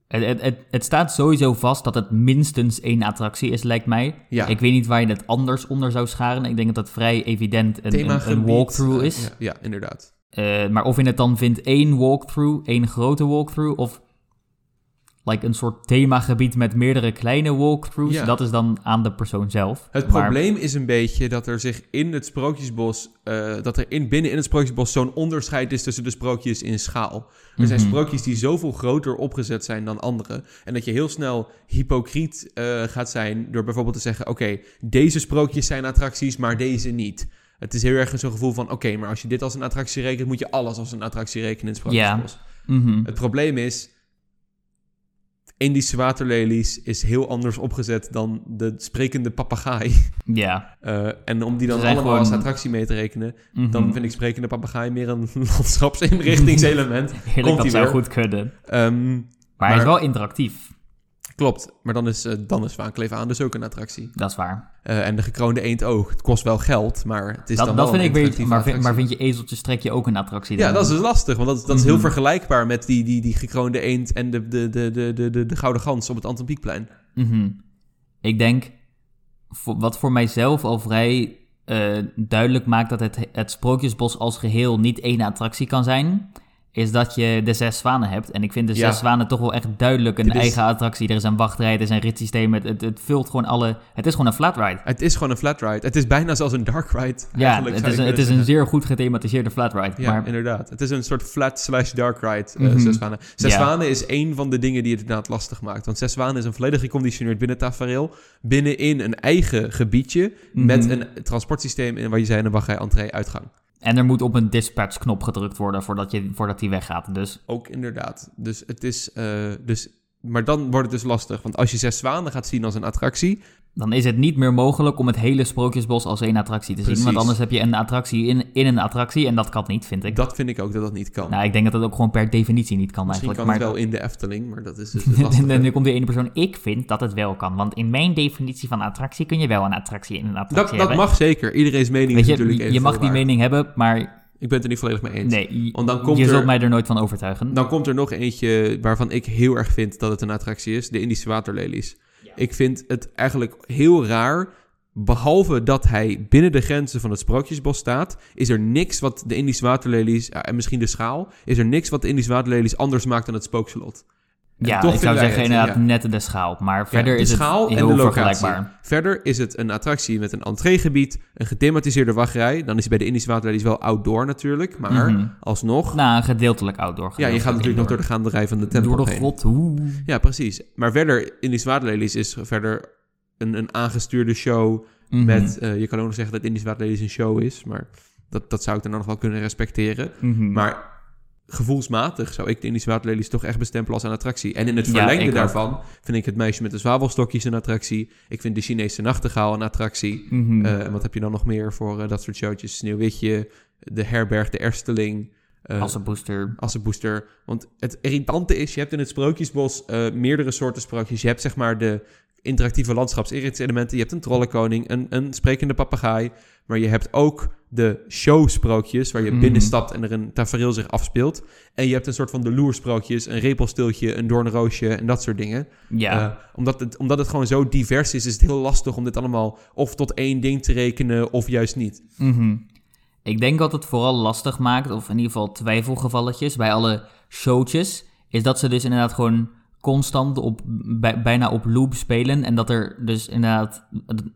Speaker 2: het, het, het, het staat sowieso vast dat het minstens één attractie is, lijkt mij.
Speaker 1: Ja.
Speaker 2: Ik weet niet waar je het anders onder zou scharen. Ik denk dat dat vrij evident een, een, een
Speaker 1: Themagebied,
Speaker 2: walkthrough
Speaker 1: eh,
Speaker 2: is.
Speaker 1: Ja, ja, inderdaad.
Speaker 2: Eh, maar of je het dan vindt één walkthrough, één grote walkthrough... of like een soort themagebied met meerdere kleine walkthroughs...
Speaker 1: Ja.
Speaker 2: dat is dan aan de persoon zelf.
Speaker 1: Het
Speaker 2: Maar-
Speaker 1: probleem is een beetje dat er zich in het sprookjesbos, eh, dat er in, binnen in het sprookjesbos zo'n onderscheid is tussen de sprookjes in schaal. Er zijn
Speaker 2: Mhm.
Speaker 1: sprookjes die zoveel groter opgezet zijn dan andere. En dat je heel snel hypocriet eh, gaat zijn door bijvoorbeeld te zeggen: oké, deze sprookjes zijn attracties, maar deze niet. Het is heel erg zo'n gevoel van: oké, maar als je dit als een attractie rekent, moet je alles als een attractie rekenen in het sprookjesbos.
Speaker 2: Mhm.
Speaker 1: Het probleem is. Indische waterlelies is heel anders opgezet dan de sprekende papegaai. *laughs*
Speaker 2: Ja.
Speaker 1: Eh, en om die dan
Speaker 2: Ze zijn
Speaker 1: allemaal als
Speaker 2: gewoon-
Speaker 1: attractie mee te rekenen,
Speaker 2: Mhm.
Speaker 1: dan vind ik sprekende papegaai meer een *laughs*
Speaker 2: *laughs*
Speaker 1: landschapsinrichtingselement.
Speaker 2: Heerlijk,
Speaker 1: Komt-ie
Speaker 2: dat zou
Speaker 1: weer.
Speaker 2: goed kunnen. Maar,
Speaker 1: Ehm,
Speaker 2: hij is
Speaker 1: Maar-
Speaker 2: wel interactief.
Speaker 1: klopt, maar dan is, eh, dan is Waankleef aan dus ook een attractie.
Speaker 2: Dat is waar.
Speaker 1: Eh, en de gekroonde eend ook. Het kost wel geld, maar het is
Speaker 2: Dat,
Speaker 1: dan
Speaker 2: dat
Speaker 1: wel
Speaker 2: vind
Speaker 1: een
Speaker 2: ik weer...
Speaker 1: interactieve
Speaker 2: Maar, vind- maar
Speaker 1: attractie.
Speaker 2: vind je ezeltjes trek je ook een attractie
Speaker 1: Ja,
Speaker 2: dan?
Speaker 1: dat is dus lastig, want dat, dat is heel
Speaker 2: Mhm.
Speaker 1: vergelijkbaar met die, die, die gekroonde eend en de, de, de, de, de, de, de gouden gans op het Anton Pieckplein.
Speaker 2: Mhm. Ik denk, voor- wat voor mijzelf al vrij eh, duidelijk maakt dat het, het Sprookjesbos als geheel niet één attractie kan zijn, is dat je de zes zwanen hebt. En ik vind de
Speaker 1: Ja.
Speaker 2: zes zwanen toch wel echt duidelijk een
Speaker 1: Dit is-
Speaker 2: eigen attractie. Er is een wachtrij, er is een ritssysteem, het, het, het vult gewoon alle... Het is gewoon een flat ride.
Speaker 1: Het is gewoon een flat ride. Het is bijna zelfs een dark ride.
Speaker 2: Ja,
Speaker 1: eigenlijk, zou je
Speaker 2: het is, een, het
Speaker 1: kunnen
Speaker 2: is
Speaker 1: zeggen.
Speaker 2: een zeer goed gethematiseerde flat ride.
Speaker 1: Ja,
Speaker 2: maar
Speaker 1: inderdaad. Het is een soort flat slash dark ride, eh,
Speaker 2: Mhm.
Speaker 1: Zes Zwanen. Zes
Speaker 2: Ja.
Speaker 1: Zwanen is één van de dingen die het inderdaad lastig maakt. Want Zes Zwanen is een volledig geconditioneerd binnen tafereel, binnenin een eigen gebiedje,
Speaker 2: Mhm.
Speaker 1: met een transportsysteem in waar je zei, een wachtrij, entree, uitgang.
Speaker 2: En er moet op een dispatch-knop gedrukt worden voordat, je, voordat die weggaat. Dus
Speaker 1: Ook inderdaad. Dus het is, eh, dus, maar dan wordt het dus lastig. Want als je Zes Zwanen gaat zien als een attractie,
Speaker 2: dan is het niet meer mogelijk om het hele Sprookjesbos als één attractie te
Speaker 1: Precies.
Speaker 2: zien. Want anders heb je een attractie in, in een attractie en dat kan niet, vind ik.
Speaker 1: dat vind ik ook dat dat niet kan.
Speaker 2: Nou, ik denk dat dat ook gewoon per definitie niet kan
Speaker 1: Misschien kan
Speaker 2: eigenlijk.
Speaker 1: het wel in de Efteling, maar dat is
Speaker 2: *laughs*
Speaker 1: dus het lastige.
Speaker 2: en dan komt die ene persoon, ik vind dat het wel kan. Want in mijn definitie van attractie kun je wel een attractie in een
Speaker 1: Dat,
Speaker 2: attractie
Speaker 1: dat
Speaker 2: hebben.
Speaker 1: mag zeker. Iedereen's mening
Speaker 2: Weet
Speaker 1: is
Speaker 2: je,
Speaker 1: natuurlijk
Speaker 2: je,
Speaker 1: evenveel
Speaker 2: mag die
Speaker 1: waard.
Speaker 2: mening hebben, maar
Speaker 1: Ik ben het er niet volledig mee eens.
Speaker 2: nee, je,
Speaker 1: Want dan komt
Speaker 2: je
Speaker 1: er- Nou,
Speaker 2: zult mij er nooit van overtuigen.
Speaker 1: Dan komt er nog eentje waarvan ik heel erg vind dat het een attractie is: de Indische waterlelies. Ik vind het eigenlijk heel raar Behalve dat hij binnen de grenzen van het Sprookjesbos staat, is er niks wat de Indische waterlelies, eh, en misschien de schaal, is er niks wat de Indische waterlelies anders maakt dan het spookslot. En
Speaker 2: Ja,
Speaker 1: toch
Speaker 2: ik
Speaker 1: vinden
Speaker 2: zou
Speaker 1: wij
Speaker 2: zeggen
Speaker 1: het,
Speaker 2: inderdaad
Speaker 1: ja.
Speaker 2: net de schaal. Maar verder
Speaker 1: de
Speaker 2: is het
Speaker 1: schaal en
Speaker 2: heel
Speaker 1: de locatie.
Speaker 2: vergelijkbaar.
Speaker 1: Verder is het een attractie met een entreegebied, een gethematiseerde wachtrij. Dan is hij bij de Indische waterlelies wel outdoor natuurlijk, maar
Speaker 2: Mhm.
Speaker 1: alsnog.
Speaker 2: Nou, gedeeltelijk outdoor.
Speaker 1: ja, je gaat natuurlijk nog door de gaanderij van de tempel
Speaker 2: Door de
Speaker 1: heen.
Speaker 2: grot, hoe?
Speaker 1: Ja, precies. Maar verder, Indische Waterlelies is verder een, een aangestuurde show.
Speaker 2: Mhm.
Speaker 1: Met, eh, je kan ook nog zeggen dat Indische Waterlelies een show is, maar dat, dat zou ik dan nog wel kunnen respecteren.
Speaker 2: Mhm.
Speaker 1: Maar gevoelsmatig zou ik de Indische Waterlelies toch echt bestempelen als een attractie. En in het
Speaker 2: Ja,
Speaker 1: verlengde
Speaker 2: ik ook.
Speaker 1: daarvan vind ik het meisje met de zwavelstokjes een attractie. Ik vind de Chinese nachtegaal een attractie.
Speaker 2: Mhm.
Speaker 1: Eh, en wat heb je dan nog meer voor eh, dat soort showtjes? Sneeuwwitje, de herberg, de Ersteling. eh,
Speaker 2: Als een booster.
Speaker 1: als een booster. Want het irritante is, je hebt in het Sprookjesbos eh, meerdere soorten sprookjes. Je hebt zeg maar de interactieve landschapsirritselementen. Je hebt een trollenkoning, een, een sprekende papegaai. Maar je hebt ook de showsprookjes, waar je
Speaker 2: Mhm.
Speaker 1: binnenstapt en er een tafereel zich afspeelt. En je hebt een soort van de loersprookjes, een repelstiltje, een doornroosje en dat soort dingen.
Speaker 2: Ja.
Speaker 1: Eh, omdat, het, omdat het gewoon zo divers is, is het heel lastig om dit allemaal of tot één ding te rekenen of juist niet.
Speaker 2: Mhm. Ik denk wat het vooral lastig maakt, of in ieder geval twijfelgevalletjes bij alle showtjes, is dat ze dus inderdaad gewoon constant op, bij- bijna op loop spelen en dat er dus inderdaad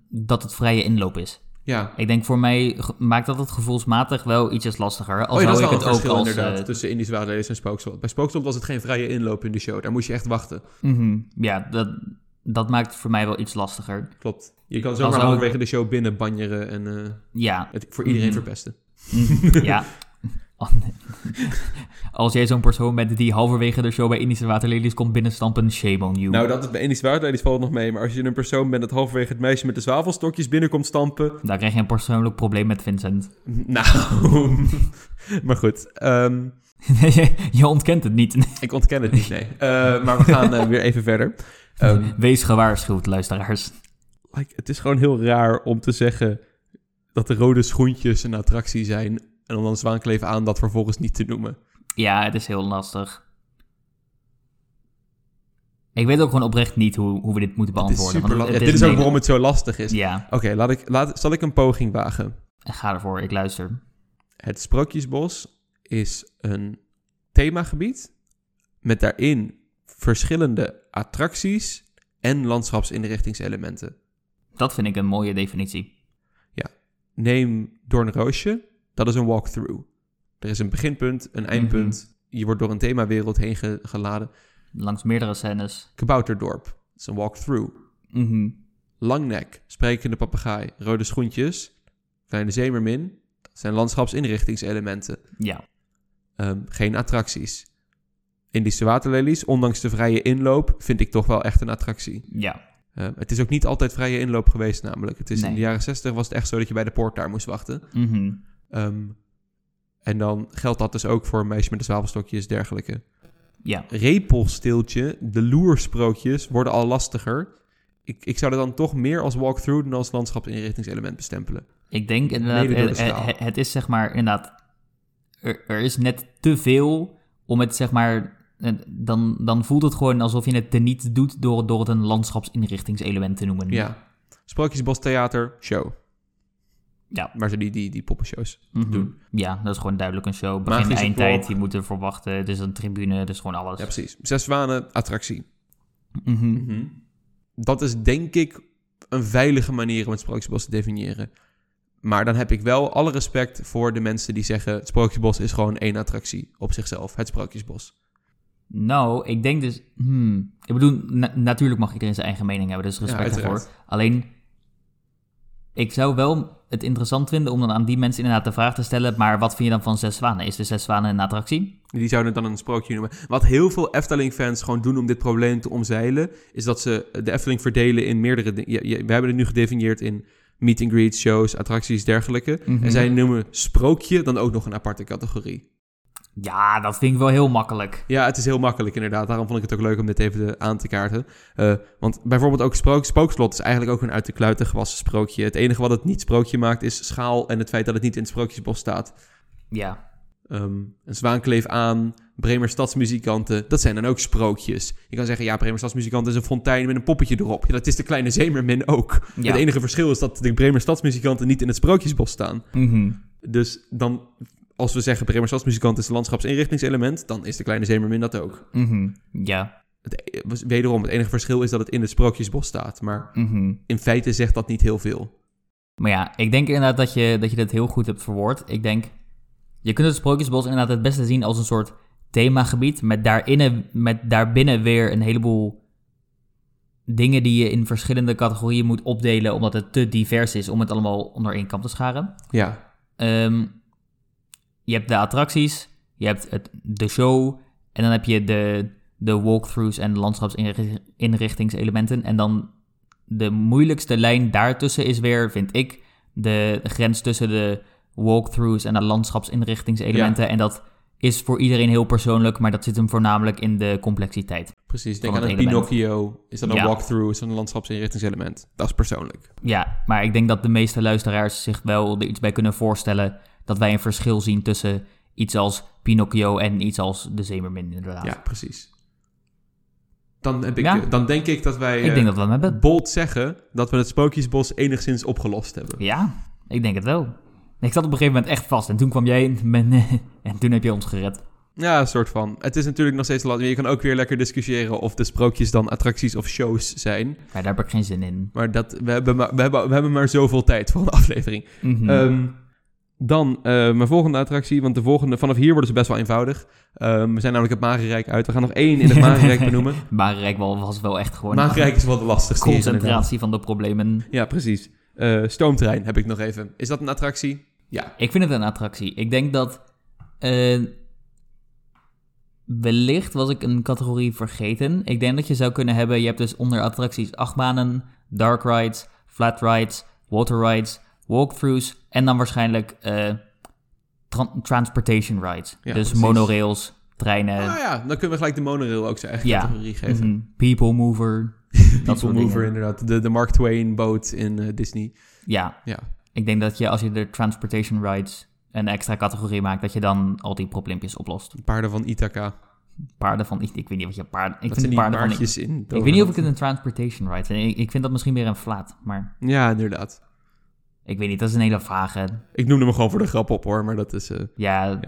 Speaker 2: dat het vrije inloop is.
Speaker 1: Ja.
Speaker 2: Ik denk voor mij ge- maakt dat het gevoelsmatig wel ietsjes lastiger. Al
Speaker 1: Oh ja, dat is
Speaker 2: zou ik
Speaker 1: wel een
Speaker 2: het ook
Speaker 1: verschil
Speaker 2: als...
Speaker 1: inderdaad
Speaker 2: eh,
Speaker 1: tussen Indisch Waterlelies en Spookslot. Bij Spookslot was het geen vrije inloop in de show. Daar moest je echt wachten.
Speaker 2: mhm. ja, dat, dat maakt het voor mij wel iets lastiger.
Speaker 1: Klopt. Je kan
Speaker 2: zou
Speaker 1: zomaar
Speaker 2: ik-
Speaker 1: halverwege de show binnen banjeren en eh, *laughs*
Speaker 2: Ja,
Speaker 1: het voor iedereen
Speaker 2: Mhm.
Speaker 1: verpesten.
Speaker 2: Mm, ja. *laughs* Oh, nee. Als jij zo'n persoon bent die halverwege de show bij Indische Waterlelies komt binnenstampen, shame on you.
Speaker 1: Nou, dat is bij Indisch Waterlelies valt nog mee. Maar als je een persoon bent dat halverwege het meisje met de zwavelstokjes binnenkomt stampen... *laughs*
Speaker 2: Daar krijg je een persoonlijk probleem met Vincent. *laughs*
Speaker 1: Nou, *laughs* maar goed. ehm,
Speaker 2: je ontkent het niet.
Speaker 1: ik ontken het niet, *laughs* nee. Eh, maar we gaan eh, weer even verder. Ehm,
Speaker 2: *laughs* Wees gewaarschuwd, luisteraars.
Speaker 1: like, het is gewoon heel raar om te zeggen dat de rode schoentjes een attractie zijn... en om dan zwaankleven aan dat vervolgens niet te noemen.
Speaker 2: Ja, het is heel lastig. Ik weet ook gewoon oprecht niet hoe, hoe we dit moeten
Speaker 1: Het is
Speaker 2: beantwoorden.
Speaker 1: super
Speaker 2: want
Speaker 1: lastig.
Speaker 2: het-
Speaker 1: dit
Speaker 2: het
Speaker 1: is ook
Speaker 2: een-
Speaker 1: waarom het zo lastig is.
Speaker 2: Ja,
Speaker 1: Oké, laat ik, laat, zal ik een poging wagen?
Speaker 2: ga ervoor, ik luister.
Speaker 1: Het Sprookjesbos is een themagebied met daarin verschillende attracties en landschapsinrichtingselementen.
Speaker 2: Dat vind ik een mooie definitie.
Speaker 1: Neem Doornroosje, dat is een walkthrough. Er is een beginpunt, een eindpunt.
Speaker 2: Mhm.
Speaker 1: Je wordt door een themawereld heen ge- geladen.
Speaker 2: Langs meerdere scènes.
Speaker 1: Kabouterdorp, dat is een walkthrough.
Speaker 2: Mhm.
Speaker 1: Langnek, sprekende papegaai, rode schoentjes, kleine zeemermin. Dat zijn landschapsinrichtingselementen.
Speaker 2: Ja.
Speaker 1: Ehm, geen attracties. Indische waterlelies, ondanks de vrije inloop, vind ik toch wel echt een attractie.
Speaker 2: ja,
Speaker 1: Ehm, het is ook niet altijd vrije inloop geweest, namelijk. Het is
Speaker 2: Nee.
Speaker 1: in de jaren 60 was het echt zo dat je bij de poort daar moest wachten.
Speaker 2: Mhm.
Speaker 1: Ehm, en dan geldt dat dus ook voor een meisje met de zwavelstokjes, dergelijke.
Speaker 2: ja.
Speaker 1: Repelstiltje, de loersprookjes worden al lastiger. Ik, ik zou dat dan toch meer als walkthrough dan als landschapsinrichtingselement bestempelen.
Speaker 2: Ik denk inderdaad,
Speaker 1: Mede door de
Speaker 2: het, eh,
Speaker 1: schaal.
Speaker 2: het- het is zeg maar inderdaad, er, er is net te veel om het zeg maar, eh, dan, dan voelt het gewoon alsof je het teniet doet door, door het een landschapsinrichtingselement te noemen.
Speaker 1: Ja. Sprookjesbos Theater, show.
Speaker 2: Ja.
Speaker 1: Maar ze die, die, die poppenshows.
Speaker 2: Mhm.
Speaker 1: Doen.
Speaker 2: Ja, dat is gewoon duidelijk een show. Begin,
Speaker 1: Magische
Speaker 2: eindtijd,
Speaker 1: klok.
Speaker 2: je moet ervoor wachten. Het is een tribune, het is gewoon alles.
Speaker 1: Ja, precies. Zes zwanen, attractie.
Speaker 2: Mhm.
Speaker 1: Dat is denk ik een veilige manier om het Sprookjesbos te definiëren. Maar dan heb ik wel alle respect voor de mensen die zeggen... het Sprookjesbos is gewoon één attractie op zichzelf. Het Sprookjesbos.
Speaker 2: Nou, ik denk dus. hmm, ik bedoel, na- natuurlijk mag iedereen zijn eigen mening hebben, dus respect
Speaker 1: uiteraard.
Speaker 2: daarvoor. Alleen, ik zou wel het interessant vinden om dan aan die mensen inderdaad de vraag te stellen: maar wat vind je dan van Zes Zwanen? Is de Zes Zwanen een attractie?
Speaker 1: Die zouden het dan een sprookje noemen. Wat heel veel Efteling-fans gewoon doen om dit probleem te omzeilen... is dat ze de Efteling verdelen in meerdere dingen. Je- je- We hebben het nu gedefinieerd in meet-and-greet, shows, attracties, dergelijke.
Speaker 2: Mhm.
Speaker 1: En zij noemen sprookje dan ook nog een aparte categorie.
Speaker 2: Ja, dat vind ik wel heel makkelijk.
Speaker 1: Ja, het is heel makkelijk inderdaad. Daarom vond ik het ook leuk om dit even eh, aan te kaarten. Eh, want bijvoorbeeld ook sprook, Spookslot is eigenlijk ook een uit de kluiten gewassen sprookje. Het enige wat het niet sprookje maakt is schaal en het feit dat het niet in het sprookjesbos staat.
Speaker 2: Ja.
Speaker 1: Ehm, een Zwaankleef aan, Bremer Stadsmuzikanten. Dat zijn dan ook sprookjes. Je kan zeggen, ja, Bremer Stadsmuzikanten is een fontein met een poppetje erop. Ja, dat is de Kleine Zeemermin ook.
Speaker 2: Ja.
Speaker 1: Het enige verschil is dat de Bremer Stadsmuzikanten niet in het Sprookjesbos staan.
Speaker 2: Mhm.
Speaker 1: Dus dan, als we zeggen Bremer Stadsmuzikant is een landschapsinrichtingselement, dan is de Kleine Zeemermin dat ook.
Speaker 2: Mhm. Ja.
Speaker 1: Het, e- was- wederom, het enige verschil is dat het in het Sprookjesbos staat. Maar
Speaker 2: Mhm.
Speaker 1: in feite zegt dat niet heel veel.
Speaker 2: Maar ja, ik denk inderdaad dat je, dat je dat heel goed hebt verwoord. Ik denk, je kunt het Sprookjesbos inderdaad het beste zien als een soort themagebied. Met, daarin, met daarbinnen weer een heleboel dingen die je in verschillende categorieën moet opdelen. Omdat het te divers is om het allemaal onder één kam te scharen.
Speaker 1: Ja,
Speaker 2: Ehm, je hebt de attracties, je hebt het, de show. En dan heb je de, de walkthroughs en de landschapsinrichtingselementen. En dan de moeilijkste lijn daartussen is weer, vind ik, de grens tussen de walkthroughs en de landschapsinrichtingselementen. En dat is voor iedereen heel persoonlijk, maar dat zit hem voornamelijk in de complexiteit.
Speaker 1: precies. Denk
Speaker 2: Van
Speaker 1: aan
Speaker 2: het
Speaker 1: een
Speaker 2: element.
Speaker 1: Pinocchio. Is dat een
Speaker 2: Ja.
Speaker 1: walkthrough? Is dat een landschapsinrichtingselement? Dat is persoonlijk.
Speaker 2: Ja, maar ik denk dat de meeste luisteraars zich wel er iets bij kunnen voorstellen dat wij een verschil zien tussen iets als Pinocchio en iets als de Zemermin inderdaad.
Speaker 1: Ja, precies. Dan, heb ik,
Speaker 2: Ja.
Speaker 1: eh, dan denk ik dat wij
Speaker 2: Ik
Speaker 1: eh,
Speaker 2: denk dat we hem hebben.
Speaker 1: bold zeggen dat we het Sprookjesbos enigszins opgelost hebben.
Speaker 2: Ja, ik denk het wel. Ik zat op een gegeven moment echt vast en toen kwam jij en, ben- *laughs* en toen heb je ons gered.
Speaker 1: Ja, een soort van. Het is natuurlijk nog steeds lastig. Je kan ook weer lekker discussiëren of de sprookjes dan attracties of shows zijn.
Speaker 2: Maar daar heb ik geen zin in.
Speaker 1: Maar dat, we, hebben maar, we, hebben, we hebben maar zoveel tijd voor een *laughs* aflevering.
Speaker 2: Mhm.
Speaker 1: Ehm, dan eh, mijn volgende attractie, want de volgende, vanaf hier worden ze best wel eenvoudig. Ehm, we zijn namelijk het Magenrijk uit. We gaan nog één
Speaker 2: *laughs*
Speaker 1: in het Magenrijk benoemen.
Speaker 2: Marenrijk wel- was wel echt gewoon
Speaker 1: Magenrijk is wel de lastigste. hier, inderdaad.
Speaker 2: concentratie van de problemen.
Speaker 1: Ja, precies. Eh, stoomtrein heb ik nog even. Is dat een attractie? Ja.
Speaker 2: Ik vind het een attractie. Ik denk dat... eh, wellicht was ik een categorie vergeten. Ik denk dat je zou kunnen hebben... Je hebt dus onder attracties achtbanen, dark rides, flat rides, water rides, walkthroughs... en dan waarschijnlijk eh, tran- transportation rides.
Speaker 1: Ja,
Speaker 2: dus
Speaker 1: precies.
Speaker 2: monorails, treinen...
Speaker 1: Nou ja, dan kunnen we gelijk de monorail ook zijn eigen
Speaker 2: Ja.
Speaker 1: categorie geven.
Speaker 2: mhm, people
Speaker 1: *laughs*
Speaker 2: mover. dat soort
Speaker 1: People
Speaker 2: dingen.
Speaker 1: Mover inderdaad. De, de Mark Twain boot in eh, Disney.
Speaker 2: Ja,
Speaker 1: Ja.
Speaker 2: ik denk dat je als je de transportation rides... een extra categorie maakt... dat je dan al die probleempjes oplost.
Speaker 1: Paarden van Ithaca.
Speaker 2: paarden van ik, ik weet niet wat je paarden. Ik
Speaker 1: Dat zijn
Speaker 2: vind
Speaker 1: die
Speaker 2: paarden van ik.
Speaker 1: paardjes in.
Speaker 2: Ik weet niet of ik het een transportation ride vind. Ik, ik vind dat misschien meer een flat, maar
Speaker 1: Ja, inderdaad.
Speaker 2: ik weet niet. Dat is een hele vage.
Speaker 1: Ik noemde hem gewoon voor de grap op hoor, maar dat is... eh,
Speaker 2: Ja.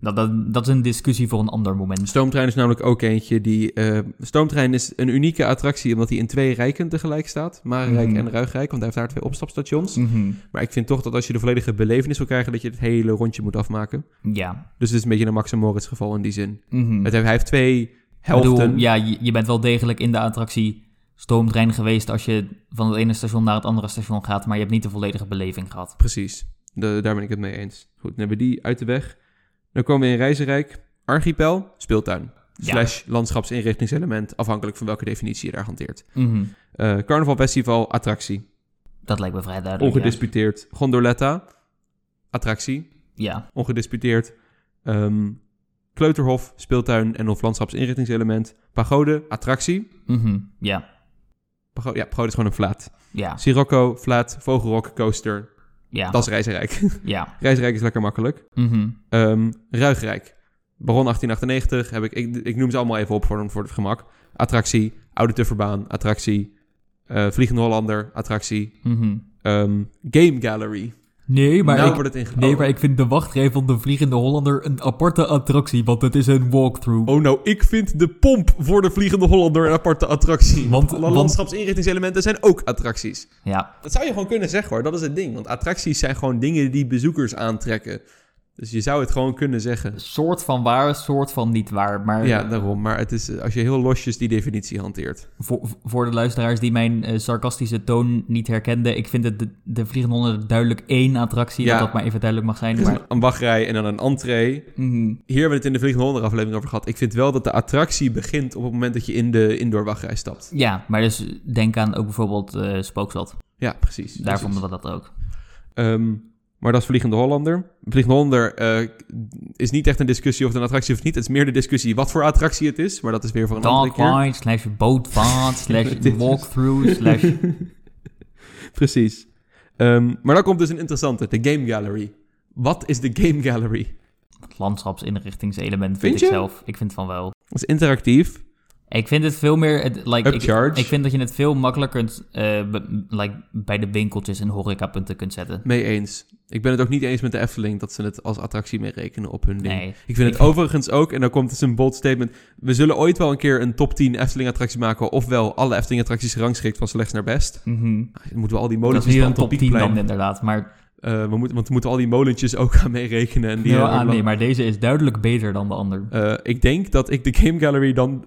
Speaker 2: Dat, dat, dat is een discussie voor een ander moment.
Speaker 1: Stoomtrein is namelijk ook eentje die... eh, Stoomtrein is een unieke attractie omdat hij in twee rijken tegelijk staat. Marenrijk
Speaker 2: Mhm.
Speaker 1: en Ruigrijk, want hij heeft daar twee opstapstations.
Speaker 2: Mhm.
Speaker 1: Maar ik vind toch dat als je de volledige belevenis wil krijgen, dat je het hele rondje moet afmaken.
Speaker 2: Ja.
Speaker 1: Dus het is een beetje een Max en Moritz geval in die zin.
Speaker 2: Mhm.
Speaker 1: Het, hij heeft twee
Speaker 2: Ik
Speaker 1: helften.
Speaker 2: bedoel, ja, je, je bent wel degelijk in de attractie stoomtrein geweest als je van het ene station naar het andere station gaat, maar je hebt niet de volledige beleving gehad.
Speaker 1: Precies, De- daar ben ik het mee eens. Goed, dan hebben we die uit de weg. Dan komen we in Reizenrijk. Archipel, speeltuin.
Speaker 2: Ja.
Speaker 1: Slash landschapsinrichtingselement, afhankelijk van welke definitie je daar hanteert.
Speaker 2: Mhm.
Speaker 1: Eh, Carnaval Festival, attractie.
Speaker 2: Dat lijkt me vrij duidelijk. ja.
Speaker 1: Ongedisputeerd. Gondoletta, attractie.
Speaker 2: Ja.
Speaker 1: Ongedisputeerd. Ehm, Kleuterhof, speeltuin en of landschapsinrichtingselement. Pagode, attractie.
Speaker 2: Mhm. ja.
Speaker 1: Pagode, ja, pagode is gewoon een flat.
Speaker 2: Ja.
Speaker 1: Sirocco, flat, vogelrok, coaster.
Speaker 2: Ja.
Speaker 1: Dat is *laughs* Reizenrijk.
Speaker 2: Ja.
Speaker 1: Reizenrijk is lekker makkelijk.
Speaker 2: Mhm.
Speaker 1: Ehm, Ruigrijk. Baron 1898 heb ik, ik, ik noem ze allemaal even op voor, voor het gemak. Attractie, Oude Tufferbaan, attractie, eh, Vliegende Hollander, attractie,
Speaker 2: Mhm.
Speaker 1: ehm, Game Gallery.
Speaker 2: Nee, maar
Speaker 1: nou
Speaker 2: ik,
Speaker 1: wordt het ingekomen.
Speaker 2: Nee, maar ik vind de wachtrij van de Vliegende Hollander een aparte attractie, want het is een walkthrough.
Speaker 1: Oh nou, ik vind de pomp voor de Vliegende Hollander een aparte attractie.
Speaker 2: *laughs* Want-
Speaker 1: Want, Alle
Speaker 2: want-
Speaker 1: landschapsinrichtingselementen zijn ook attracties.
Speaker 2: Ja,
Speaker 1: Dat zou je gewoon kunnen zeggen hoor, dat is het ding. Want attracties zijn gewoon dingen die bezoekers aantrekken. Dus je zou het gewoon kunnen zeggen.
Speaker 2: soort van waar, soort van niet waar. Maar
Speaker 1: Ja, daarom. Maar het is eh, als je heel losjes die definitie hanteert.
Speaker 2: voor, voor de luisteraars die mijn eh, sarcastische toon niet herkenden, ik vind het de, de Vliegende Hollander duidelijk één attractie,
Speaker 1: Ja.
Speaker 2: dat dat maar even duidelijk mag
Speaker 1: Er
Speaker 2: zijn.
Speaker 1: is
Speaker 2: Maar,
Speaker 1: een, een wachtrij en dan een entree.
Speaker 2: Mhm.
Speaker 1: Hier hebben we het in de Vliegende Hollander aflevering over gehad. Ik vind wel dat de attractie begint op het moment dat je in de indoor wachtrij stapt.
Speaker 2: ja, maar dus denk aan ook bijvoorbeeld eh Spookslot.
Speaker 1: Ja, precies.
Speaker 2: Daar
Speaker 1: precies.
Speaker 2: vonden we dat ook.
Speaker 1: Ehm, maar dat is Vliegende Hollander. Vliegende Hollander eh, is niet echt een discussie of het een attractie is of niet. Het is meer de discussie wat voor attractie het is. Maar dat is weer voor een andere
Speaker 2: Dark
Speaker 1: keer.
Speaker 2: ride, slash
Speaker 1: *laughs*
Speaker 2: bootvaart,
Speaker 1: Dit is-
Speaker 2: slash walkthrough, slash...
Speaker 1: *laughs* Precies. Ehm, maar dan komt dus een interessante, de Game Gallery. Wat is de game gallery?
Speaker 2: Het
Speaker 1: Vind
Speaker 2: landschapsinrichtingselement vind,
Speaker 1: je?
Speaker 2: ik zelf. Ik vind van wel.
Speaker 1: Dat is interactief.
Speaker 2: Ik vind het veel meer... Het, like, ik,
Speaker 1: Upcharge.
Speaker 2: ik vind dat je het veel makkelijker eh, be- like, bij de winkeltjes en horecapunten kunt zetten.
Speaker 1: Mee eens. Ik ben het ook niet eens met de Efteling dat ze het als attractie mee rekenen op hun ding.
Speaker 2: Nee.
Speaker 1: Ik vind het
Speaker 2: Ik-
Speaker 1: overigens ook, en dan komt dus een bold statement. We zullen ooit wel een keer een top 10 Efteling-attractie maken. Ofwel alle Efteling-attracties gerangschikt van slechts naar best.
Speaker 2: Mhm.
Speaker 1: Dan moeten we al die
Speaker 2: Dat is
Speaker 1: molentjes
Speaker 2: nu
Speaker 1: van
Speaker 2: een top 10 dan
Speaker 1: Topiekplein...
Speaker 2: inderdaad. Maar,
Speaker 1: eh we moeten, want we moeten al die molentjes *laughs* ook aan meerekenen. En die
Speaker 2: Ja,
Speaker 1: eh,
Speaker 2: ah, nee, maar deze is duidelijk beter dan de ander.
Speaker 1: Eh, ik denk dat ik de Game Gallery dan,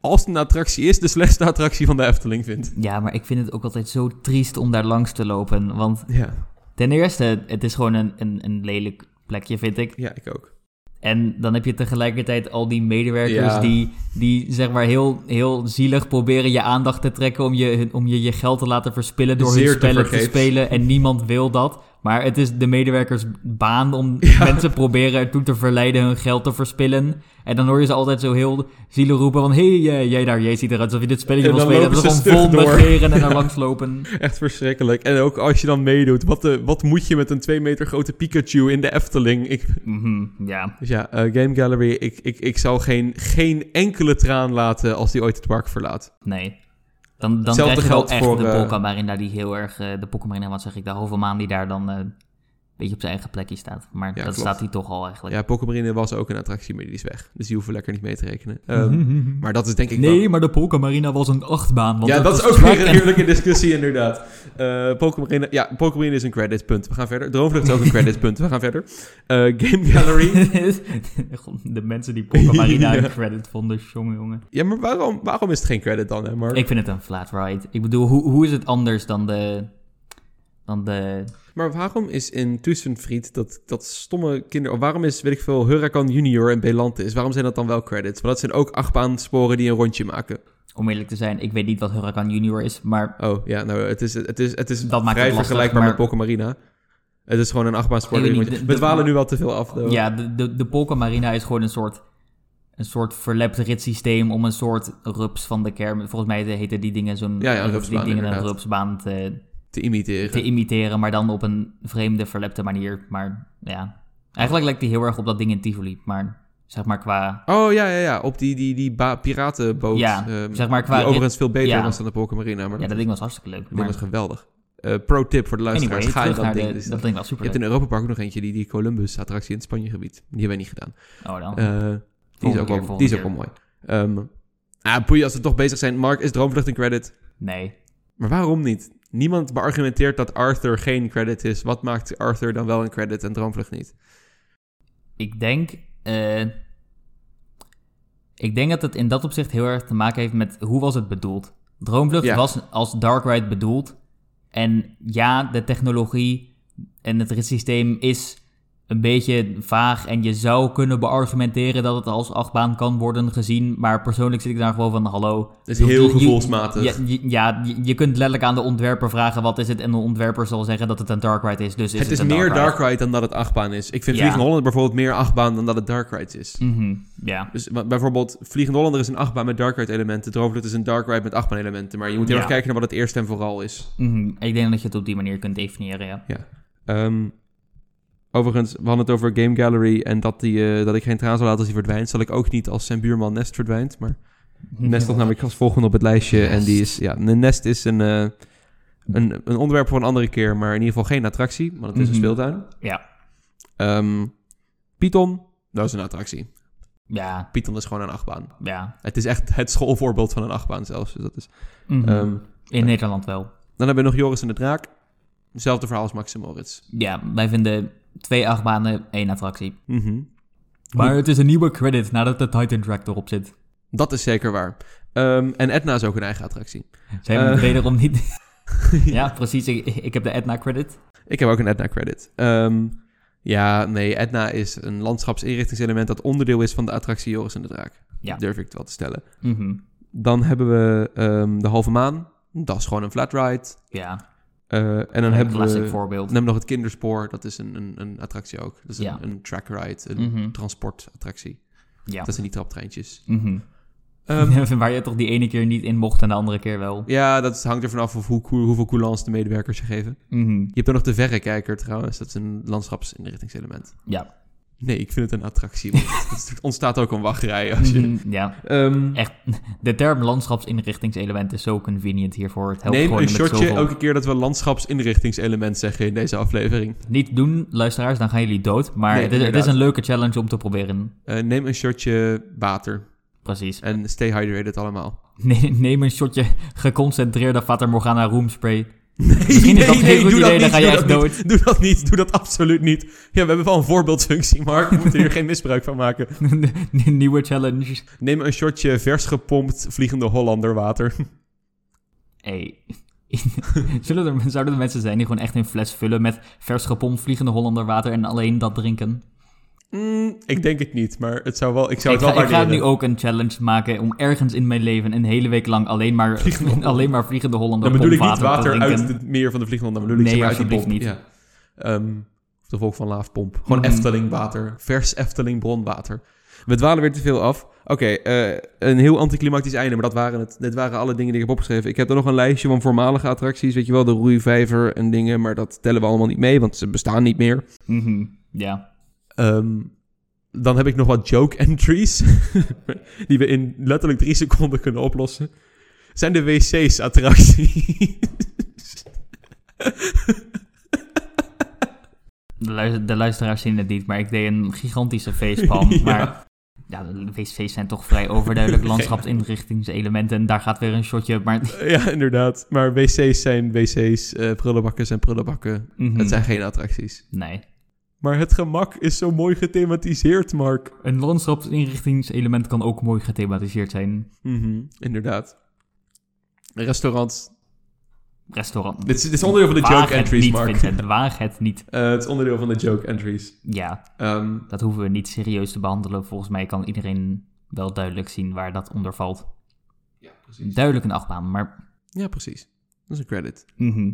Speaker 1: als het een attractie is, de slechtste attractie van de Efteling vind.
Speaker 2: Ja, maar ik vind het ook altijd zo triest om daar langs te lopen. Want
Speaker 1: Ja,
Speaker 2: ten eerste, het is gewoon een, een, een lelijk plekje, vind ik.
Speaker 1: ja ik ook.
Speaker 2: En dan heb je tegelijkertijd al die medewerkers
Speaker 1: Ja.
Speaker 2: die, die zeg maar heel, heel zielig proberen je aandacht te trekken om je, om je, je geld te laten verspillen door
Speaker 1: Zeer
Speaker 2: hun spellen te
Speaker 1: tevergeefs.
Speaker 2: spelen. En niemand wil dat. Maar het is de medewerkers baan om
Speaker 1: *laughs* Ja.
Speaker 2: mensen proberen ertoe te verleiden hun geld te verspillen. En dan hoor je ze altijd zo heel zielig roepen van... Hé, hey, jij- jij daar, jij ziet eruit alsof je dit spelletje
Speaker 1: En
Speaker 2: wil
Speaker 1: dan
Speaker 2: spelen. Dat
Speaker 1: lopen
Speaker 2: is
Speaker 1: ze
Speaker 2: gewoon vol
Speaker 1: stug door.
Speaker 2: negeren en
Speaker 1: *laughs* Ja.
Speaker 2: er langs lopen.
Speaker 1: Echt verschrikkelijk. En ook als je dan meedoet, wat, de, wat moet je met een 2 meter grote Pikachu in de Efteling? Ik,
Speaker 2: Mhm, ja.
Speaker 1: dus ja, eh, Game Gallery, ik, ik, ik zou geen, geen enkele traan laten als die ooit het park verlaat.
Speaker 2: Nee. Dan, dan
Speaker 1: Hetzelfde
Speaker 2: krijg je wel
Speaker 1: geldt
Speaker 2: echt
Speaker 1: voor,
Speaker 2: de
Speaker 1: eh,
Speaker 2: Polka Marina die heel erg... eh, de Polka Marina, wat zeg ik, de halve maan die daar dan eh, een beetje op zijn eigen plekje staat. Maar dat
Speaker 1: klopt.
Speaker 2: staat hij toch al eigenlijk.
Speaker 1: Ja, Pokémarine was ook een attractie, maar die is weg. Dus die hoeven we lekker niet mee te rekenen. Ehm,
Speaker 2: *laughs*
Speaker 1: Maar dat is denk ik wel-
Speaker 2: nee, maar de Polka Marina was een achtbaan. Want
Speaker 1: ja, dat is
Speaker 2: was
Speaker 1: ook weer
Speaker 2: zwak
Speaker 1: een
Speaker 2: en-
Speaker 1: heerlijke discussie, inderdaad. Eh Pokémon Arena- ja, Pokémon Arena is een creditpunt. We gaan verder. Droomvlucht is ook een creditpunt. We gaan verder. Eh, Game *laughs*
Speaker 2: *laughs*
Speaker 1: Gallery.
Speaker 2: God, de mensen die Polka
Speaker 1: *laughs*
Speaker 2: Marina
Speaker 1: Ja.
Speaker 2: een credit vonden, jongen, jongen.
Speaker 1: Ja, maar waarom, waarom is het geen credit dan, hè, Mark?
Speaker 2: Ik vind het een flat ride. Ik bedoel, hoe, hoe is het anders dan de... Dan de...
Speaker 1: Maar waarom is in Tussenfried dat, dat stomme kinderen... Waarom is, weet ik veel, Huracan Junior en Belantis? Waarom zijn dat dan wel credits? Want dat zijn ook achtbaansporen die een rondje maken.
Speaker 2: Om eerlijk te zijn, ik weet niet wat Huracan Junior is, maar...
Speaker 1: Oh, ja, nou, het is, het is, het is
Speaker 2: Dat maakt
Speaker 1: vrij
Speaker 2: het lastig,
Speaker 1: vergelijkbaar met
Speaker 2: maar-
Speaker 1: Pokémon Arena. Het is gewoon een achtbaanspoor.
Speaker 2: Ik
Speaker 1: die
Speaker 2: weet
Speaker 1: een
Speaker 2: niet,
Speaker 1: rondje-
Speaker 2: de-
Speaker 1: We dwalen
Speaker 2: de-
Speaker 1: nu wel te veel af. though.
Speaker 2: Ja, de, de, de Polka Marina is gewoon een soort, een soort verlept ritssysteem om een soort rups van de kern. Volgens mij heten die dingen zo'n
Speaker 1: Ja, ja, een
Speaker 2: die
Speaker 1: rupsbaan,
Speaker 2: dingen een
Speaker 1: inderdaad.
Speaker 2: rupsbaan te,
Speaker 1: Te imiteren.
Speaker 2: te imiteren, maar dan op een vreemde, verlepte manier. Maar ja, eigenlijk lijkt die heel erg op dat ding in Tivoli, maar zeg maar qua...
Speaker 1: Oh ja, ja, ja. Op die, die, die ba- piratenboot.
Speaker 2: Ja,
Speaker 1: ehm,
Speaker 2: zeg maar qua
Speaker 1: die overigens veel beter
Speaker 2: ja.
Speaker 1: was dan de Polka Marina. Maar
Speaker 2: Ja, dat
Speaker 1: dat
Speaker 2: ding was hartstikke leuk.
Speaker 1: ding
Speaker 2: Maar
Speaker 1: was geweldig. Eh, pro tip voor de
Speaker 2: anyway,
Speaker 1: luisteraars. Ga in
Speaker 2: terug
Speaker 1: dat
Speaker 2: naar
Speaker 1: ding.
Speaker 2: de,
Speaker 1: Dus
Speaker 2: dat
Speaker 1: je
Speaker 2: ding was super
Speaker 1: hebt in Europa Park ook nog eentje, die, die Columbus-attractie in het Spanjegebied. Die hebben wij niet gedaan.
Speaker 2: Oh dan.
Speaker 1: Eh, die is
Speaker 2: Volgende
Speaker 1: ook wel,
Speaker 2: keer,
Speaker 1: die
Speaker 2: volgende
Speaker 1: is ook wel
Speaker 2: keer.
Speaker 1: mooi. Ehm ah, poei, als we toch bezig zijn. Mark is Droomvlucht een credit.
Speaker 2: nee,
Speaker 1: Maar waarom niet? Niemand beargumenteert dat Arthur geen credit is. Wat maakt Arthur dan wel een credit en Droomvlucht niet?
Speaker 2: ik denk... eh, ik denk dat het in dat opzicht heel erg te maken heeft met hoe was het bedoeld. Droomvlucht
Speaker 1: Ja.
Speaker 2: was als Dark Ride bedoeld. En ja, de technologie en het ritssysteem is een beetje vaag. En je zou kunnen beargumenteren dat het als achtbaan kan worden gezien. Maar persoonlijk zit ik daar gewoon van, hallo...
Speaker 1: Dat is
Speaker 2: je-
Speaker 1: heel
Speaker 2: je-
Speaker 1: gevoelsmatig.
Speaker 2: Ja, je- ja, je- je kunt letterlijk aan de ontwerper vragen wat is het. En de ontwerper zal zeggen dat het een Dark Ride is. Dus is
Speaker 1: het is
Speaker 2: een
Speaker 1: meer
Speaker 2: Dark Ride.
Speaker 1: Dark Ride dan dat het achtbaan is. Ik vind
Speaker 2: Ja.
Speaker 1: Vliegende Hollander bijvoorbeeld meer achtbaan dan dat het Dark Ride is.
Speaker 2: Mhm, ja.
Speaker 1: Dus wa- bijvoorbeeld Vliegende Hollander is een achtbaan met Dark Ride elementen. Droomvlucht is een Dark Ride met achtbaan elementen. Maar je moet heel
Speaker 2: Ja.
Speaker 1: erg kijken naar wat het eerst en vooral is.
Speaker 2: Mhm, Ik denk dat je het op die manier kunt definiëren, ja.
Speaker 1: Ehm, overigens, we hadden het over Game Gallery en dat, die, eh, dat ik geen traan zou laten als hij verdwijnt. Zal ik ook niet als zijn buurman Nest verdwijnt.
Speaker 2: *laughs*
Speaker 1: Maar Nest was namelijk als volgende op het lijstje. En die is, ja, een Nest is een, eh, een, een onderwerp voor een andere keer. Maar in ieder geval geen attractie, want het is een
Speaker 2: Mhm.
Speaker 1: speeltuin.
Speaker 2: Ja.
Speaker 1: Ehm, Python, dat is een attractie.
Speaker 2: Ja,
Speaker 1: Python is gewoon een achtbaan.
Speaker 2: ja.
Speaker 1: Het is echt het schoolvoorbeeld van een achtbaan zelfs. Dus dat is,
Speaker 2: Mhm.
Speaker 1: ehm,
Speaker 2: In Nederland wel.
Speaker 1: dan hebben we nog Joris en de Draak. Hetzelfde verhaal als Max en Moritz.
Speaker 2: Ja, wij vinden twee achtbanen één attractie.
Speaker 1: Mhm.
Speaker 2: Maar het is een nieuwe credit nadat de Titan Track erop zit.
Speaker 1: Dat is zeker waar. Ehm, en Etna is ook een eigen attractie.
Speaker 2: Zijn we
Speaker 1: Eh.
Speaker 2: het wederom
Speaker 1: *laughs*
Speaker 2: niet... ja, precies. Ik, ik heb de Etna credit.
Speaker 1: Ik heb ook een Etna credit. Ehm, ja, nee, Etna is een landschapsinrichtingselement dat onderdeel is van de attractie Joris en de Draak.
Speaker 2: Ja.
Speaker 1: Durf ik het wel te stellen.
Speaker 2: Mhm.
Speaker 1: Dan hebben we ehm, de Halve Maan. Dat is gewoon een flat ride.
Speaker 2: Ja,
Speaker 1: Eh, en dan
Speaker 2: een
Speaker 1: hebben
Speaker 2: classic
Speaker 1: we...
Speaker 2: voorbeeld.
Speaker 1: Dan hebben we nog het kinderspoor, dat is een, een, een attractie ook. Dat is een,
Speaker 2: Ja.
Speaker 1: een track ride, een
Speaker 2: Mhm.
Speaker 1: transportattractie.
Speaker 2: Ja.
Speaker 1: Dat zijn die traptreintjes.
Speaker 2: Mhm.
Speaker 1: Dus- Ehm,
Speaker 2: *laughs* Waar je toch die ene keer niet in mocht en de andere keer wel.
Speaker 1: ja, dat hangt ervan af of hoe, cool- hoeveel coulance de medewerkers je geven.
Speaker 2: Mhm.
Speaker 1: Je hebt ook nog de verrekijker trouwens. Dat is een landschapsinrichtingselement.
Speaker 2: Ja.
Speaker 1: Nee, ik vind het een attractie. want het *laughs* ontstaat ook een wachtrij als je...
Speaker 2: Mhm, ja.
Speaker 1: Ehm,
Speaker 2: Echt, de term landschapsinrichtingselement is zo convenient hiervoor. Het helpt
Speaker 1: neem
Speaker 2: gewoon
Speaker 1: een
Speaker 2: met
Speaker 1: shotje
Speaker 2: zoveel.
Speaker 1: elke keer dat we landschapsinrichtingselement zeggen in deze aflevering.
Speaker 2: Niet doen, luisteraars, dan gaan jullie dood. Maar
Speaker 1: Nee,
Speaker 2: het, is, het is
Speaker 1: inderdaad.
Speaker 2: een leuke challenge om te proberen.
Speaker 1: Eh, neem een shotje water
Speaker 2: Precies. *laughs*
Speaker 1: en stay hydrated allemaal. *laughs*
Speaker 2: Ne- Neem een shotje geconcentreerde Fata Morgana *laughs* roomspray.
Speaker 1: Misschien
Speaker 2: is dat geen goed idee, dan ga je echt
Speaker 1: Niet, doe dat niet, doe dat absoluut niet. Ja, we hebben wel een voorbeeldfunctie, maar we moeten hier *laughs* geen misbruik van maken.
Speaker 2: Nieuwe challenge.
Speaker 1: Neem een shotje vers gepompt vliegende Hollander water. *laughs*
Speaker 2: Hey. *laughs* Zullen er, zouden er mensen zijn die gewoon echt een fles vullen met vers gepompt vliegende Hollander water en alleen dat drinken?
Speaker 1: Mm, ik denk het niet, maar het zou wel, ik zou
Speaker 2: Ik
Speaker 1: het
Speaker 2: ga,
Speaker 1: wel
Speaker 2: ik ga
Speaker 1: waarderen.
Speaker 2: nu ook een challenge maken om ergens in mijn leven een hele week lang alleen maar
Speaker 1: Vliegende
Speaker 2: vliegende,
Speaker 1: Hollander.
Speaker 2: *laughs* alleen maar vliegende Hollander
Speaker 1: Dan bedoel ik niet
Speaker 2: pompwater te
Speaker 1: water uit
Speaker 2: drinken.
Speaker 1: het meer van de vliegende Hollander, dan bedoel
Speaker 2: Nee,
Speaker 1: ik zeg maar uit die pomp.
Speaker 2: alsjeblieft
Speaker 1: Ja. Ehm, of de volk van Laafpomp. Gewoon
Speaker 2: Mhm.
Speaker 1: Efteling water. Vers Efteling bronwater. We dwalen weer te veel af. Oké, eh, een heel anticlimactisch einde, maar dat waren het. Dit waren alle dingen die ik heb opgeschreven. Ik heb er nog een lijstje van voormalige attracties, weet je wel, de roeivijver en dingen, maar dat tellen we allemaal niet mee, want ze bestaan niet meer.
Speaker 2: Mhm, Ja.
Speaker 1: Ehm, dan heb ik nog wat joke entries, *laughs* die we in letterlijk drie seconden kunnen oplossen. Zijn de wc's *laughs* attractie?
Speaker 2: De, luister- de luisteraars zien het niet, maar ik deed een
Speaker 1: *laughs*
Speaker 2: gigantische facepalm.
Speaker 1: Ja.
Speaker 2: Maar ja, de wc's zijn toch vrij
Speaker 1: *laughs*
Speaker 2: overduidelijk
Speaker 1: Geen-
Speaker 2: landschapsinrichtingselementen. En daar gaat weer een shotje. Maar *laughs*
Speaker 1: *laughs* ja, inderdaad. Maar wc's zijn wc's, eh, prullenbakken zijn prullenbakken.
Speaker 2: Mhm.
Speaker 1: Het zijn geen attracties.
Speaker 2: Nee.
Speaker 1: Maar het gemak is zo mooi gethematiseerd, Mark.
Speaker 2: Een landschapsinrichtingselement kan ook mooi gethematiseerd zijn.
Speaker 1: Mhm, inderdaad. Restaurants.
Speaker 2: Restaurant.
Speaker 1: Dit is, dit is onderdeel van de
Speaker 2: Waag
Speaker 1: joke
Speaker 2: Hmm. het
Speaker 1: entries,
Speaker 2: niet,
Speaker 1: Mark.
Speaker 2: Vincent, waag het niet.
Speaker 1: Eh, het is onderdeel van de joke entries.
Speaker 2: Ja,
Speaker 1: Ehm,
Speaker 2: dat hoeven we niet serieus te behandelen. Volgens mij kan iedereen wel duidelijk zien waar dat onder valt.
Speaker 1: ja, precies.
Speaker 2: Duidelijk een achtbaan, maar...
Speaker 1: Ja, precies. Dat is een credit.
Speaker 2: mhm.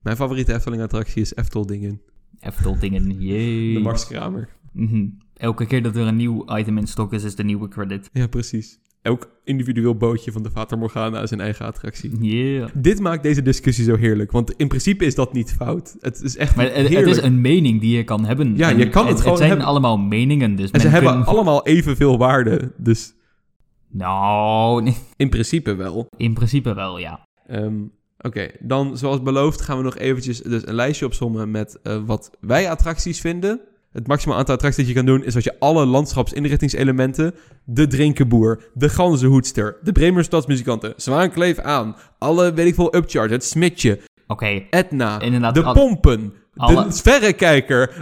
Speaker 1: Mijn favoriete Efteling-attractie is Eftel Dingen.
Speaker 2: Eftel dingen, jee.
Speaker 1: De Marskramer.
Speaker 2: Mhm. Elke keer dat er een nieuw item in stok is, is de nieuwe credit.
Speaker 1: Ja, precies. Elk individueel bootje van de Vater Morgana is een eigen
Speaker 2: Hmm.
Speaker 1: attractie.
Speaker 2: Yeah.
Speaker 1: Dit maakt deze discussie zo heerlijk, want in principe is dat niet fout. Het is echt
Speaker 2: Maar het, het
Speaker 1: heerlijk.
Speaker 2: is een mening die je kan hebben.
Speaker 1: Ja, je kan het gewoon
Speaker 2: Het zijn
Speaker 1: hebben.
Speaker 2: allemaal meningen, dus
Speaker 1: En ze
Speaker 2: men
Speaker 1: hebben
Speaker 2: kun-
Speaker 1: allemaal evenveel waarde, dus
Speaker 2: Nou, nee,
Speaker 1: in principe wel.
Speaker 2: in principe wel, ja.
Speaker 1: Ehm, Oké, dan zoals beloofd gaan we nog eventjes dus een lijstje opzommen met eh, wat wij attracties vinden. Het maximaal aantal attracties dat je kan doen is dat je alle landschapsinrichtingselementen, de drinkenboer, de ganzenhoedster, de Bremer stadsmuzikanten, Zwaankleef aan, alle, weet ik veel, upcharge, het smitje,
Speaker 2: Oké,
Speaker 1: Etna,
Speaker 2: inderdaad.
Speaker 1: de
Speaker 2: al-
Speaker 1: pompen,
Speaker 2: alle-
Speaker 1: de verrekijker.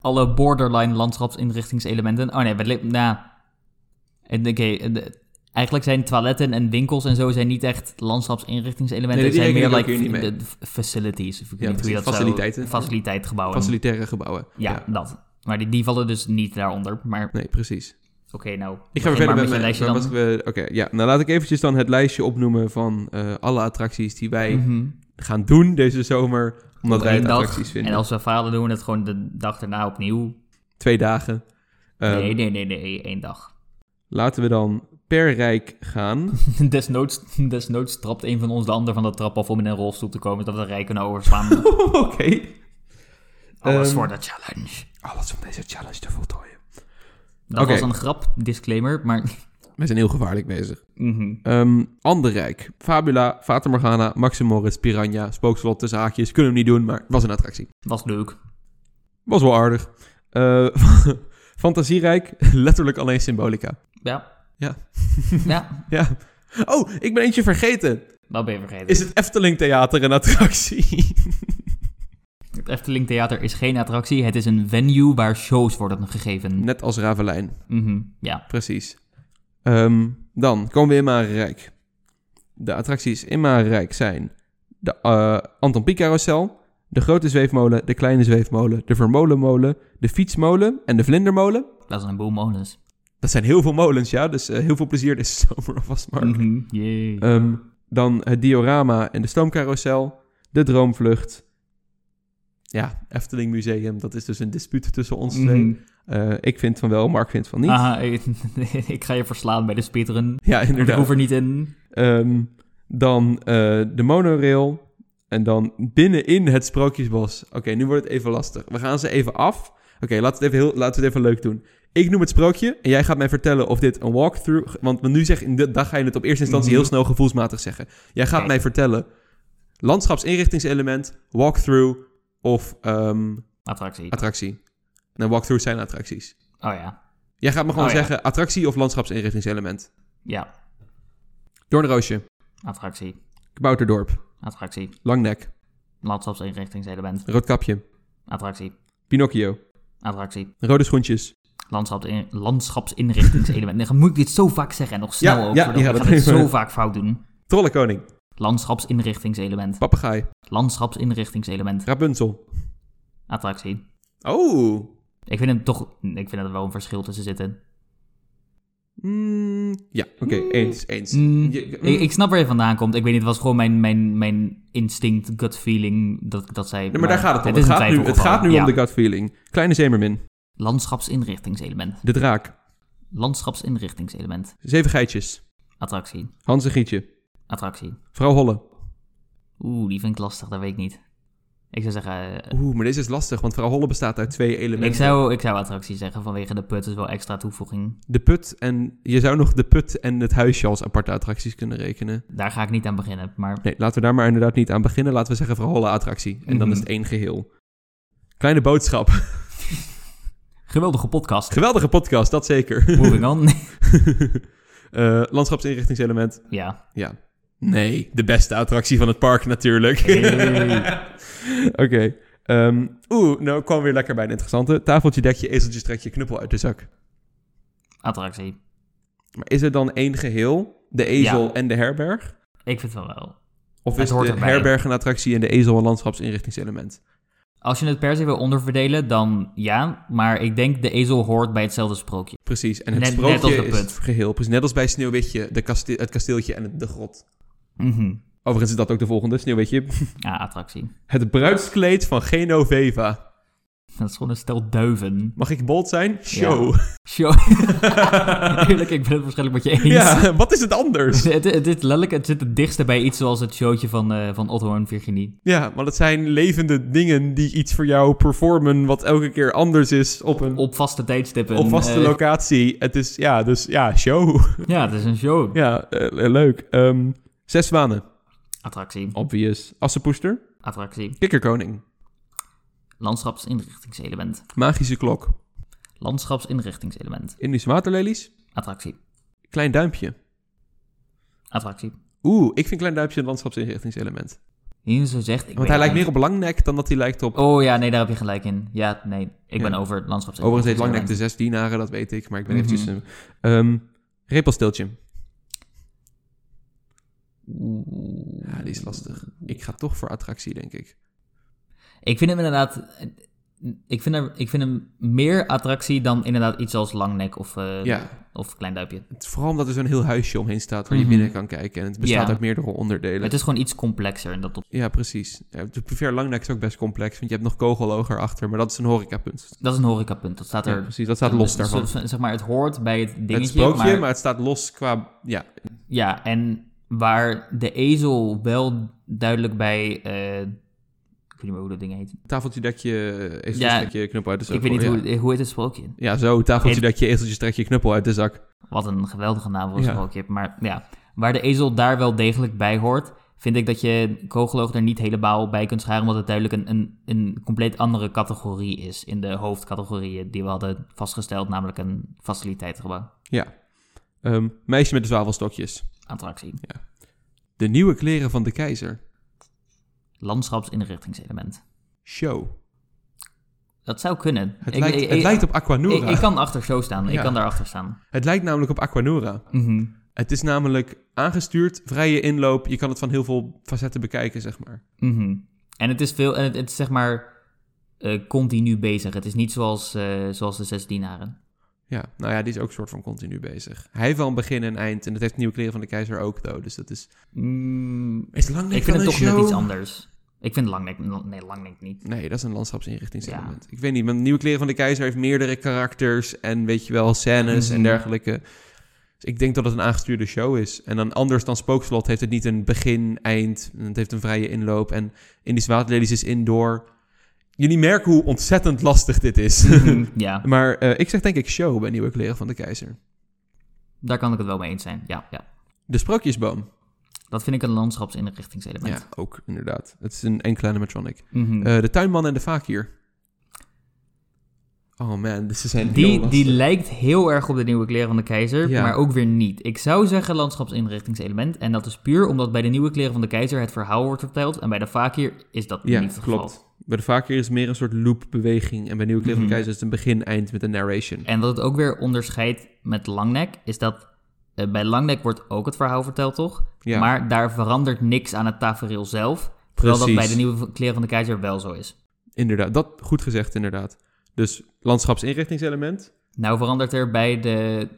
Speaker 2: alle borderline landschapsinrichtingselementen. Oh nee, we li- nou. En Oké, en de- eigenlijk zijn toiletten en winkels en zo zijn niet echt landschapsinrichtingselementen.
Speaker 1: Nee,
Speaker 2: Het
Speaker 1: die
Speaker 2: zijn meer
Speaker 1: rekenen
Speaker 2: like
Speaker 1: we ook hier niet
Speaker 2: de- de f- facilities. Of ik weet niet hoe
Speaker 1: precies,
Speaker 2: je dat
Speaker 1: faciliteiten.
Speaker 2: Zo, faciliteitgebouwen.
Speaker 1: Facilitaire gebouwen.
Speaker 2: ja, dat. Maar die, die vallen dus niet daaronder. Maar oké,
Speaker 1: Nee, precies.
Speaker 2: nou.
Speaker 1: Ik ga weer
Speaker 2: begin
Speaker 1: verder
Speaker 2: maar
Speaker 1: met
Speaker 2: je
Speaker 1: mijn
Speaker 2: lijstje
Speaker 1: maar
Speaker 2: dan.
Speaker 1: wat we- Oké, ja. Nou, laat ik eventjes dan het lijstje opnoemen van eh, alle attracties die wij
Speaker 2: Mhm.
Speaker 1: gaan doen deze zomer. Omdat
Speaker 2: Op
Speaker 1: wij
Speaker 2: één
Speaker 1: het
Speaker 2: dag.
Speaker 1: attracties vinden.
Speaker 2: En als we falen, doen we het gewoon de dag daarna opnieuw.
Speaker 1: Twee dagen. Ehm,
Speaker 2: nee, nee, nee, nee, één dag.
Speaker 1: Laten we dan per rijk gaan.
Speaker 2: *laughs* Desnoods, desnoods trapt een van ons de ander van de trap af om in een rolstoel te komen, zodat we rij kunnen
Speaker 1: *laughs*
Speaker 2: overslaan.
Speaker 1: Oké.
Speaker 2: Alles
Speaker 1: Ehm,
Speaker 2: voor de challenge.
Speaker 1: Alles om Oh, deze challenge te voltooien.
Speaker 2: Dat
Speaker 1: oké.
Speaker 2: was een grap, disclaimer, maar... *laughs*
Speaker 1: We zijn heel gevaarlijk bezig.
Speaker 2: Mhm.
Speaker 1: Ehm ander rijk. Fabula, Fata Morgana, Maximoris, Piranha, Spookslot, tussen haakjes. Kunnen we hem niet doen, maar het was een attractie.
Speaker 2: Was leuk.
Speaker 1: Was wel aardig. Eh, *laughs* fantasierijk. Letterlijk alleen symbolica.
Speaker 2: Ja.
Speaker 1: Ja.
Speaker 2: *laughs* ja,
Speaker 1: Ja. Oh, ik ben eentje vergeten.
Speaker 2: dat ben je vergeten.
Speaker 1: Is het Efteling Theater een attractie?
Speaker 2: Het Efteling Theater is geen attractie, het is een venue waar shows worden gegeven.
Speaker 1: Net als Ravelijn,
Speaker 2: Mhm, Ja.
Speaker 1: precies. Ehm, dan komen we in Marenrijk. De attracties in Marenrijk zijn de eh, Anton Pieck Carousel, de Grote Zweefmolen, de Kleine Zweefmolen, de Vermolenmolen, de Fietsmolen en de Vlindermolen.
Speaker 2: Dat is een boel molens.
Speaker 1: Dat zijn heel veel molens, ja, dus eh, heel veel plezier deze zomer alvast, Mark.
Speaker 2: Mhm, Jee.
Speaker 1: Ehm, dan het diorama en de stoomcarousel. De droomvlucht. Ja, Efteling Museum. Dat is dus een dispuut tussen ons twee.
Speaker 2: Mhm.
Speaker 1: Eh, ik vind van wel, Mark vindt van niet.
Speaker 2: Aha, *laughs* ik ga je verslaan bij de speedrun.
Speaker 1: Ja,
Speaker 2: Ik
Speaker 1: inderdaad.
Speaker 2: hoef er niet in.
Speaker 1: Ehm, dan eh, de monorail. En dan binnenin het sprookjesbos. Oké, nu wordt het even lastig. We gaan ze even af. Oké, laten, we het even heel- laten we het even leuk doen. Ik noem het sprookje en jij gaat mij vertellen of dit een walkthrough... Want want nu zeg ik, dan ga je het op eerste instantie
Speaker 2: Mhm.
Speaker 1: heel snel gevoelsmatig zeggen. Jij gaat
Speaker 2: Oké.
Speaker 1: mij vertellen landschapsinrichtingselement, walkthrough of ehm,
Speaker 2: Attractie.
Speaker 1: attractie. Nou, walkthroughs zijn attracties.
Speaker 2: Oh ja.
Speaker 1: Jij gaat me gewoon
Speaker 2: Oh ja.
Speaker 1: zeggen attractie of landschapsinrichtingselement.
Speaker 2: Ja,
Speaker 1: Doornroosje,
Speaker 2: attractie.
Speaker 1: Kabouterdorp,
Speaker 2: Attractie.
Speaker 1: Langnek,
Speaker 2: Landschapsinrichtingselement.
Speaker 1: Roodkapje,
Speaker 2: Attractie.
Speaker 1: Pinocchio,
Speaker 2: Attractie.
Speaker 1: Rode Schoentjes.
Speaker 2: Landschapsin landschapsinrichtingselement. Nee, moet ik dit zo vaak zeggen en nog snel
Speaker 1: Ja,
Speaker 2: ook.
Speaker 1: ja,
Speaker 2: voordat
Speaker 1: ja,
Speaker 2: we
Speaker 1: dat
Speaker 2: gaan het
Speaker 1: is-
Speaker 2: zo vaak fout doen.
Speaker 1: Trollenkoning,
Speaker 2: Landschapsinrichtingselement.
Speaker 1: Papegaai,
Speaker 2: Landschapsinrichtingselement.
Speaker 1: Rapunzel.
Speaker 2: Attractie.
Speaker 1: Oh.
Speaker 2: Ik vind het toch... Ik vind er wel een verschil tussen zitten.
Speaker 1: Mm, ja, oké,
Speaker 2: Mm.
Speaker 1: eens, eens.
Speaker 2: Mm,
Speaker 1: Je- mm.
Speaker 2: ik, ik snap waar je vandaan komt. Ik weet niet, het was gewoon mijn, mijn, mijn instinct, gut feeling dat, dat zij...
Speaker 1: Nee, maar daar gaat het om.
Speaker 2: is
Speaker 1: Het,
Speaker 2: een
Speaker 1: gaat nu, het
Speaker 2: twijfelgeval.
Speaker 1: gaat nu
Speaker 2: Ja.
Speaker 1: om de gut feeling. Kleine Zemermin,
Speaker 2: Landschapsinrichtingselement.
Speaker 1: De Draak,
Speaker 2: Landschapsinrichtingselement.
Speaker 1: Zeven Geitjes,
Speaker 2: Attractie.
Speaker 1: Hans en Gietje,
Speaker 2: Attractie.
Speaker 1: Vrouw Holle.
Speaker 2: Oeh, die vind ik lastig, dat weet ik niet. Ik zou zeggen... eh,
Speaker 1: Oeh, maar deze is lastig, want Vrouw Holle bestaat uit twee elementen.
Speaker 2: ik, zou, ik zou attractie zeggen vanwege de put, is wel extra toevoeging.
Speaker 1: De put en... Je zou nog de put en het huisje als aparte attracties kunnen rekenen.
Speaker 2: Daar ga ik niet aan beginnen, maar...
Speaker 1: Nee, laten we daar maar inderdaad niet aan beginnen. Laten we zeggen Vrouw Holle attractie. En dan
Speaker 2: Mhm.
Speaker 1: is het één geheel. Kleine boodschap. *laughs*
Speaker 2: Geweldige podcast.
Speaker 1: Geweldige podcast, dat zeker.
Speaker 2: Moving on. *laughs*
Speaker 1: *laughs* Eh, landschapsinrichtingselement. *laughs*
Speaker 2: ja.
Speaker 1: Ja. Nee, de beste attractie van het park natuurlijk.
Speaker 2: Hey.
Speaker 1: *laughs* Oké. ehm, Oeh, nou ik kwam weer lekker bij een interessante. Tafeltje, dekje, ezeltje, strekje, knuppel uit de zak.
Speaker 2: Attractie.
Speaker 1: Maar is er dan één geheel? De ezel
Speaker 2: Ja.
Speaker 1: en de herberg?
Speaker 2: Ik vind van wel.
Speaker 1: Of
Speaker 2: Het
Speaker 1: is
Speaker 2: hoort
Speaker 1: de
Speaker 2: erbij.
Speaker 1: herberg een attractie en de ezel een landschapsinrichtingselement?
Speaker 2: Als je het per se wil onderverdelen, dan ja. Maar ik denk de ezel hoort bij hetzelfde sprookje.
Speaker 1: Precies. En het
Speaker 2: Net-
Speaker 1: sprookje
Speaker 2: net als de
Speaker 1: is
Speaker 2: put.
Speaker 1: het geheel. Precies. Net als bij Sneeuwwitje, de kaste- het kasteeltje en het- de grot.
Speaker 2: Mhm.
Speaker 1: Overigens is dat ook de volgende, Sneeuwwitje. *laughs*
Speaker 2: Ja, attractie.
Speaker 1: Het bruidskleed van Genoveva.
Speaker 2: Dat is gewoon een stel duiven.
Speaker 1: Mag ik bold zijn? Show.
Speaker 2: Show.
Speaker 1: *laughs*
Speaker 2: Eerlijk, ik ben het waarschijnlijk met je eens.
Speaker 1: ja *laughs* wat is het anders?
Speaker 2: Het, het, het, letterlijk, het zit het dichtste bij iets zoals het showtje van, eh, van Otto en Virginie.
Speaker 1: Ja, want het zijn levende dingen die iets voor jou performen, wat elke keer anders is op een op,
Speaker 2: Op vaste tijdstippen.
Speaker 1: vaste
Speaker 2: eh,
Speaker 1: locatie. Het is, ja, dus ja, show. *laughs*
Speaker 2: Ja, het is een show.
Speaker 1: ja, eh, leuk. Ehm, zes zwanen,
Speaker 2: Attractie.
Speaker 1: obvious. Assenpoester,
Speaker 2: Attractie.
Speaker 1: kikkerkoning,
Speaker 2: Landschapsinrichtingselement.
Speaker 1: magische klok,
Speaker 2: Landschapsinrichtingselement.
Speaker 1: Indische waterlelies,
Speaker 2: Attractie.
Speaker 1: klein duimpje.
Speaker 2: Attractie.
Speaker 1: Oeh, ik vind klein duimpje een landschapsinrichtingselement.
Speaker 2: Hier zo zegt... Ik
Speaker 1: Want hij
Speaker 2: weet
Speaker 1: lijkt
Speaker 2: het
Speaker 1: meer op Langnek dan dat hij lijkt op...
Speaker 2: niet. Oh ja, nee, daar heb je gelijk in. Ja, nee. Ik
Speaker 1: Ja.
Speaker 2: ben over het landschapsinrichtingselement.
Speaker 1: Overigens heeft Langnek de zes dienaren, dat weet ik, maar ik ben
Speaker 2: Mhm.
Speaker 1: eventjes... een- ehm, Repelsteeltje.
Speaker 2: Oeh.
Speaker 1: Ja, die is lastig. Ik ga toch voor attractie, denk ik.
Speaker 2: Ik vind hem inderdaad. Ik vind, er, ik vind hem meer attractie dan inderdaad iets als langnek of, eh,
Speaker 1: Ja,
Speaker 2: of klein duimpje.
Speaker 1: Het- vooral omdat er zo'n heel huisje omheen staat waar
Speaker 2: Mhm.
Speaker 1: je binnen kan kijken. En het bestaat
Speaker 2: Ja.
Speaker 1: uit meerdere onderdelen.
Speaker 2: Het is gewoon iets complexer en dat, op-
Speaker 1: Ja, precies. Ja, de Prefer Langnek is ook best complex, want je hebt nog kogeloog erachter. Maar dat is een horecapunt.
Speaker 2: dat is een horecapunt. Dat staat
Speaker 1: Ja,
Speaker 2: er.
Speaker 1: precies, dat staat los
Speaker 2: z-
Speaker 1: daarvan.
Speaker 2: z- Zeg maar, het hoort bij het dingetje.
Speaker 1: het sprookje, maar...
Speaker 2: maar,
Speaker 1: het staat los qua... Ja,
Speaker 2: Ja, en waar de ezel wel duidelijk bij. eh, ik weet niet meer hoe dat ding heet.
Speaker 1: tafeltje, dekje, ezeltje,
Speaker 2: Ja,
Speaker 1: trekje, knuppel uit de zak.
Speaker 2: ik weet niet
Speaker 1: ja.
Speaker 2: hoe, hoe heet het sprookje.
Speaker 1: Ja, zo, tafeltje,
Speaker 2: En-
Speaker 1: dekje, ezeltje, trekje, knuppel uit dus de zak.
Speaker 2: Wat een geweldige naam voor een
Speaker 1: Ja.
Speaker 2: sprookje. Maar ja, waar de ezel daar wel degelijk bij hoort, vind ik dat je kogeloog er niet helemaal bij kunt scharen, omdat het duidelijk een, een, een compleet andere categorie is in de hoofdcategorieën die we hadden vastgesteld, namelijk een faciliteitsgebouw.
Speaker 1: Ja. Ehm, meisje met de zwavelstokjes.
Speaker 2: Attractie.
Speaker 1: De nieuwe kleren van de keizer.
Speaker 2: Landschapsinrichtingselement.
Speaker 1: Show.
Speaker 2: Dat zou kunnen.
Speaker 1: Het,
Speaker 2: Ik-
Speaker 1: lijkt,
Speaker 2: ik-
Speaker 1: het
Speaker 2: ik-
Speaker 1: lijkt op Aquanura.
Speaker 2: ik, ik kan achter show staan. Ik
Speaker 1: Ja.
Speaker 2: kan daarachter staan.
Speaker 1: Het lijkt namelijk op Aquanura.
Speaker 2: Mhm.
Speaker 1: Het is namelijk aangestuurd, vrije inloop. Je kan het van heel veel facetten bekijken, zeg maar.
Speaker 2: Mhm. En het is veel, en het, het is zeg maar eh, continu bezig. Het is niet zoals, eh, zoals de zes dienaren.
Speaker 1: Ja, nou ja, die is ook soort van continu bezig. Hij heeft wel een begin en eind. En dat heeft Nieuwe Kleren van de Keizer ook, though. Dus dat is...
Speaker 2: Mm,
Speaker 1: Is lang
Speaker 2: Ik vind het toch net iets anders. Ik vind Langnek... Nee, Langnek niet.
Speaker 1: Nee, dat is een landschapsinrichtingselement.
Speaker 2: Ja.
Speaker 1: Ik weet niet, want Nieuwe Kleren van de Keizer heeft meerdere karakters en weet je wel, scènes en
Speaker 2: Mhm.
Speaker 1: dergelijke. Dus ik denk dat het een aangestuurde show is. En dan anders dan Spookslot heeft het niet een begin, eind, het heeft een vrije inloop. En Indisch Waterlelies is indoor. Jullie merken hoe ontzettend lastig dit
Speaker 2: *laughs*
Speaker 1: is. *laughs*
Speaker 2: ja,
Speaker 1: maar eh, ik zeg denk ik show bij Nieuwe Kleren van de Keizer.
Speaker 2: daar kan ik het wel mee eens zijn. Ja, ja.
Speaker 1: De Sprookjesboom.
Speaker 2: Dat vind ik een landschapsinrichtingselement.
Speaker 1: Ja, ook inderdaad. Het is een enkele animatronic.
Speaker 2: Mhm.
Speaker 1: Eh, de tuinman en de vakier. Oh man, dit zijn heel
Speaker 2: die,
Speaker 1: lastig.
Speaker 2: die lijkt heel erg op de nieuwe kleren van de keizer,
Speaker 1: Ja.
Speaker 2: maar ook weer niet. Ik zou zeggen landschapsinrichtingselement. En dat is puur omdat bij de nieuwe kleren van de keizer het verhaal wordt verteld. En bij de fakir is dat
Speaker 1: Ja,
Speaker 2: niet het geval.
Speaker 1: klopt. Bij de vaker is het meer een soort loop-beweging. En bij Nieuwe Kleren van de
Speaker 2: Mhm.
Speaker 1: Keizer is het een begin-eind met een narration.
Speaker 2: En wat het ook weer onderscheidt met Langnek, is dat eh, bij Langnek wordt ook het verhaal verteld, toch?
Speaker 1: Ja.
Speaker 2: Maar daar verandert niks aan het tafereel zelf. Terwijl dat
Speaker 1: Precies.
Speaker 2: bij de nieuwe kleren van de keizer wel zo is.
Speaker 1: Inderdaad, dat goed gezegd, inderdaad. Dus landschapsinrichtingselement.
Speaker 2: Nou verandert er bij de,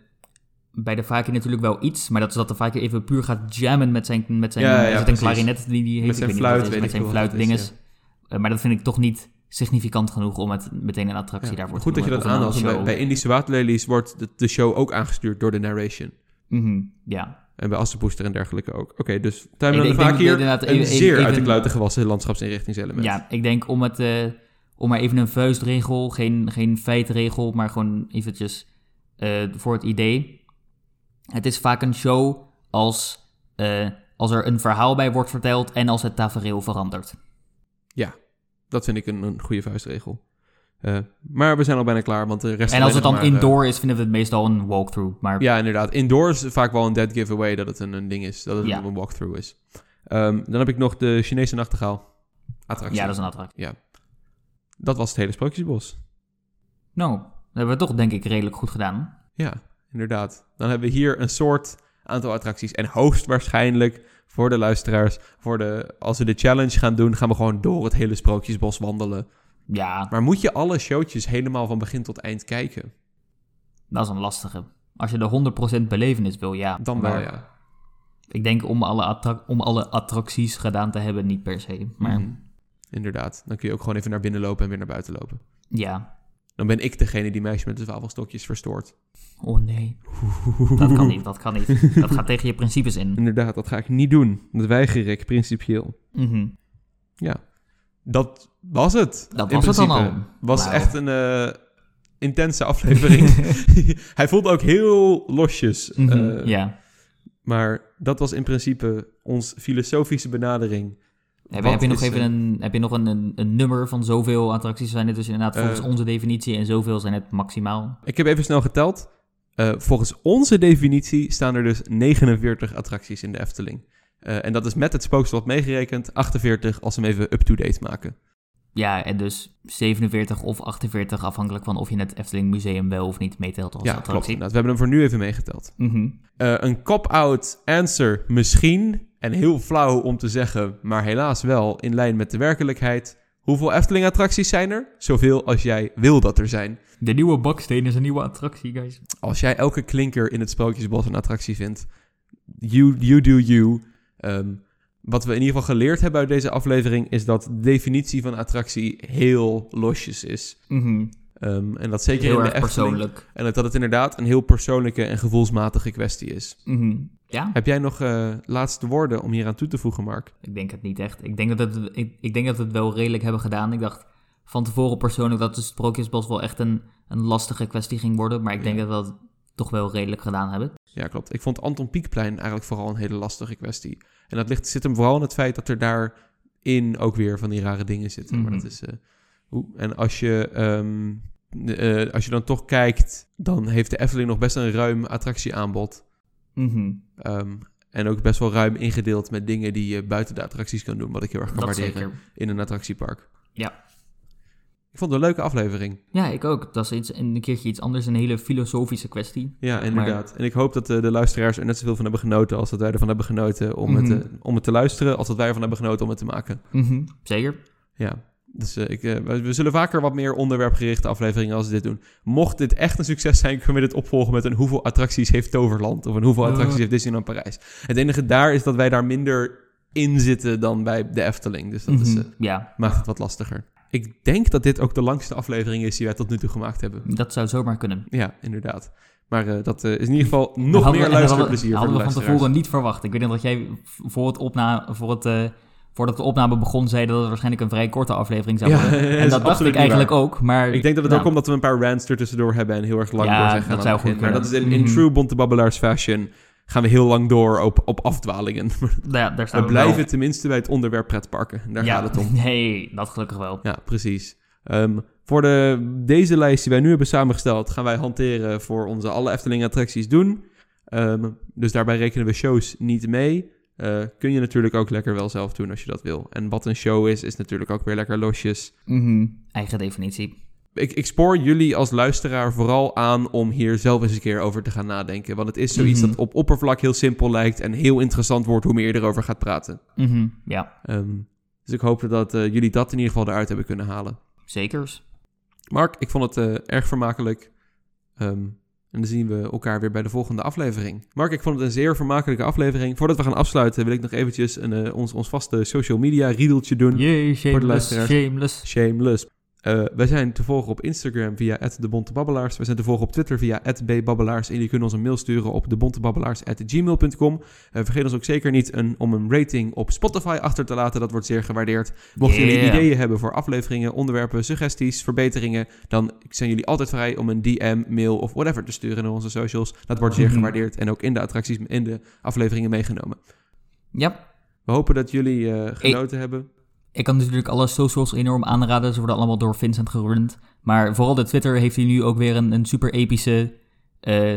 Speaker 2: bij de Fakir natuurlijk wel iets, maar dat is dat de Fakir even puur gaat jammen met zijn, met zijn
Speaker 1: Ja, ja,
Speaker 2: is het een
Speaker 1: precies.
Speaker 2: klarinet die die heeft,
Speaker 1: Met zijn
Speaker 2: Ik weet niet wat het
Speaker 1: fluit,
Speaker 2: is,
Speaker 1: weet
Speaker 2: met
Speaker 1: ik
Speaker 2: zijn
Speaker 1: veel wat het is,
Speaker 2: fluitdinges. Eh, maar dat vind ik toch niet significant genoeg om het meteen een attractie
Speaker 1: Ja,
Speaker 2: daarvoor
Speaker 1: goed
Speaker 2: te
Speaker 1: dat je dat
Speaker 2: noemen, of een
Speaker 1: aanhaalt. want Bij, bij
Speaker 2: show.
Speaker 1: Indische Waterlelies wordt de, de show ook aangestuurd door de narration.
Speaker 2: Mhm, ja.
Speaker 1: En bij Assepoester en dergelijke ook. Oké, dus tuinman
Speaker 2: Ik-
Speaker 1: en
Speaker 2: ik
Speaker 1: de
Speaker 2: denk
Speaker 1: vakier,
Speaker 2: inderdaad
Speaker 1: een
Speaker 2: even- even-
Speaker 1: zeer uit de
Speaker 2: even-
Speaker 1: kluiten gewassen landschapsinrichtingselement.
Speaker 2: ja, ik denk om het, eh, om maar even een vuistregel, geen, geen feitregel, maar gewoon eventjes eh, voor het idee. Het is vaak een show als, eh, als er een verhaal bij wordt verteld en als het tafereel verandert.
Speaker 1: Dat vind ik een, een goede vuistregel. Eh, maar we zijn al bijna klaar, want de rest...
Speaker 2: En
Speaker 1: alleen
Speaker 2: als het
Speaker 1: nog
Speaker 2: dan
Speaker 1: maar, eh,
Speaker 2: indoor is, vinden we het meestal een walkthrough. Maar
Speaker 1: Ja, inderdaad. Indoors is vaak wel een dead giveaway dat het een, een ding is. Dat het
Speaker 2: Ja.
Speaker 1: een walkthrough is. Ehm, dan heb ik nog de Chinese nachtegaal. Attractie.
Speaker 2: ja, dat is een attractie.
Speaker 1: Dat was het hele Sprookjesbos.
Speaker 2: Nou, dat hebben we toch denk ik redelijk goed gedaan.
Speaker 1: Ja, inderdaad. Dan hebben we hier een soort aantal attracties. En hoogstwaarschijnlijk voor de luisteraars, voor de, als we de challenge gaan doen, gaan we gewoon door het hele Sprookjesbos wandelen.
Speaker 2: Ja,
Speaker 1: Maar moet je alle showtjes helemaal van begin tot eind kijken?
Speaker 2: dat is een lastige. Als je de 100% belevenis wil, ja.
Speaker 1: Dan wel,
Speaker 2: Maar
Speaker 1: ja.
Speaker 2: Ik denk om alle, attra- om alle attracties gedaan te hebben, niet per se. Maar
Speaker 1: Mhm. Inderdaad. Dan kun je ook gewoon even naar binnen lopen en weer naar buiten lopen.
Speaker 2: ja.
Speaker 1: Dan ben ik degene die meisje met de zwavelstokjes verstoort.
Speaker 2: Oh nee, dat kan niet, dat kan niet. Dat gaat tegen je principes in.
Speaker 1: Inderdaad, dat ga ik niet doen. Dat weiger ik principieel.
Speaker 2: Mhm.
Speaker 1: Ja. Dat was het.
Speaker 2: Dat
Speaker 1: in
Speaker 2: was het dan
Speaker 1: principe.
Speaker 2: al.
Speaker 1: was
Speaker 2: Nou.
Speaker 1: echt een eh, intense
Speaker 2: *laughs*
Speaker 1: aflevering. Hij voelde ook heel losjes.
Speaker 2: Mhm,
Speaker 1: eh,
Speaker 2: ja.
Speaker 1: Maar dat was in principe ons filosofische benadering.
Speaker 2: Heb,
Speaker 1: wat
Speaker 2: heb je nog
Speaker 1: is,
Speaker 2: even
Speaker 1: eh,
Speaker 2: een, heb je nog een, een, een nummer van zoveel attracties zijn het dus inderdaad volgens
Speaker 1: Eh,
Speaker 2: onze definitie en zoveel zijn het maximaal?
Speaker 1: Ik heb even snel geteld. Eh, volgens onze definitie staan er dus 49 attracties in de Efteling. Eh, en dat is met het spookslot meegerekend 48 als we hem even up-to-date maken.
Speaker 2: Ja, en dus 47 of 48, afhankelijk van of je het Efteling Museum wel of niet meetelt als
Speaker 1: Ja, klopt
Speaker 2: attractie.
Speaker 1: inderdaad. We hebben hem voor nu even meegeteld.
Speaker 2: Mhm.
Speaker 1: Eh, een cop-out answer misschien. En heel flauw om te zeggen, maar helaas wel in lijn met de werkelijkheid. Hoeveel Efteling-attracties zijn er? Zoveel als jij wil dat er zijn.
Speaker 2: De nieuwe baksteen is een nieuwe attractie, guys.
Speaker 1: Als jij elke klinker in het Sprookjesbos een attractie vindt, you, you do you. Ehm, wat we in ieder geval geleerd hebben uit deze aflevering is dat de definitie van attractie heel losjes is. Ehm, en dat zeker
Speaker 2: Mhm. Heel
Speaker 1: in de Efteling.
Speaker 2: erg persoonlijk.
Speaker 1: En dat het inderdaad een heel persoonlijke en gevoelsmatige kwestie is.
Speaker 2: Mhm. Ja,
Speaker 1: Heb jij nog eh, laatste woorden om hier aan toe te voegen, Mark?
Speaker 2: ik denk het niet echt. Ik denk dat, het, ik, ik denk dat we het wel redelijk hebben gedaan. Ik dacht van tevoren persoonlijk dat de Sprookjesbos wel echt een, een lastige kwestie ging worden. Maar ik denk
Speaker 1: Ja.
Speaker 2: dat we dat toch wel redelijk gedaan hebben.
Speaker 1: Ja, klopt. Ik vond Anton Pieckplein eigenlijk vooral een hele lastige kwestie. En dat ligt, zit hem vooral in het feit dat er daarin ook weer van die rare dingen zitten. Maar
Speaker 2: Mhm.
Speaker 1: dat is... eh, oeh. en als je, ehm, eh, als je dan toch kijkt, dan heeft de Efteling nog best een ruim attractieaanbod.
Speaker 2: Mhm.
Speaker 1: Ehm, en ook best wel ruim ingedeeld met dingen die je buiten de attracties kan doen. Wat ik heel erg kan
Speaker 2: Dat
Speaker 1: waarderen
Speaker 2: zeker.
Speaker 1: in een attractiepark.
Speaker 2: Ja.
Speaker 1: Ik vond het een leuke aflevering.
Speaker 2: Ja, ik ook. Dat is iets, een keertje iets anders, een hele filosofische kwestie.
Speaker 1: Ja, inderdaad. En ik hoop dat eh, de luisteraars er net zoveel van hebben genoten als dat wij ervan hebben genoten om, het,
Speaker 2: Mhm.
Speaker 1: eh, om het te luisteren, als dat wij ervan hebben genoten om het te maken.
Speaker 2: Mhm. Zeker.
Speaker 1: Ja. Dus eh, ik, eh, we we zullen vaker wat meer onderwerpgerichte afleveringen als dit doen. Mocht dit echt een succes zijn, kunnen we dit opvolgen met een hoeveel attracties heeft Toverland of een hoeveel
Speaker 2: Ja.
Speaker 1: attracties heeft Disneyland Parijs. Het enige daar is dat wij daar minder in zitten dan bij de Efteling. Dus dat is,
Speaker 2: Mhm,
Speaker 1: eh,
Speaker 2: ja,
Speaker 1: maakt het wat lastiger. Ik denk dat dit ook de langste aflevering is die wij tot nu toe gemaakt hebben.
Speaker 2: dat zou zomaar kunnen.
Speaker 1: Ja, inderdaad. Maar eh, dat eh, is in ieder geval nog meer
Speaker 2: Hadden we- en dat hadden-
Speaker 1: luisterplezier voor de
Speaker 2: hadden we van
Speaker 1: luisteraars.
Speaker 2: tevoren niet verwacht. Ik weet nog dat jij v- voor het opna, voor het, eh, voordat de opname begon zei dat het waarschijnlijk een vrij korte aflevering zou
Speaker 1: Ja, *laughs*
Speaker 2: worden.
Speaker 1: dat is
Speaker 2: en dat dacht
Speaker 1: absoluut
Speaker 2: ik
Speaker 1: niet
Speaker 2: eigenlijk ook, maar...
Speaker 1: Ik denk dat het
Speaker 2: nou,
Speaker 1: ook omdat we een paar rants er tussendoor hebben en heel erg lang
Speaker 2: Ja,
Speaker 1: door zijn
Speaker 2: dat
Speaker 1: gaan aan
Speaker 2: zou
Speaker 1: het begin.
Speaker 2: goed
Speaker 1: Maar dat
Speaker 2: kunnen.
Speaker 1: is in, in
Speaker 2: Mhm.
Speaker 1: true Bonte Babbelaars fashion gaan we heel lang door op, op afdwalingen.
Speaker 2: nou ja, daar staan
Speaker 1: We
Speaker 2: wel.
Speaker 1: blijven tenminste bij het onderwerp pretparken. Daar
Speaker 2: ja,
Speaker 1: gaat het om.
Speaker 2: *laughs* Nee, dat gelukkig wel.
Speaker 1: Ja, precies. Ehm, voor de, deze lijst die wij nu hebben samengesteld, gaan wij hanteren voor onze alle Efteling-attracties doen. Ehm, dus daarbij rekenen we shows niet mee. Eh, kun je natuurlijk ook lekker wel zelf doen als je dat wil. En wat een show is, is natuurlijk ook weer lekker losjes.
Speaker 2: Mhm, Eigen definitie.
Speaker 1: Ik, ik spoor jullie als luisteraar vooral aan om hier zelf eens een keer over te gaan nadenken. Want het is zoiets
Speaker 2: Mhm.
Speaker 1: dat op oppervlak heel simpel lijkt en heel interessant wordt hoe meer je erover gaat praten.
Speaker 2: Mhm, Ja,
Speaker 1: Ehm, dus ik hoop dat eh, jullie dat in ieder geval eruit hebben kunnen halen.
Speaker 2: zekers.
Speaker 1: Mark, ik vond het eh, erg vermakelijk. Ehm, en dan zien we elkaar weer bij de volgende aflevering. Mark, ik vond het een zeer vermakelijke aflevering. Voordat we gaan afsluiten wil ik nog eventjes een, eh, ons, ons vaste social media riedeltje doen.
Speaker 2: Jee, shameless,
Speaker 1: luisteraars.
Speaker 2: shameless.
Speaker 1: Shameless. Eh, wij zijn te volgen op Instagram via @debontebabbelaars. Wij zijn te volgen op Twitter via @bbabbelaars. En jullie kunnen ons een mail sturen op debontebabbelaars@gmail.com. Eh, vergeet ons ook zeker niet een, om een rating op Spotify achter te laten. Dat wordt zeer gewaardeerd. Mochten jullie
Speaker 2: Yeah.
Speaker 1: ideeën hebben voor afleveringen, onderwerpen, suggesties, verbeteringen, dan zijn jullie altijd vrij om een DM, mail of whatever te sturen naar onze socials. Dat wordt zeer
Speaker 2: Mhm.
Speaker 1: gewaardeerd en ook in de attracties in de afleveringen meegenomen.
Speaker 2: Ja,
Speaker 1: We hopen dat jullie eh, genoten hebben.
Speaker 2: ik kan dus natuurlijk alle socials enorm aanraden. Ze worden allemaal door Vincent gerund. Maar vooral de Twitter heeft hij nu ook weer een, een super epische... eh,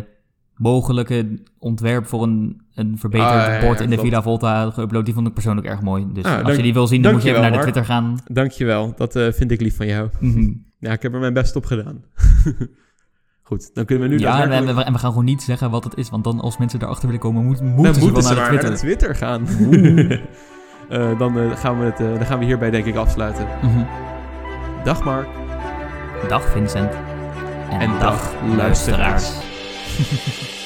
Speaker 2: mogelijke ontwerp voor een, een verbeterd
Speaker 1: Ah, ja, ja,
Speaker 2: bord in de
Speaker 1: klopt.
Speaker 2: Villa Volta geüpload. Die vond ik persoonlijk erg mooi. Dus
Speaker 1: Ah,
Speaker 2: als
Speaker 1: dank-
Speaker 2: je die wil zien, dan moet je even naar de
Speaker 1: dankjewel,
Speaker 2: Twitter gaan.
Speaker 1: Dankjewel, dat eh, vind ik lief van jou.
Speaker 2: Mhm.
Speaker 1: Ja, ik heb er mijn best op gedaan. *laughs* Goed, dan kunnen we nu
Speaker 2: Ja, en we,
Speaker 1: daadwerkelijk-
Speaker 2: en we gaan gewoon niet zeggen wat het is. Want dan als mensen erachter willen komen, moet- moeten,
Speaker 1: dan
Speaker 2: ze wel
Speaker 1: moeten ze
Speaker 2: naar de
Speaker 1: maar naar
Speaker 2: Twitter.
Speaker 1: de Twitter gaan. *laughs* Eh, dan, eh, gaan we het, eh, dan gaan we hierbij denk ik afsluiten.
Speaker 2: Mhm.
Speaker 1: Dag Mark.
Speaker 2: Dag Vincent. En,
Speaker 1: En dag,
Speaker 2: dag luisteraars.